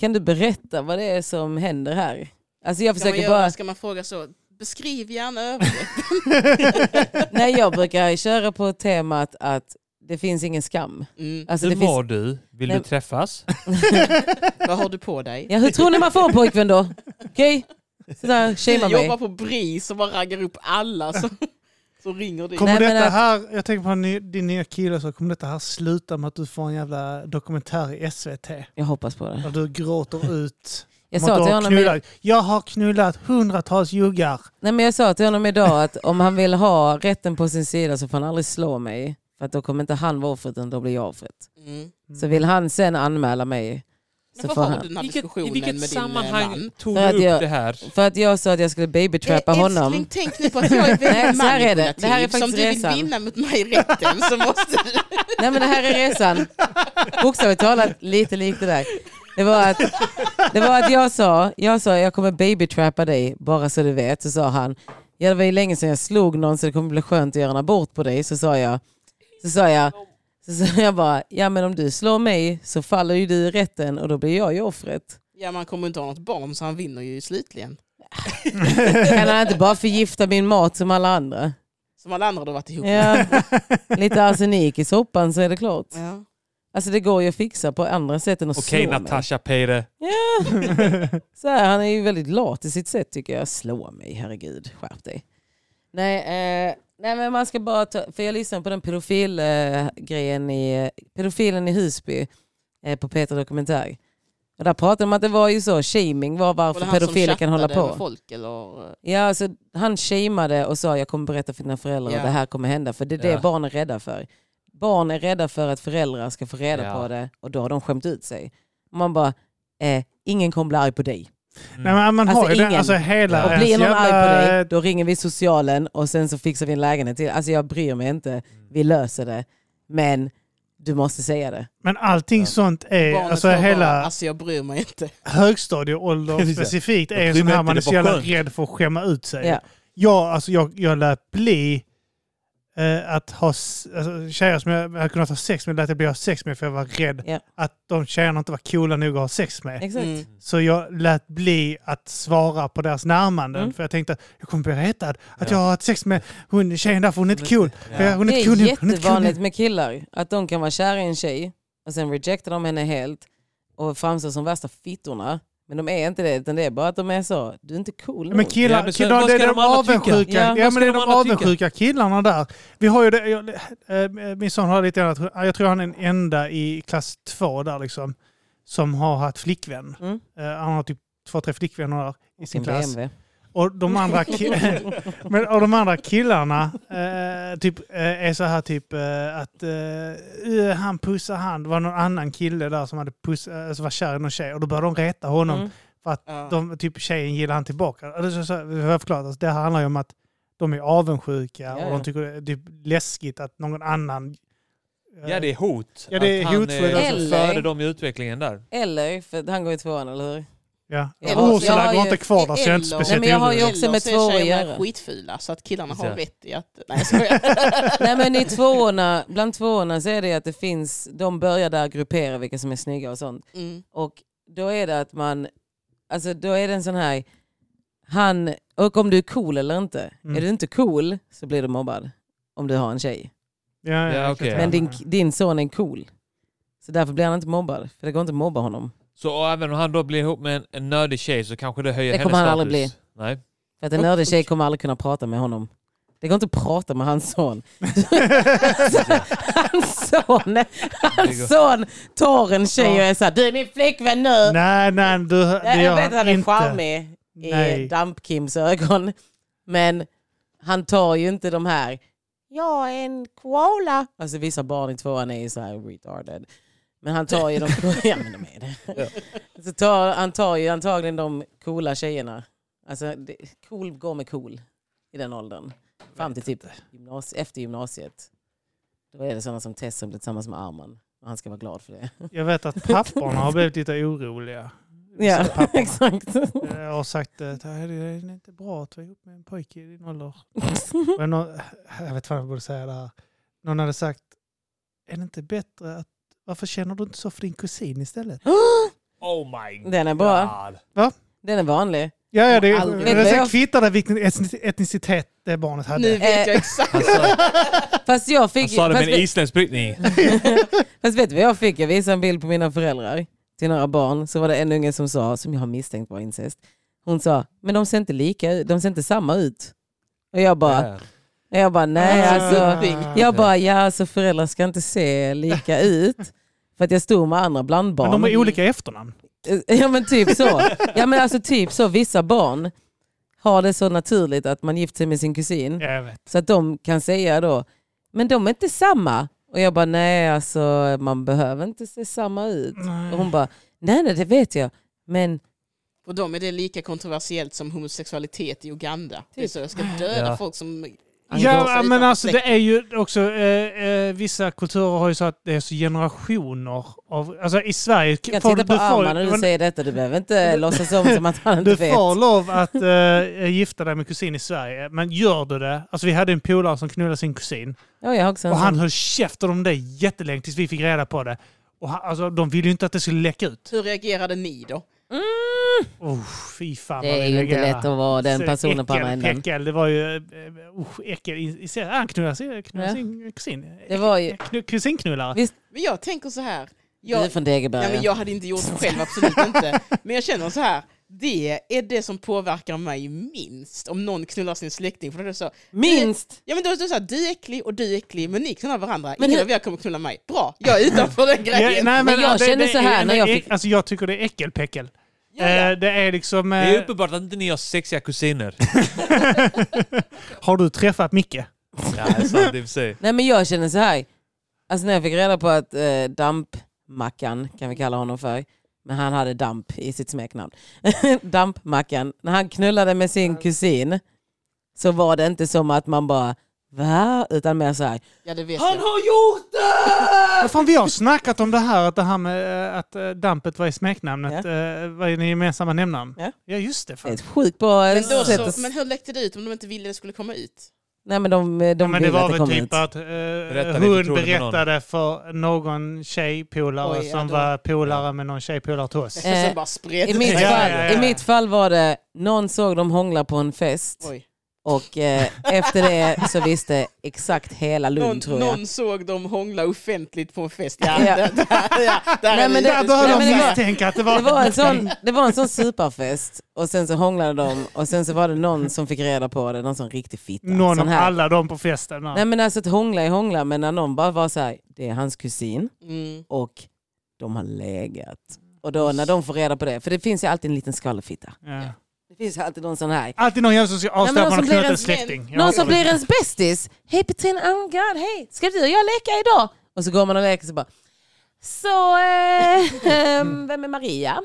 A: kan du berätta vad det är som händer här? Alltså jag
D: Ska man,
A: försöker bara...
D: göra, ska man fråga så. Beskriv gärna övergrepp.
A: Nej, jag brukar köra på temat att det finns ingen skam.
D: Mm.
A: Alltså,
B: Hur
A: det finns...
B: mår du? Vill
A: Nej.
B: du träffas?
D: Vad har du på dig?
A: ja, hur tror ni man får en pojkvän då? Okej? Okay?
D: Du
A: Shamear mig.
D: jobbar på BRIS och bara raggar upp alla som, som ringer dit.
C: Kommer
A: Nej, men
C: detta
A: att-
C: här, jag tänker på en ny- din nya kille, så kommer detta här sluta med att du får en jävla dokumentär i SVT?
A: Jag hoppas på det.
C: Där du gråter ut.
A: Jag
C: Om att
A: sa,
C: du
A: till
C: har
A: honom, i- Mm.
C: knullat. jag har knullat hundratals juggar.
A: nej, men jag sa till honom idag att om han vill ha rätten på sin sida så får han aldrig slå mig. För att då kommer inte han vara offret utan då blir jag offret.
D: Mm.
A: Så vill han sen anmäla mig så
D: Men vad
A: får
D: har du
A: han.
D: den här
B: Vilket, I
D: diskussionen med
B: vilket
D: din
C: eh,
B: sammanhang
D: sammanhang man?
B: tog
A: För
B: du
A: att
B: upp
A: jag-
B: det här?
A: För att jag sa att jag skulle babytrappa
D: Eh,
A: honom.
D: Älskling, tänk nu på att jag är
A: Nej,
D: väldigt
A: så här är det. Det här är
D: manipulativ. Som
A: faktiskt
D: du vill
A: resan.
D: vinna mot mig i rätten så måste du...
A: Nej men det här är resan. Bokstavligt talat lite likt det där. Det var att, det var att jag, sa, jag sa jag kommer babytrappa dig bara så du vet. Så sa han, ja det var ju länge sedan jag slog någon så det kommer bli skönt att göra en abort på dig. Så sa jag, så sa jag, så sa jag bara, ja men om du slår mig så faller ju du i rätten och då blir jag ju offret.
D: Ja, man kommer inte ha något barn så han vinner ju slutligen.
A: Kan han inte bara förgifta min mat som alla andra?
D: Som alla andra har varit ihop med.
A: Ja, lite arsenik i soppan så är det klart.
D: Ja.
A: Alltså det går ju att fixa på andra sätt än att
B: Okej
A: slå mig.
B: Natasha Peire, Mm.
A: Ja, Så här, han är ju väldigt lat i sitt sätt tycker jag. Slå mig, herregud. Skärp dig. Nej, eh, nej men man ska bara ta, för jag lyssnade på den pedofilgrejen eh, grejen i, pedofilen i Husby eh, på Peter Dokumentär. Och där pratade de om att det var ju så, shaming var
D: Var det
A: varför
D: han som
A: pedofiler kan hålla
D: chattade
A: på.
D: med Folk, eller? eh,
A: Ja, alltså, han shameade och sa jag kommer berätta för dina föräldrar
D: Ja.
A: och det här kommer hända. För det är det
B: Ja.
A: barn är rädda för. Barn är rädda för att föräldrar ska få reda
B: Ja.
A: på det och då har de skämt ut sig. Och man bara, eh, ingen kommer bli arg på dig.
C: Nej, men man har
A: Alltså,
C: ju den,
A: ingen.
C: alltså hela
A: Och
C: ens
A: blir någon arg på
C: jävla-
A: dig, då ringer vi socialen och sen så fixar vi en lägenhet till. Alltså jag bryr mig inte, vi löser det. Men du måste säga det.
C: Men allting
B: Ja.
C: sånt är,
D: Barnet
C: alltså
D: var bara,
C: hela
D: alltså jag bryr mig inte.
C: högstadieålder
B: Precis, ja.
C: specifikt
B: Jag
C: är en
B: bryr
C: sån
B: mig
C: här
B: inte,
C: man
B: det
C: är så
B: var
C: jävla
B: skönt.
C: rädd för att skämma ut sig.
A: Ja.
C: Jag, alltså, jag, jag lät bli eh, att ha s- alltså, tjejer som jag hade kunnat ha sex med, lät jag bli att ha sex med för jag var rädd
A: Ja.
C: att de tjejerna inte var coola nog att ha sex med.
A: Exakt.
D: Mm.
C: Så jag lät bli att svara på deras närmanden
A: Mm.
C: för jag tänkte att jag kommer bli retad. Att
B: Ja.
C: jag har haft sex med hon, tjejen där för hon är inte cool.
B: Ja.
C: Hon är
A: Det
C: inte cool
A: är
C: nog, hon är inte cool nog.
A: jättevanligt med killar, att de kan vara kära i en tjej och sen rejectar de henne helt och framstår som värsta fittorna. Men de är inte det, utan det är bara att de är så, du är inte cool
C: Men
A: nog.
C: killar,
B: Ja, men så-
C: killar
B: vad
C: det är
B: ska
C: de,
B: de alla tycka?
C: avundsjuka,
A: Ja,
C: ja,
A: vad
B: ska
C: men det
B: de
C: är de
B: alla tycka?
C: avundsjuka killarna där. Vi har ju det, jag, eh, min son har lite grann, jag tror han är den enda i klass två där liksom, som har haft flickvän.
A: Mm.
C: Eh, Han har typ två, tre flickvänner där i sin
A: Sin
C: klass.
A: BMW.
C: Och de andra, ki- men, och de andra killarna eh, typ, eh, är så här typ eh, att eh, eh, han pussar han. Det var någon annan kille där som hade puss, eh, som var kär i någon tjej och då började de reta honom.
A: Mm.
D: Ja.
C: De, typ tjejen gillar han tillbaka. Eller så, så, vi har förklarat, alltså, det här handlar ju om att de är avundsjuka
A: Ja,
C: och de
A: ja.
C: tycker det är typ läskigt att någon annan... eh,
B: Ja, det är hot.
C: Ja, det är
B: Att han
C: hotfullt,
B: är
A: alltså.
B: före
A: Eller-
B: dem i utvecklingen där.
A: Eller, för han går i tvåan eller hur?
C: ja.
A: Eller-
C: Och
A: jag
C: Ursula
A: har
C: går
A: ju-
C: inte kvar där så jag är inte
D: eller-
A: Nej,
C: speciellt
A: men jag har ju
C: orolig.
A: också med två att göra.
D: skitfula så att killarna har
B: Exakt.
D: rätt i att... Nej jag skojar.
A: Nej men i tvåorna, bland tvåorna så är det att det finns, de börjar där gruppera vilka som är snygga och sånt.
D: Mm.
A: Och då är det att man, alltså då är det en sån här, han, och om du är cool eller inte.
C: Mm.
A: Är du inte cool så blir du mobbad. Om du har en tjej.
C: Ja,
B: Ja,
C: jag
B: okej.
C: kan ta
A: Men din,
C: det.
A: din son är cool. Så därför blir han inte mobbad. För det går inte att mobba honom.
B: Så och även om han då blir ihop med en, en nördig tjej så kanske det höjer
A: Det
B: hennes
A: kommer han
B: status.
A: aldrig bli.
B: Nej.
A: För att en nördig tjej kommer aldrig kunna prata med honom. Det går inte att prata med hans son. hans son, hans son tar en tjej och är såhär, du är min flickvän nu.
C: Nej, nej, du, det
A: Nej, jag
C: gör
A: vet att han är
C: inte.
A: charmig i
C: Nej.
A: Damp-Kims ögon. Men han tar ju inte de här, jag är en koala. Alltså vissa barn i tvåan är ju så här retarded. Men han tar ju de, ja, men de är det. Så tar, han tar ju antagligen de coola tjejerna. Alltså det, cool går med cool i den åldern. Fram till typ gymnasie, efter gymnasiet. Då är det sådana som Tess som blir tillsammans med Arman. Och han ska vara glad för det.
C: Jag vet att papporna har blivit lite oroliga.
A: Ja,
C: Så papporna.
A: exakt.
C: Jag har sagt att det här är inte bra att vara ihop med en pojke i din ålder. Men någon, jag vet vad jag borde säga där. Någon hade sagt, är det inte bättre att varför känner du inte så för din kusin istället?
B: Oh my
A: Den är bra.
B: god.
A: Den är vanlig.
C: Ja, ja det,
D: Aldrig.
C: det,
A: Vet du
C: det
A: vad?
C: kvittar det vilken etnic- etnicitet det barnet
D: Nu
C: hade.
D: vet
A: Eh.
D: jag exakt.
B: Han sa,
A: Fast jag
B: han
A: fick...
B: sa det
A: Fast,
B: med en
A: vet-
B: isländsk brytning.
A: fast vet du vad jag fick? Jag visade en bild på mina föräldrar till några barn. Så var det en unge som sa, som jag har misstänkt var incest. Hon sa, men de ser inte lika ut. De ser inte samma ut. Och jag bara,
B: Ja.
A: jag bara nej
D: Ah.
A: alltså.
C: Ja,
A: Jag bara, ja alltså föräldrar ska inte se lika ut. För att jag stod med andra
C: men
A: blandbarn.
C: de har olika efternamn.
A: Ja men typ så. Ja men alltså typ så, vissa barn har det så naturligt att man gift sig med sin kusin.
C: Ja, jag vet.
A: Så att de kan säga då, men de är inte samma. Och jag bara, nej alltså man behöver inte se samma ut. Och hon bara, nej nej det vet jag. Men
D: För dem är det lika kontroversiellt som homosexualitet i Uganda. Det
A: Typ.
D: är så jag ska döda
B: Ja.
D: folk som...
C: Ja, men alltså det är ju också, eh, eh, vissa kulturer har ju så att det är så generationer av, alltså i Sverige...
A: jag
C: får
A: tittar på
C: du får-
A: Arman när du
C: men-
A: säger detta, du behöver inte låtsas om som att han inte
C: Du
A: vet.
C: får lov att eh, gifta dig med kusin i Sverige, men gör du det... Alltså vi hade en polare som knullade sin kusin
A: Ja, jag har också en
C: och han
A: sån.
C: höll käften om det jättelänge tills vi fick reda på det. Och han, alltså, de ville ju inte att det skulle läcka ut.
D: Hur reagerade ni då?
C: Oh, fy fan vad
A: Det är
C: vi
A: ju inte
C: reagerade.
A: lätt att vara den
C: Så
A: personen på
C: äckel,
A: andra änden.
C: Äckel, det var ju... eh, usch, äckel. I, i, serien. han knullade, sin- knullade
A: Ja.
C: sin kusin.
A: Det var ju-
C: Knu, kusinknullare.
A: Vi-
D: Men jag tänker så här.
A: Du är
D: Jag,
A: från
D: ja,
A: Degeberga.
D: men jag hade inte gjort det själv, absolut inte. Men jag känner så här, det är det som påverkar mig minst om någon knullar sin släkting. För då är det så,
A: Minst!
D: ja, men då är det så här, du är äcklig och du är äcklig, men ni knullar varandra.
A: Men
D: Men
A: hur-
D: hur... av er kommer knulla mig. Bra, jag är utanför den
C: Ja,
D: grejen.
C: nej,
A: Men jag
C: det-
A: känner
C: det
A: så här
C: är-
A: när jag
C: det är-
A: fick-
C: Alltså jag tycker det är äckelpäckel.
D: Ja, ja.
C: Eh, Det är liksom... eh,
B: Det är uppenbart att inte ni har sexiga kusiner.
C: Har du träffat Micke?
B: Ja, det är sant i och för sig.
A: Nej men jag känner så här. Alltså när jag fick reda på att eh, Dampmackan, kan vi kalla honom för, men han hade Damp i sitt smeknamn. Dampmackan, när han knullade med sin kusin så var det inte som att man bara va? Utan mer så här.
D: ja, det vet
A: Han
D: jag.
A: har gjort det!
C: Ja, Fan, vi har snackat om det här, att det här med eh, att eh, dampet var i smeknamnet,
A: Ja.
C: eh, var ju den gemensamma nämnaren.
A: Ja.
C: Ja, just det.
A: Det är
C: Fan.
A: ett sjukt bra eh,
D: Men, då
A: sätt att...
D: så, men hur läckte det ut om de inte ville det skulle komma ut?
A: Nej men de, de
C: Ja, men det
A: ville
C: var
A: att det kom
C: väl
A: typ
C: typ
A: ut.
C: att eh,
B: i
C: hon
B: förtroende med någon.
C: berättade för någon tjejpolare
D: Oj, ja,
C: som
D: då.
C: var polare med någon tjejpolare till oss.
D: Och sen
A: Eh,
D: bara spred
A: I
D: det
A: mitt,
D: sig.
C: Ja,
A: fall,
C: ja, ja.
A: I mitt fall var det, någon såg dem hångla på en fest
D: Oj.
A: och eh, efter det så visste exakt hela Lund
D: Någon,
A: tror jag.
D: någon såg dem hångla offentligt på en fest. Ja,
A: Ja.
D: Där, där, ja, där
A: Nej,
D: är
A: men
D: vi.
A: det-
C: Där
A: Nej,
C: började de
A: men det var-
C: misstänka att det var...
A: Det var, en sån, det var en sån superfest och sen så hånglade de och sen så var det någon som fick reda på det, någon sån riktig fitta.
C: Någon
A: sån
C: av
A: här.
C: alla de på festen. ja.
A: Nej men alltså att hångla är hångla men när någon bara var så här, det är hans kusin
D: Mm.
A: och de har legat. Och då när de får reda på det, för det finns ju alltid en liten skallefitta.
C: Ja.
A: Det finns ju alltid någon sån här.
C: Alltid någon jävel som ska
A: men någon
C: avslöja att man
A: som
C: har
A: blir
C: knullat en
A: ens vän.
C: släkting. Ja,
A: Någon som
C: absolut.
A: blir ens bästis. Hej Petrina, oh my god, hej, ska du och jag leka idag? Och så går man och leker så bara, så eh, ehm, vem är Maria?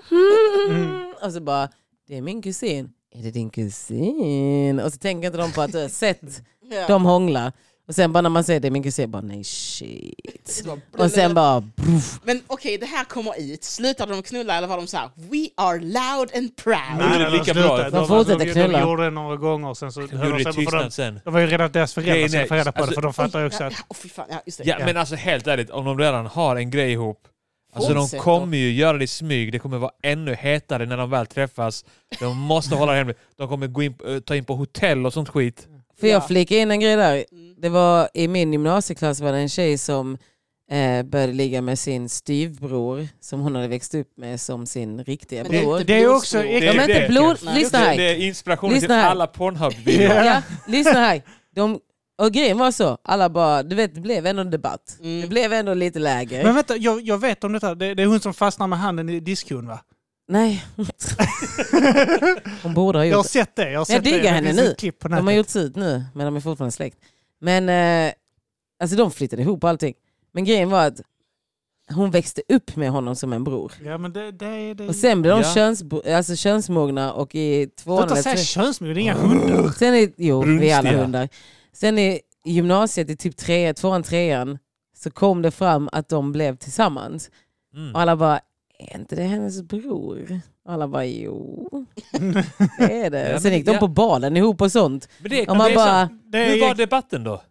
A: Mm. Och så bara, det är min kusin. Är det din kusin? Och så tänker inte de på att du har sett
D: Ja.
A: dem hångla. Och sen bara när man säger det är min kusin, bara nej shit. Och sen bara, bruff.
D: Men okej, det här kommer ut. Slutar de knulla eller var de så här, we are loud and proud?
B: Nej, det är
C: de
B: lika
C: slutade.
B: bra.
C: De-
B: De
A: fortsätter
C: de-
A: knulla.
C: De gjorde det några gånger och sen så...
B: De gjorde det i tystnad sen.
C: De var ju redan att deras föräldrar
B: Nej,
C: skulle
B: nej.
C: få reda på det,
B: Alltså-
C: för de fattar ju också
D: ja,
C: att...
D: ja, oh, fy fan, ja, just det.
B: Ja, men alltså helt ärligt, om de redan har en grej ihop. Alltså de
D: Fortsätt
B: kommer ju göra det i smyg, det kommer vara ännu hetare när de väl träffas. De måste hålla det hemligt. De kommer gå in, eh, ta in på hotell och sånt skit.
A: Får jag
D: Ja.
A: flika in en grej där?
D: Mm.
A: Det var i min gymnasieklass var det en tjej som eh, började ligga med sin styvbror som hon hade växt upp med som sin riktiga
D: Men
A: bror.
C: Det,
D: inte
C: det är också...
D: blodsprov.
A: De är inte
B: det.
A: blod...
D: Nej.
A: Lyssna
B: Det,
A: här.
B: det är inspirationen
A: Lyssna
B: till
A: här.
B: alla Pornhub-videor.
C: Ja.
A: Ja, lyssna här. De, och grejen var så, alla bara, du vet det blev ändå en debatt.
D: Mm.
A: Det blev ändå lite läger.
C: Men vänta, jag, jag vet om detta. Det, det är hon som fastnar med handen i diskon va?
A: Nej. hon borde ha
C: Jag har
A: gjort det.
C: sett det. Jag, har sett
A: diggar
C: det. det.
A: henne
C: finns
A: nu.
C: ett klipp på
A: De har
C: nätet.
A: gjort ut nu, men de är fortfarande släkt. Men eh, alltså de flyttade ihop och allting. Men grejen var att hon växte upp med honom som en bror.
C: Ja, men det, det, är- det.
A: Och sen blev de
B: Ja.
A: köns, alltså könsmogna och i tvåan
C: Sluta
A: eller
C: säga
A: tre-
C: könsmord, det är inga hundar.
A: Sen är, jo, vi är alla
B: Brunstiga.
A: hundar. Sen i gymnasiet i typ tre, tvåan, trean så kom det fram att de blev tillsammans.
B: Mm.
A: Och alla bara, är inte det hennes bror? Och alla bara, jo. det är det.
B: Ja,
A: Sen gick de
B: men-
A: på balen ihop och sånt.
B: Men det,
A: Och
B: det
A: man
B: är
A: bara,
B: så,
C: Det
B: hur var
C: är,
B: debatten då?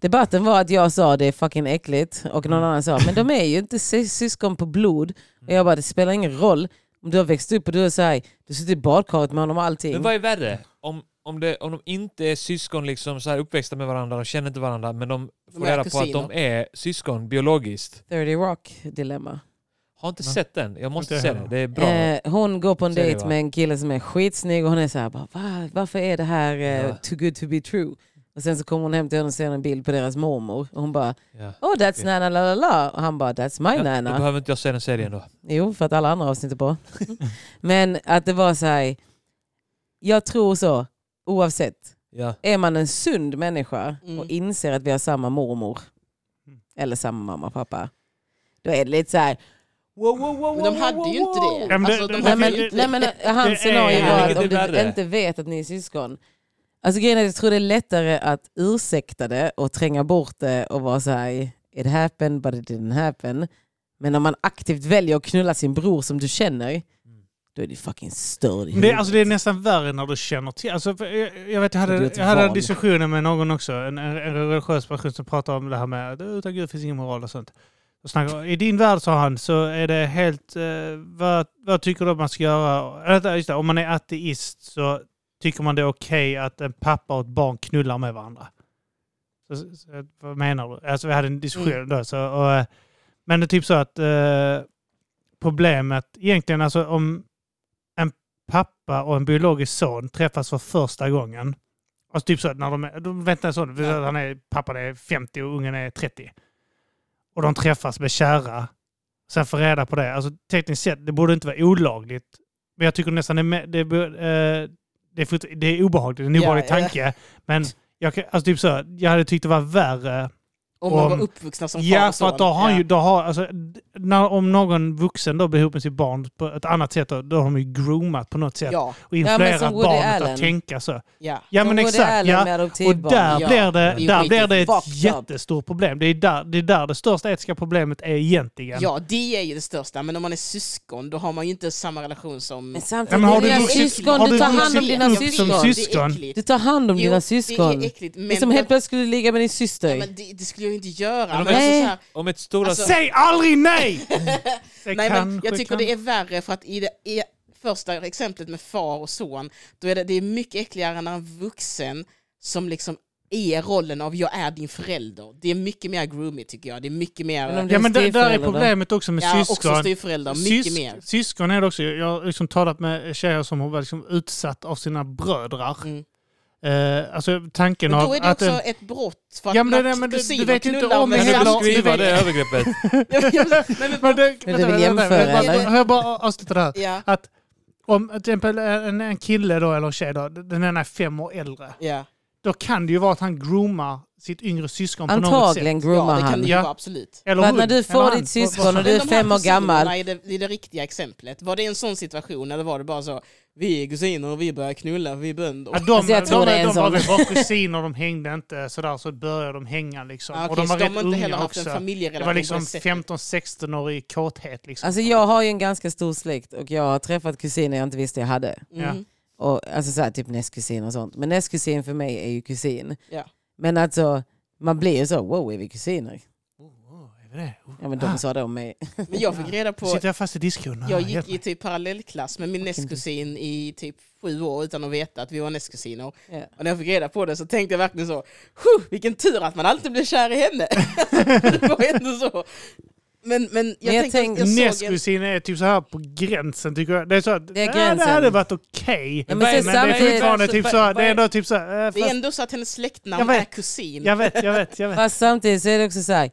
A: debatten var att jag sa det är fucking äckligt och någon
B: Mm.
A: annan sa, men de är ju inte sy- syskon på blod. Och jag bara, det spelar ingen roll om du har växt upp och du är så här, du sitter i badkaret med honom och allting.
B: Men vad är värre? Om, om, det, om de inte är syskon liksom så här uppväxta med varandra, de känner inte varandra, men de får
D: är
B: reda på att
D: kusiner.
B: de är syskon biologiskt.
A: 30 Rock-dilemma.
B: Har inte
C: Va?
B: sett den. Jag måste
C: Inte
B: se
C: jag
B: den.
C: heller.
B: Det är bra.
A: Eh, hon går på en
B: Ser det,
A: dejt
B: va?
A: med en kille som är skitsnygg och hon är så här, bara, Va? varför är det här eh,
B: Ja.
A: too good to be true? Och sen så kommer hon hem till honom och ser en bild på deras mormor. Och hon bara,
B: ja.
A: oh that's nana la la la. Och han bara, that's my
B: Ja, Då
A: nana.
B: behöver inte jag se den serien då.
A: Jo, för att alla andra avsnitt är bra. Men att det var så här, jag tror så, oavsett.
B: Ja.
A: Är man en sund människa
D: Mm.
A: och inser att vi har samma mormor,
C: Mm.
A: eller samma mamma och pappa, då är det lite så här, wow, wow, wow,
D: Men de hade ju inte det.
C: Ja, men det-
D: Alltså, de
C: det-
A: Nej
D: hade
A: men,
D: ju inte
A: nej, men eh,
C: Det är-
A: hans scenario var att
B: Vilket är
A: om du
B: värre?
A: inte vet att ni är syskon. Alltså grejen är att jag tror det är lättare att ursäkta det och tränga bort det och vara så här, it happened but it didn't happen. Men om man aktivt väljer att knulla sin bror som du känner, då är det fucking störd i
C: det, är-
A: huvudet.
C: alltså, det är nästan värre när du känner till. Alltså, för jag, jag, vet, jag
A: Du är
C: hade,
A: ett
C: jag hade
A: val.
C: diskussioner med någon också, en, en, en religiös person som pratade om det här med att utan Gud finns ingen moral och sånt. Och snackade, I din värld, sa han, så är det helt... Eh, vad, vad tycker du att man ska göra? Eller, vänta, just det, om man är ateist så tycker man det är okej att en pappa och ett barn knullar med varandra. Så, så, så, vad menar du? Alltså vi hade en diskussion då. Så, och, eh, men det är typ så att eh, problemet egentligen, alltså om en pappa och en biologisk son träffas för första gången. Alltså typ så att när de, är, de väntar så, vi säger att han är, pappan är 50 och ungen är 30. Och de träffas med kära. Sen får reda på det. Alltså tekniskt sett, det borde inte vara olagligt. Men jag tycker nästan det är, med, det, är, eh, det, är, frukta- det är obehagligt, det är en
D: Ja,
C: obehaglig
D: ja.
C: tanke. Men jag, kan- alltså typ så, här, jag hade tyckt det var värre
D: Om man var
C: Om-
D: uppvuxna som far
C: Ja,
D: och
C: för
D: son.
C: att då har han
D: Ja.
C: ju, då har, alltså, d- när, om någon vuxen då blir ihop med sitt barn på ett annat sätt, då, då har de ju groomat på något sätt.
D: Ja,
C: Och
A: men som
C: influerat
A: Woody
C: barnet
A: Allen.
C: att tänka så.
D: ja.
C: Ja men
A: Som Woody
C: exakt,
A: Allen
C: ja.
A: med
C: Och
A: adoptivbarn.
C: där,
D: Typ Ja,
C: blir det,
D: det är
C: där
D: riktigt
C: blir det ett
D: fucked up.
C: jättestort problem. Det är, där, det är där det största etiska problemet är egentligen.
D: ja, det är ju det största. Men om man är syskon då har man ju inte samma relation som...
A: Men
C: Ja,
A: samtidigt,
C: men har du
A: dina
C: vuxit-
A: syskon,
C: har
A: du
C: du
A: tar hand om
C: vuxit
A: dina
C: upp som
A: syskon.
D: Det är
C: syskon?
D: äckligt.
A: Du tar hand om
D: Jo,
A: dina
D: Det
A: syskon.
D: är äckligt. Men,
A: Det är som helt plötsligt skulle du ligga med din
D: ja,
A: syster.
D: men det, det skulle jag inte göra.
B: Men
D: Men
B: de
A: är-
D: alltså, så här,
B: Om ett stora...
D: Alltså-
C: Säg aldrig nej! Det
D: nej, men
C: kanske
D: jag tycker
C: kan-
D: det är värre för att i det i första exemplet med far och son, då är det, det är mycket äckligare när en vuxen som liksom är rollen av jag är din förälder. Det är mycket mer groomy tycker jag. Det är mycket mer...
A: Men om det
C: Ja men det, där är
A: styvförälder då?
C: problemet också med
D: ja, också
C: syskon.
D: styvförälder. Mycket
C: Sys-
D: mer.
C: Syskon är det också. Jag har liksom talat med tjejer som har varit liksom utsatt av sina brödrar.
D: Mm.
C: Eh, alltså tanken
D: Men då
C: av
D: är det
C: att...
D: också
C: En,
D: ett brott. För att
C: Ja, men det-
D: när
C: nej, men du- du
D: kusiner
C: vet ju inte
D: knullar
C: om
D: med
B: Kan
C: hela-
B: du
D: sambo-
B: beskriva det övergreppet?
C: men det, vänta,
A: vill
C: vänta, vänta,
A: jämföra,
C: vänta, vänta,
A: eller?
C: Får jag bara avsluta det här?
D: Ja,
C: Att om till exempel en, en kille då, eller en tjej då, den ena är fem år äldre.
D: ja.
C: Då kan det ju vara att han groomar sitt yngre syskon på något sätt.
A: Antagligen
D: ja,
A: groomar
D: det kan
A: han.
D: det ju
C: Ja.
D: vara absolut.
C: Eller
A: För att
C: hon,
A: när du
C: eller
A: får
C: han.
A: ditt syskon
C: Vad-
A: och
C: vad-
A: du är
D: Men de här
A: fem år gammal.
D: kusinerna I det, i det riktiga exemplet, var det en sån situation eller var det bara så vi är kusiner och vi börjar knulla, vi är bönder?
C: Ja, de,
A: Alltså, jag tror
C: de,
A: det är en
C: de, var
A: sån.
C: väl bara kusiner, de hängde inte sådär, så började de hänga liksom.
D: Ah, okej,
C: och de
D: så
C: var rätt
D: har
C: unga
D: inte heller haft
C: också.
D: en familjerelation
C: Det var liksom
D: på det sättet.
C: 15-16-årig kåthet. Liksom.
A: Alltså jag har ju en ganska stor släkt och jag har träffat kusiner jag inte visste jag hade.
D: Mm.
A: Och, alltså så här, typ nästkusin och sånt. Men nästkusin för mig är ju kusin.
D: Ja.
A: Men alltså, man blir ju så, wow är vi kusiner? Ja men de sa det om mig.
D: Men jag fick reda
C: Nu
D: på,
C: sitter jag fast i diskon.
D: jag gick i typ parallellklass med min nästkusin i typ sju år utan att veta att vi var nästkusiner.
A: Ja.
D: Och när jag fick reda på det så tänkte jag verkligen så, "Huh, vilken tur att man alltid blir kär i henne. det var ändå så. Men, men jag,
A: Men jag
D: tänkte,
A: tänkte-
D: jag såg en,
C: Nästkusin är typ så här på gränsen tycker jag. Det är så att,
A: Det är
C: äh, det
A: gränsen.
C: hade varit okej.
A: Ja, men
C: men det
A: sen
C: är
A: samtidigt-
C: fortfarande typ så här, det är ändå typ så här, äh,
D: det är
C: fast,
D: ändå så att hennes släktnamn
C: Jag vet.
D: är kusin.
C: jag vet, jag vet, jag vet.
A: Fast samtidigt så är det också så här,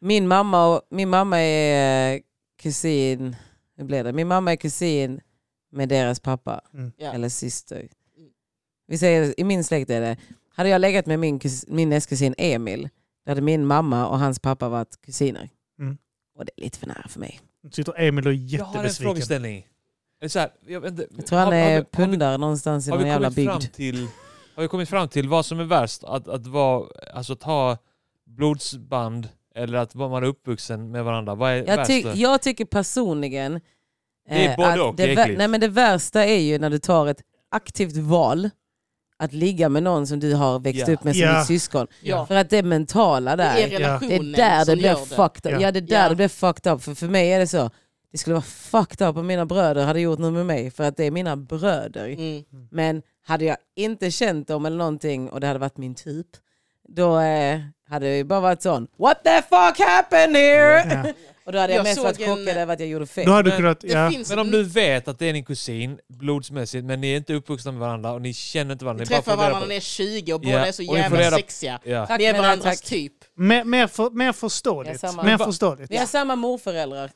A: min mamma, och, min mamma är eh, kusin, hur blev det? Min mamma är kusin med deras pappa.
D: Ja.
A: Eller syster.
B: Mm.
A: Vi säger, I min släkt är det, hade jag legat med min, kus, min nästkusin Emil, då hade min mamma och hans pappa varit kusiner.
C: Mm.
A: Och det är lite för nära för mig.
C: Nu sitter Emil och är
B: Jag har en
C: jättebesviken.
B: frågeställning. Är det så här, jag, vet inte,
A: Jag tror han
B: Mm. har- har vi- har
A: är
B: vi-
A: pundare någonstans i
B: har
A: någon
B: vi
A: jävla
B: kommit
A: bygd.
B: fram till Har vi kommit fram till vad som är värst? Att, att, vara, alltså, att ha blodsband eller att vara man är uppvuxen med varandra? Vad är
A: Jag,
B: värst?
A: ty,
B: då?
A: jag tycker personligen
B: Det är
A: eh,
B: både
A: att
B: och, det är
A: det, vä-
B: äckligt.
A: nej, men det värsta är ju när du tar ett aktivt val att ligga med någon som du har växt
B: Ja.
A: upp med som
C: Ja.
A: ditt syskon.
D: Ja.
A: För att det mentala
D: Det
A: där.
D: är
A: Det
D: relationen
A: är där det
D: som
A: blir
D: gör det.
A: fucked up.
C: Ja.
A: Ja. det är där
D: Ja.
A: det blir fucked up. För, för mig är det så. Det skulle vara fucked up om mina bröder hade gjort något med mig. För att det är mina bröder.
D: Mm.
A: Men hade jag inte känt dem eller någonting och det hade varit min typ. Då eh, hade jag ju bara varit sån. What the fuck happened here?
C: Ja.
A: Och då hade jag,
D: Jag
A: mest
D: såg
A: varit chockad
D: en-
A: över att jag gjorde fel.
C: Mm. Då hade du
B: Men-
C: kunnat,
D: Det
C: ja.
D: finns
B: Men om du vet att det är din kusin blodsmässigt men ni är inte uppvuxna med varandra och ni känner inte varandra. ni
D: Vi
B: bara
D: träffar
B: funderar
D: varandra när ni är 20 och båda
B: Ja,
D: är så
B: och ni får reda-
D: jävla sexiga.
B: på- Ja.
A: Tack,
D: Ni är
A: men,
D: varandras
A: tack.
D: typ.
C: Mer, mer, för, mer
A: Ja,
C: förståeligt.
A: samma.
C: mer
B: Va-
C: förståeligt.
A: Vi har samma morföräldrar.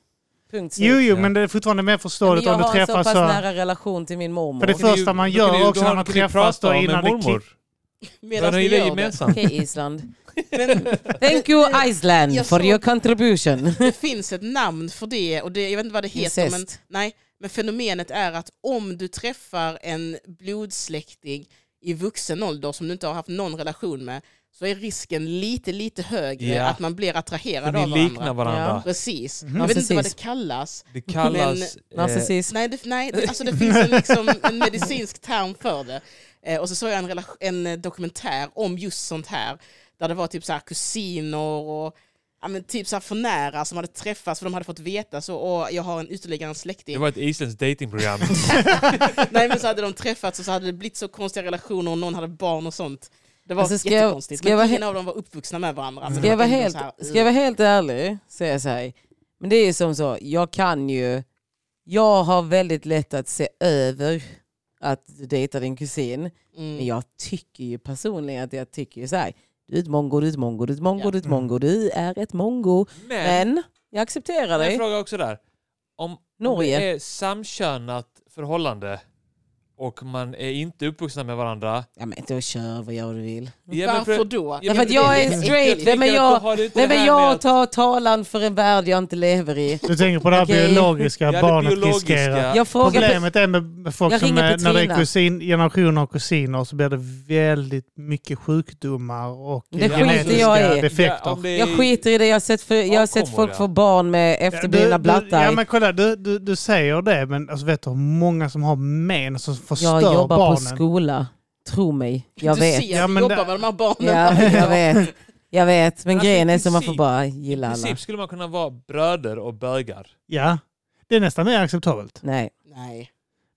A: Punkt slut.
C: Jo, jo,
B: Ja.
C: men det är fortfarande mer
A: Men
C: förståeligt
A: jag
C: om du
A: har en så
C: träffas
A: pass
C: så här.
A: nära relation till min mormor.
C: För det
B: Då kan ni ju-
C: första man
B: då kan
C: gör
B: ni ju- då
C: också när
B: har-
C: man
B: kan ni
C: träffas
B: prata
C: då
B: om
C: innan
B: en
C: det
B: mormor.
D: Medan
B: Vad
D: ni
B: är det
D: gör det.
B: gemensamt?
A: Okej Island.
D: Men
A: Thank you Iceland
D: Jag
A: for
D: såg-
A: your
C: Eh,
A: contribution.
D: det finns ett namn för det och det, jag vet inte vad det heter. Men,
A: Incest.
D: nej, men fenomenet är att om du träffar en blodsläkting i vuxen ålder som du inte har haft någon relation med så är risken lite, lite högre
B: Ja.
D: att man blir attraherad
B: För
D: av
B: ni
D: varandra.
B: liknar varandra.
D: Precis.
C: Mhm.
D: Jag vet inte vad det
A: Narcissism.
D: kallas.
B: Det kallas... eh,
A: Narcissism.
D: Nej, det, nej det, alltså det finns en, liksom, en medicinsk term för det. Eh, och så såg jag en, relation, en eh, dokumentär om just sånt här. Där det var typ så här kusiner och ja, men typ så här förnära som hade träffats för de hade fått veta så. Och jag har en ytterligare en
B: det
D: släkting.
B: var ett isländskt datingprogram.
D: Nej men så hade de träffats och så hade det blivit så konstiga relationer och någon hade barn och sånt. Det var
A: Alltså, ska jag-
D: jättekonstigt.
A: ska jag
D: men
A: vara
D: ingen av dem var uppvuxna med varandra. så
A: Ska
D: det
A: jag,
D: var
A: vara
D: ändå
A: helt,
D: så här,
A: ska jag vara helt ärlig så är jag så här. Men det är ju som så, jag kan ju... Jag har väldigt lätt att se över att du dejtar din kusin.
D: Mm.
A: Men jag tycker ju personligen att jag tycker ju så här. Du är ett mongo, du är ett mongo, du är ett mongo,
D: Ja.
A: du är ett mongo. Du är ett mongo.
B: Men,
A: Men jag accepterar
B: jag
A: dig.
B: frågar också där. Om
A: Norge.
B: om det är samkönat förhållande och man är inte uppvuxna med varandra.
A: Ja men då kör vi, gör vad du vill.
B: Ja, men
D: Varför
B: för-
D: då?
A: Ja, för att jag är
D: det
A: straight.
D: äckligt.
A: Nej, men
B: tänker
A: jag-
B: att då har du inte
A: Nej
B: det
A: men
B: här med
A: jag
B: att-
A: tar talan för en värld jag inte lever i.
C: Du tänker på det här
A: Okej.
C: biologiska,
B: Ja, det
C: barnet
B: biologiska.
C: riskerar.
A: Jag frågar...
C: Problemet är med- med folk
A: Jag
C: som
A: ringer
C: är, när det är
A: Petrina.
C: kusin, generationer och kusiner så blir det väldigt mycket sjukdomar och
A: Det
B: skiter
C: genetiska
A: jag i.
C: defekter.
B: Ja, om det är-
A: Jag skiter i det, jag har sett, för, jag har sett
B: kommer
A: folk
B: det?
A: få barn med efterblivna blattar.
C: Ja, men kolla, du, du, du säger det, men alltså, vet du hur många som har men som förstör
A: Jag jobbar
C: barnen?
A: på skola. Tro mig, jag
D: du
A: vet.
D: ser,
C: Ja,
D: du
C: men
D: jobbar
C: det-
D: med de här barnen.
A: Ja, jag vet. Jag vet, men
B: Alltså,
A: grejen
B: i
A: är som man får
B: princip-
A: bara
B: I
A: gilla alla.
B: princip skulle man kunna vara bröder och bögar.
C: Ja, det är nästan mer acceptabelt.
A: Nej,
D: Nej.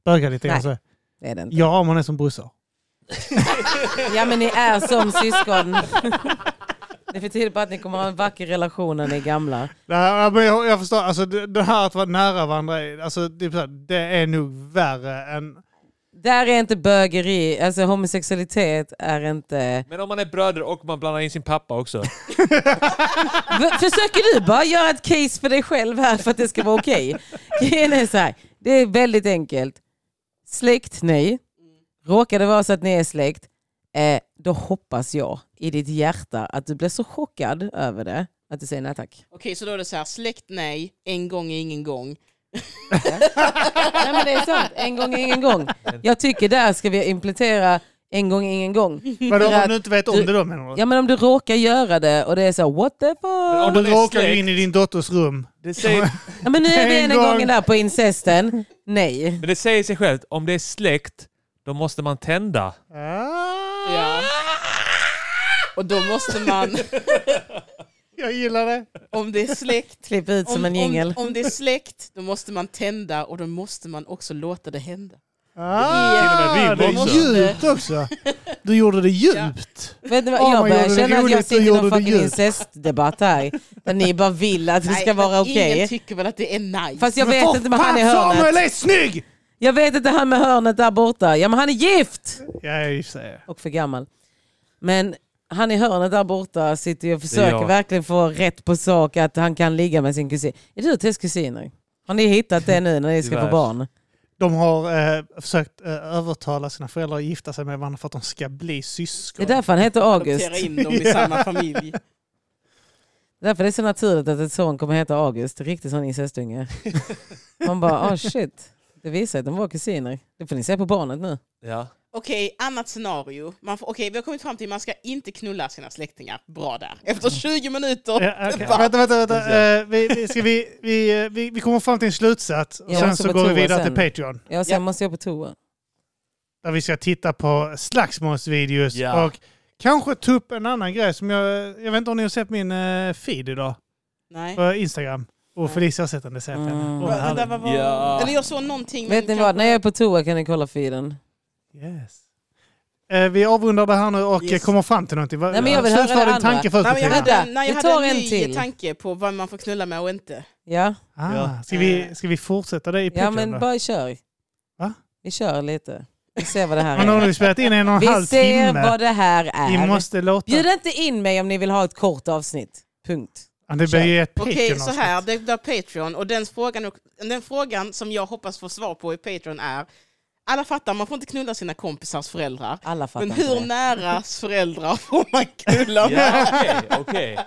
C: Bögar lite grann
A: Nej.
C: så.
A: det är det inte.
C: Ja, om man är som brorsor.
A: Ja men ni är som syskon. Det betyder bara att ni kommer ha en vacker relation när ni är gamla.
C: Nej, men jag, jag förstår, alltså det, det här att vara nära varandra, alltså, det, är så här, det är nog värre än...
A: Där är inte bögeri, alltså homosexualitet är inte...
B: Men om man är bröder och man blandar in sin pappa också.
A: V- Försöker du bara göra ett case för dig själv här för att det ska vara okej? Grejen är så här, det är väldigt enkelt. Släkt, nej. Råkar det vara så att ni är släkt, eh, då hoppas jag i ditt hjärta att du blir så chockad över det att du säger nej tack.
D: Okej, så då är det så här, släkt nej, en gång är ingen gång.
A: Nej men det är sant, en gång är ingen gång. Jag tycker där ska vi implementera en gång är ingen gång.
C: Vadå,
A: För
C: om
A: att
C: du inte vet om
A: du-
C: det då menar du?
A: Ja men om du råkar göra det och det är så här, what the fuck?
C: Om
B: Om
C: du
B: de är
C: råkar gå
B: släkt-
C: in i din dotters rum.
B: Det säger,
A: Ja, men nu är vi
C: En
A: ena
C: gång.
A: gången där på incesten. Nej.
B: men det säger sig självt, om det är släkt, då måste man tända.
C: Ah,
D: Ja. Och då måste man,
C: jag gillar det.
D: om det är släkt,
A: Klipp ut som en jingel.
D: Om, om det är släkt, då måste man tända och då måste man också låta det hända.
C: Ah,
B: Till och med
C: det
B: rim
C: är
B: också.
C: djupt också. Du gjorde det djupt.
A: Vet ni vad,
C: Åh,
A: jag
C: man
A: börjar
C: gjorde det
A: känna att
C: roligt och
A: jag sitter i
C: gjorde
A: någon
C: det
A: fucking
C: djupt.
A: incestdebatt här. Där ni bara vill att det ska
D: Nej,
A: vara
D: men
A: okej.
D: Ingen tycker väl att det är nice.
A: Fast jag vet
C: Åh,
A: inte med han i
C: fan, Samuel
A: hörnet.
C: är snygg!
A: Jag vet inte han med hörnet där borta. Ja men han är gift!
C: Ja, i och för sig.
A: Och för gammal. Men han i hörnet där borta sitter ju och försöker
B: jag.
A: verkligen få rätt på sak att han kan ligga med sin kusin. Är du och Tess kusiner? Har ni hittat det nu när ni ska få
B: Tyvärr.
A: barn?
C: De har eh, försökt eh, övertala sina föräldrar att gifta sig med varandra för att de ska bli
A: Det är
C: syskon.
A: därför han heter August.
D: Adoptera in dem i samma familj.
A: Därför är det så naturligt att ett son kommer heta August. Riktigt sån incestunge. Man bara, ah shit. Det visar att de var kusiner. Det får ni se på barnet nu.
B: Ja.
D: Okej, annat scenario. Man får, okej, vi har kommit fram till att man ska inte knulla sina släktingar. Bra där. Efter
A: Mm.
D: 20 minuter.
C: Ja, okej. Vänta, vänta, vänta. Eh, vi, vi, ska vi, vi, eh, vi, vi kommer fram till en slutsats och
A: Jag
C: sen
A: måste
C: så
A: på
C: går vi
A: toa
C: vidare
A: sen.
C: till Patreon.
A: Ja, sen måste jag på toa.
C: Där vi ska titta på slagsmålsvideos
B: Ja.
C: och kanske ta upp en annan grej som jag... Jag vet inte om ni har sett min eh, feed idag
D: Nej.
C: på Instagram. Och Felicia har sett den, det ser jag på henne.
A: Mm.
C: Åh, vad
D: Va- vänta,
C: härligt.
D: vad var...
B: Ja.
D: Eller jag såg någonting. men
A: Vet ni
D: kanske-
A: vad, när jag är på toa kan ni kolla feeden.
C: Yes. Eh, vi avrundar det här nu och
D: Yes.
C: kommer fram till någonting. Va-
A: Nej, men jag vill
C: Slut
A: höra det
C: för din
A: andra.
C: tanke först.
D: Nej, men jag
C: Matilda.
D: hade,
A: Vänta,
D: nej, jag
A: vi tar
D: hade en
A: en
D: ny
A: till.
D: tanke på vad man får knulla med och inte.
A: Ja,
C: Ah,
B: Ja.
C: ska, vi, ska vi fortsätta det i
A: ja
C: Patreon
A: men
C: då?
A: bara kör.
C: Va?
A: Vi kör lite. Vi ser vad det
C: Men nu
A: här
C: har
A: är.
C: vi spelat in en och en halv
A: Vi ser
C: timme.
A: vad det här
C: Vi
A: är.
C: måste låta...
A: Bjud inte in mig om ni vill ha ett kort avsnitt. Punkt.
C: Ja, det blir ju ett Patreon
D: Okej, så här, det blir Patreon och den frågan, den frågan som jag hoppas få svar på i Patreon är, alla fattar, man får inte knulla sina kompisars föräldrar,
A: Alla fattar
D: men
A: inte
D: hur
A: det.
D: nära föräldrar får man knulla med?
B: Ja, okej, okej.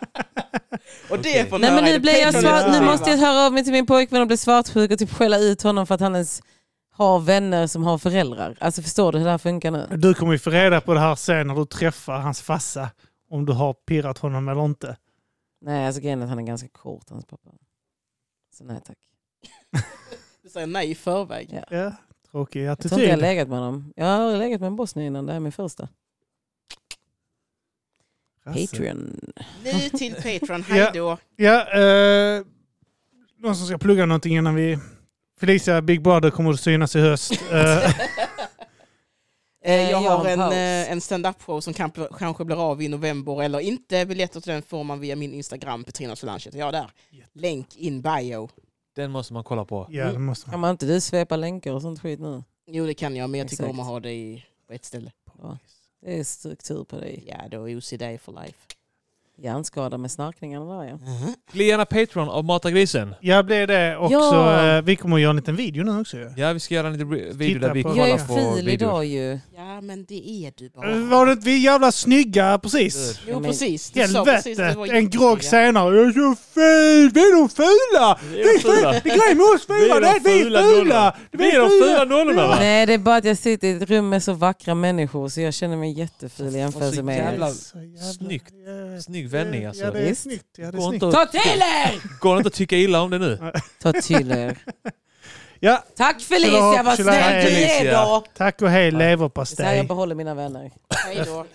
D: Och det
B: Okej.
D: får ni
A: Nej men
D: höra i
A: nu blir jag
D: Patreon
A: svart, nu
D: exklusiva.
A: måste jag höra av mig till min pojkvän och bli svartsjuk och typ skälla ut honom för att han ens har vänner som har föräldrar. Alltså förstår du hur det här funkar nu?
C: Du kommer ju få reda på det här sen när du träffar hans fassa. Om du har pirrat honom eller inte.
A: Nej alltså grejen är att han är ganska kort hans pappa. Så nej tack.
D: Du säger nej i förväg.
A: Ja.
C: Ja, tråkig
A: Jag tror inte jag har
C: attityd.
A: legat med honom. Jag har legat med en bosnier innan, det här är min första.
D: Alltså.
A: Patreon.
D: Nu till Patreon, hej då.
C: Ja, eh, någon som ska plugga någonting innan vi... Felicia Big Brother kommer att synas i höst. Eh,
A: Eh,
D: Eh, jag
A: jag
D: har
A: har en
D: en,
A: paus.
D: eh, en stand-up-show som kan, kanske blir av i november eller inte. Biljetter till den får man via min Instagram, Petrina Solange heter jag där. Länk in bio.
B: Den måste man kolla på.
C: Ja, det måste man.
A: Kan man inte du svepa länkar och sånt skit nu?
D: Jo det kan jag, men jag tycker
A: Exakt.
D: om att ha det i, på ett ställe.
A: Det är struktur på dig.
D: Ja, då är OCD for life.
A: Hjärnskada med snarkningarna där ja.
B: Bli gärna Patreon av Mata grisen.
C: Jag blev det och
A: Ja.
C: så, eh, vi kommer att göra en liten video nu också. ju.
B: Ja, vi ska göra en liten bri- video
C: Titta
B: där vi
C: på-
A: Jag
B: kollar
A: är
B: på
A: fil
B: videos.
A: idag ju.
D: Ja, men det är du bara.
C: Eh, Var det inte vi jävla snygga precis?
B: Ur.
D: Jo,
A: men-
D: precis. Du sa precis
C: Helvete!
D: att det var
C: En grogg
D: jättebra.
C: senare. Jag är så ful! Vi är de fula!
B: Vi är de fula.
C: Det är grejen med oss
B: Vi är
C: fula, det är att vi är fula!
B: Vi är de fula nollorna va?
A: Nej det är bara att jag sitter i ett rum med så vackra människor så jag känner mig jättefil i jämförelse med
B: jävla-
A: er.
C: Så jävla-
B: Snyggt.
C: Ja,
B: Snygg vändning
C: Ja,
B: alltså.
C: det är
A: Visst.
C: snyggt. Ja, det är
B: Går
C: snyggt.
B: inte,
A: Ta
B: att,
A: till er!
B: går inte att tycka illa om det nu.
A: Ta till er.
C: Ja,
A: Tack Felicia,
C: Förlåt,
A: vad snäll du
C: Felicia.
A: är då!
C: tack och hej
A: Så här jag
C: leverpastej.
A: behåller mina vänner.
D: Hej då.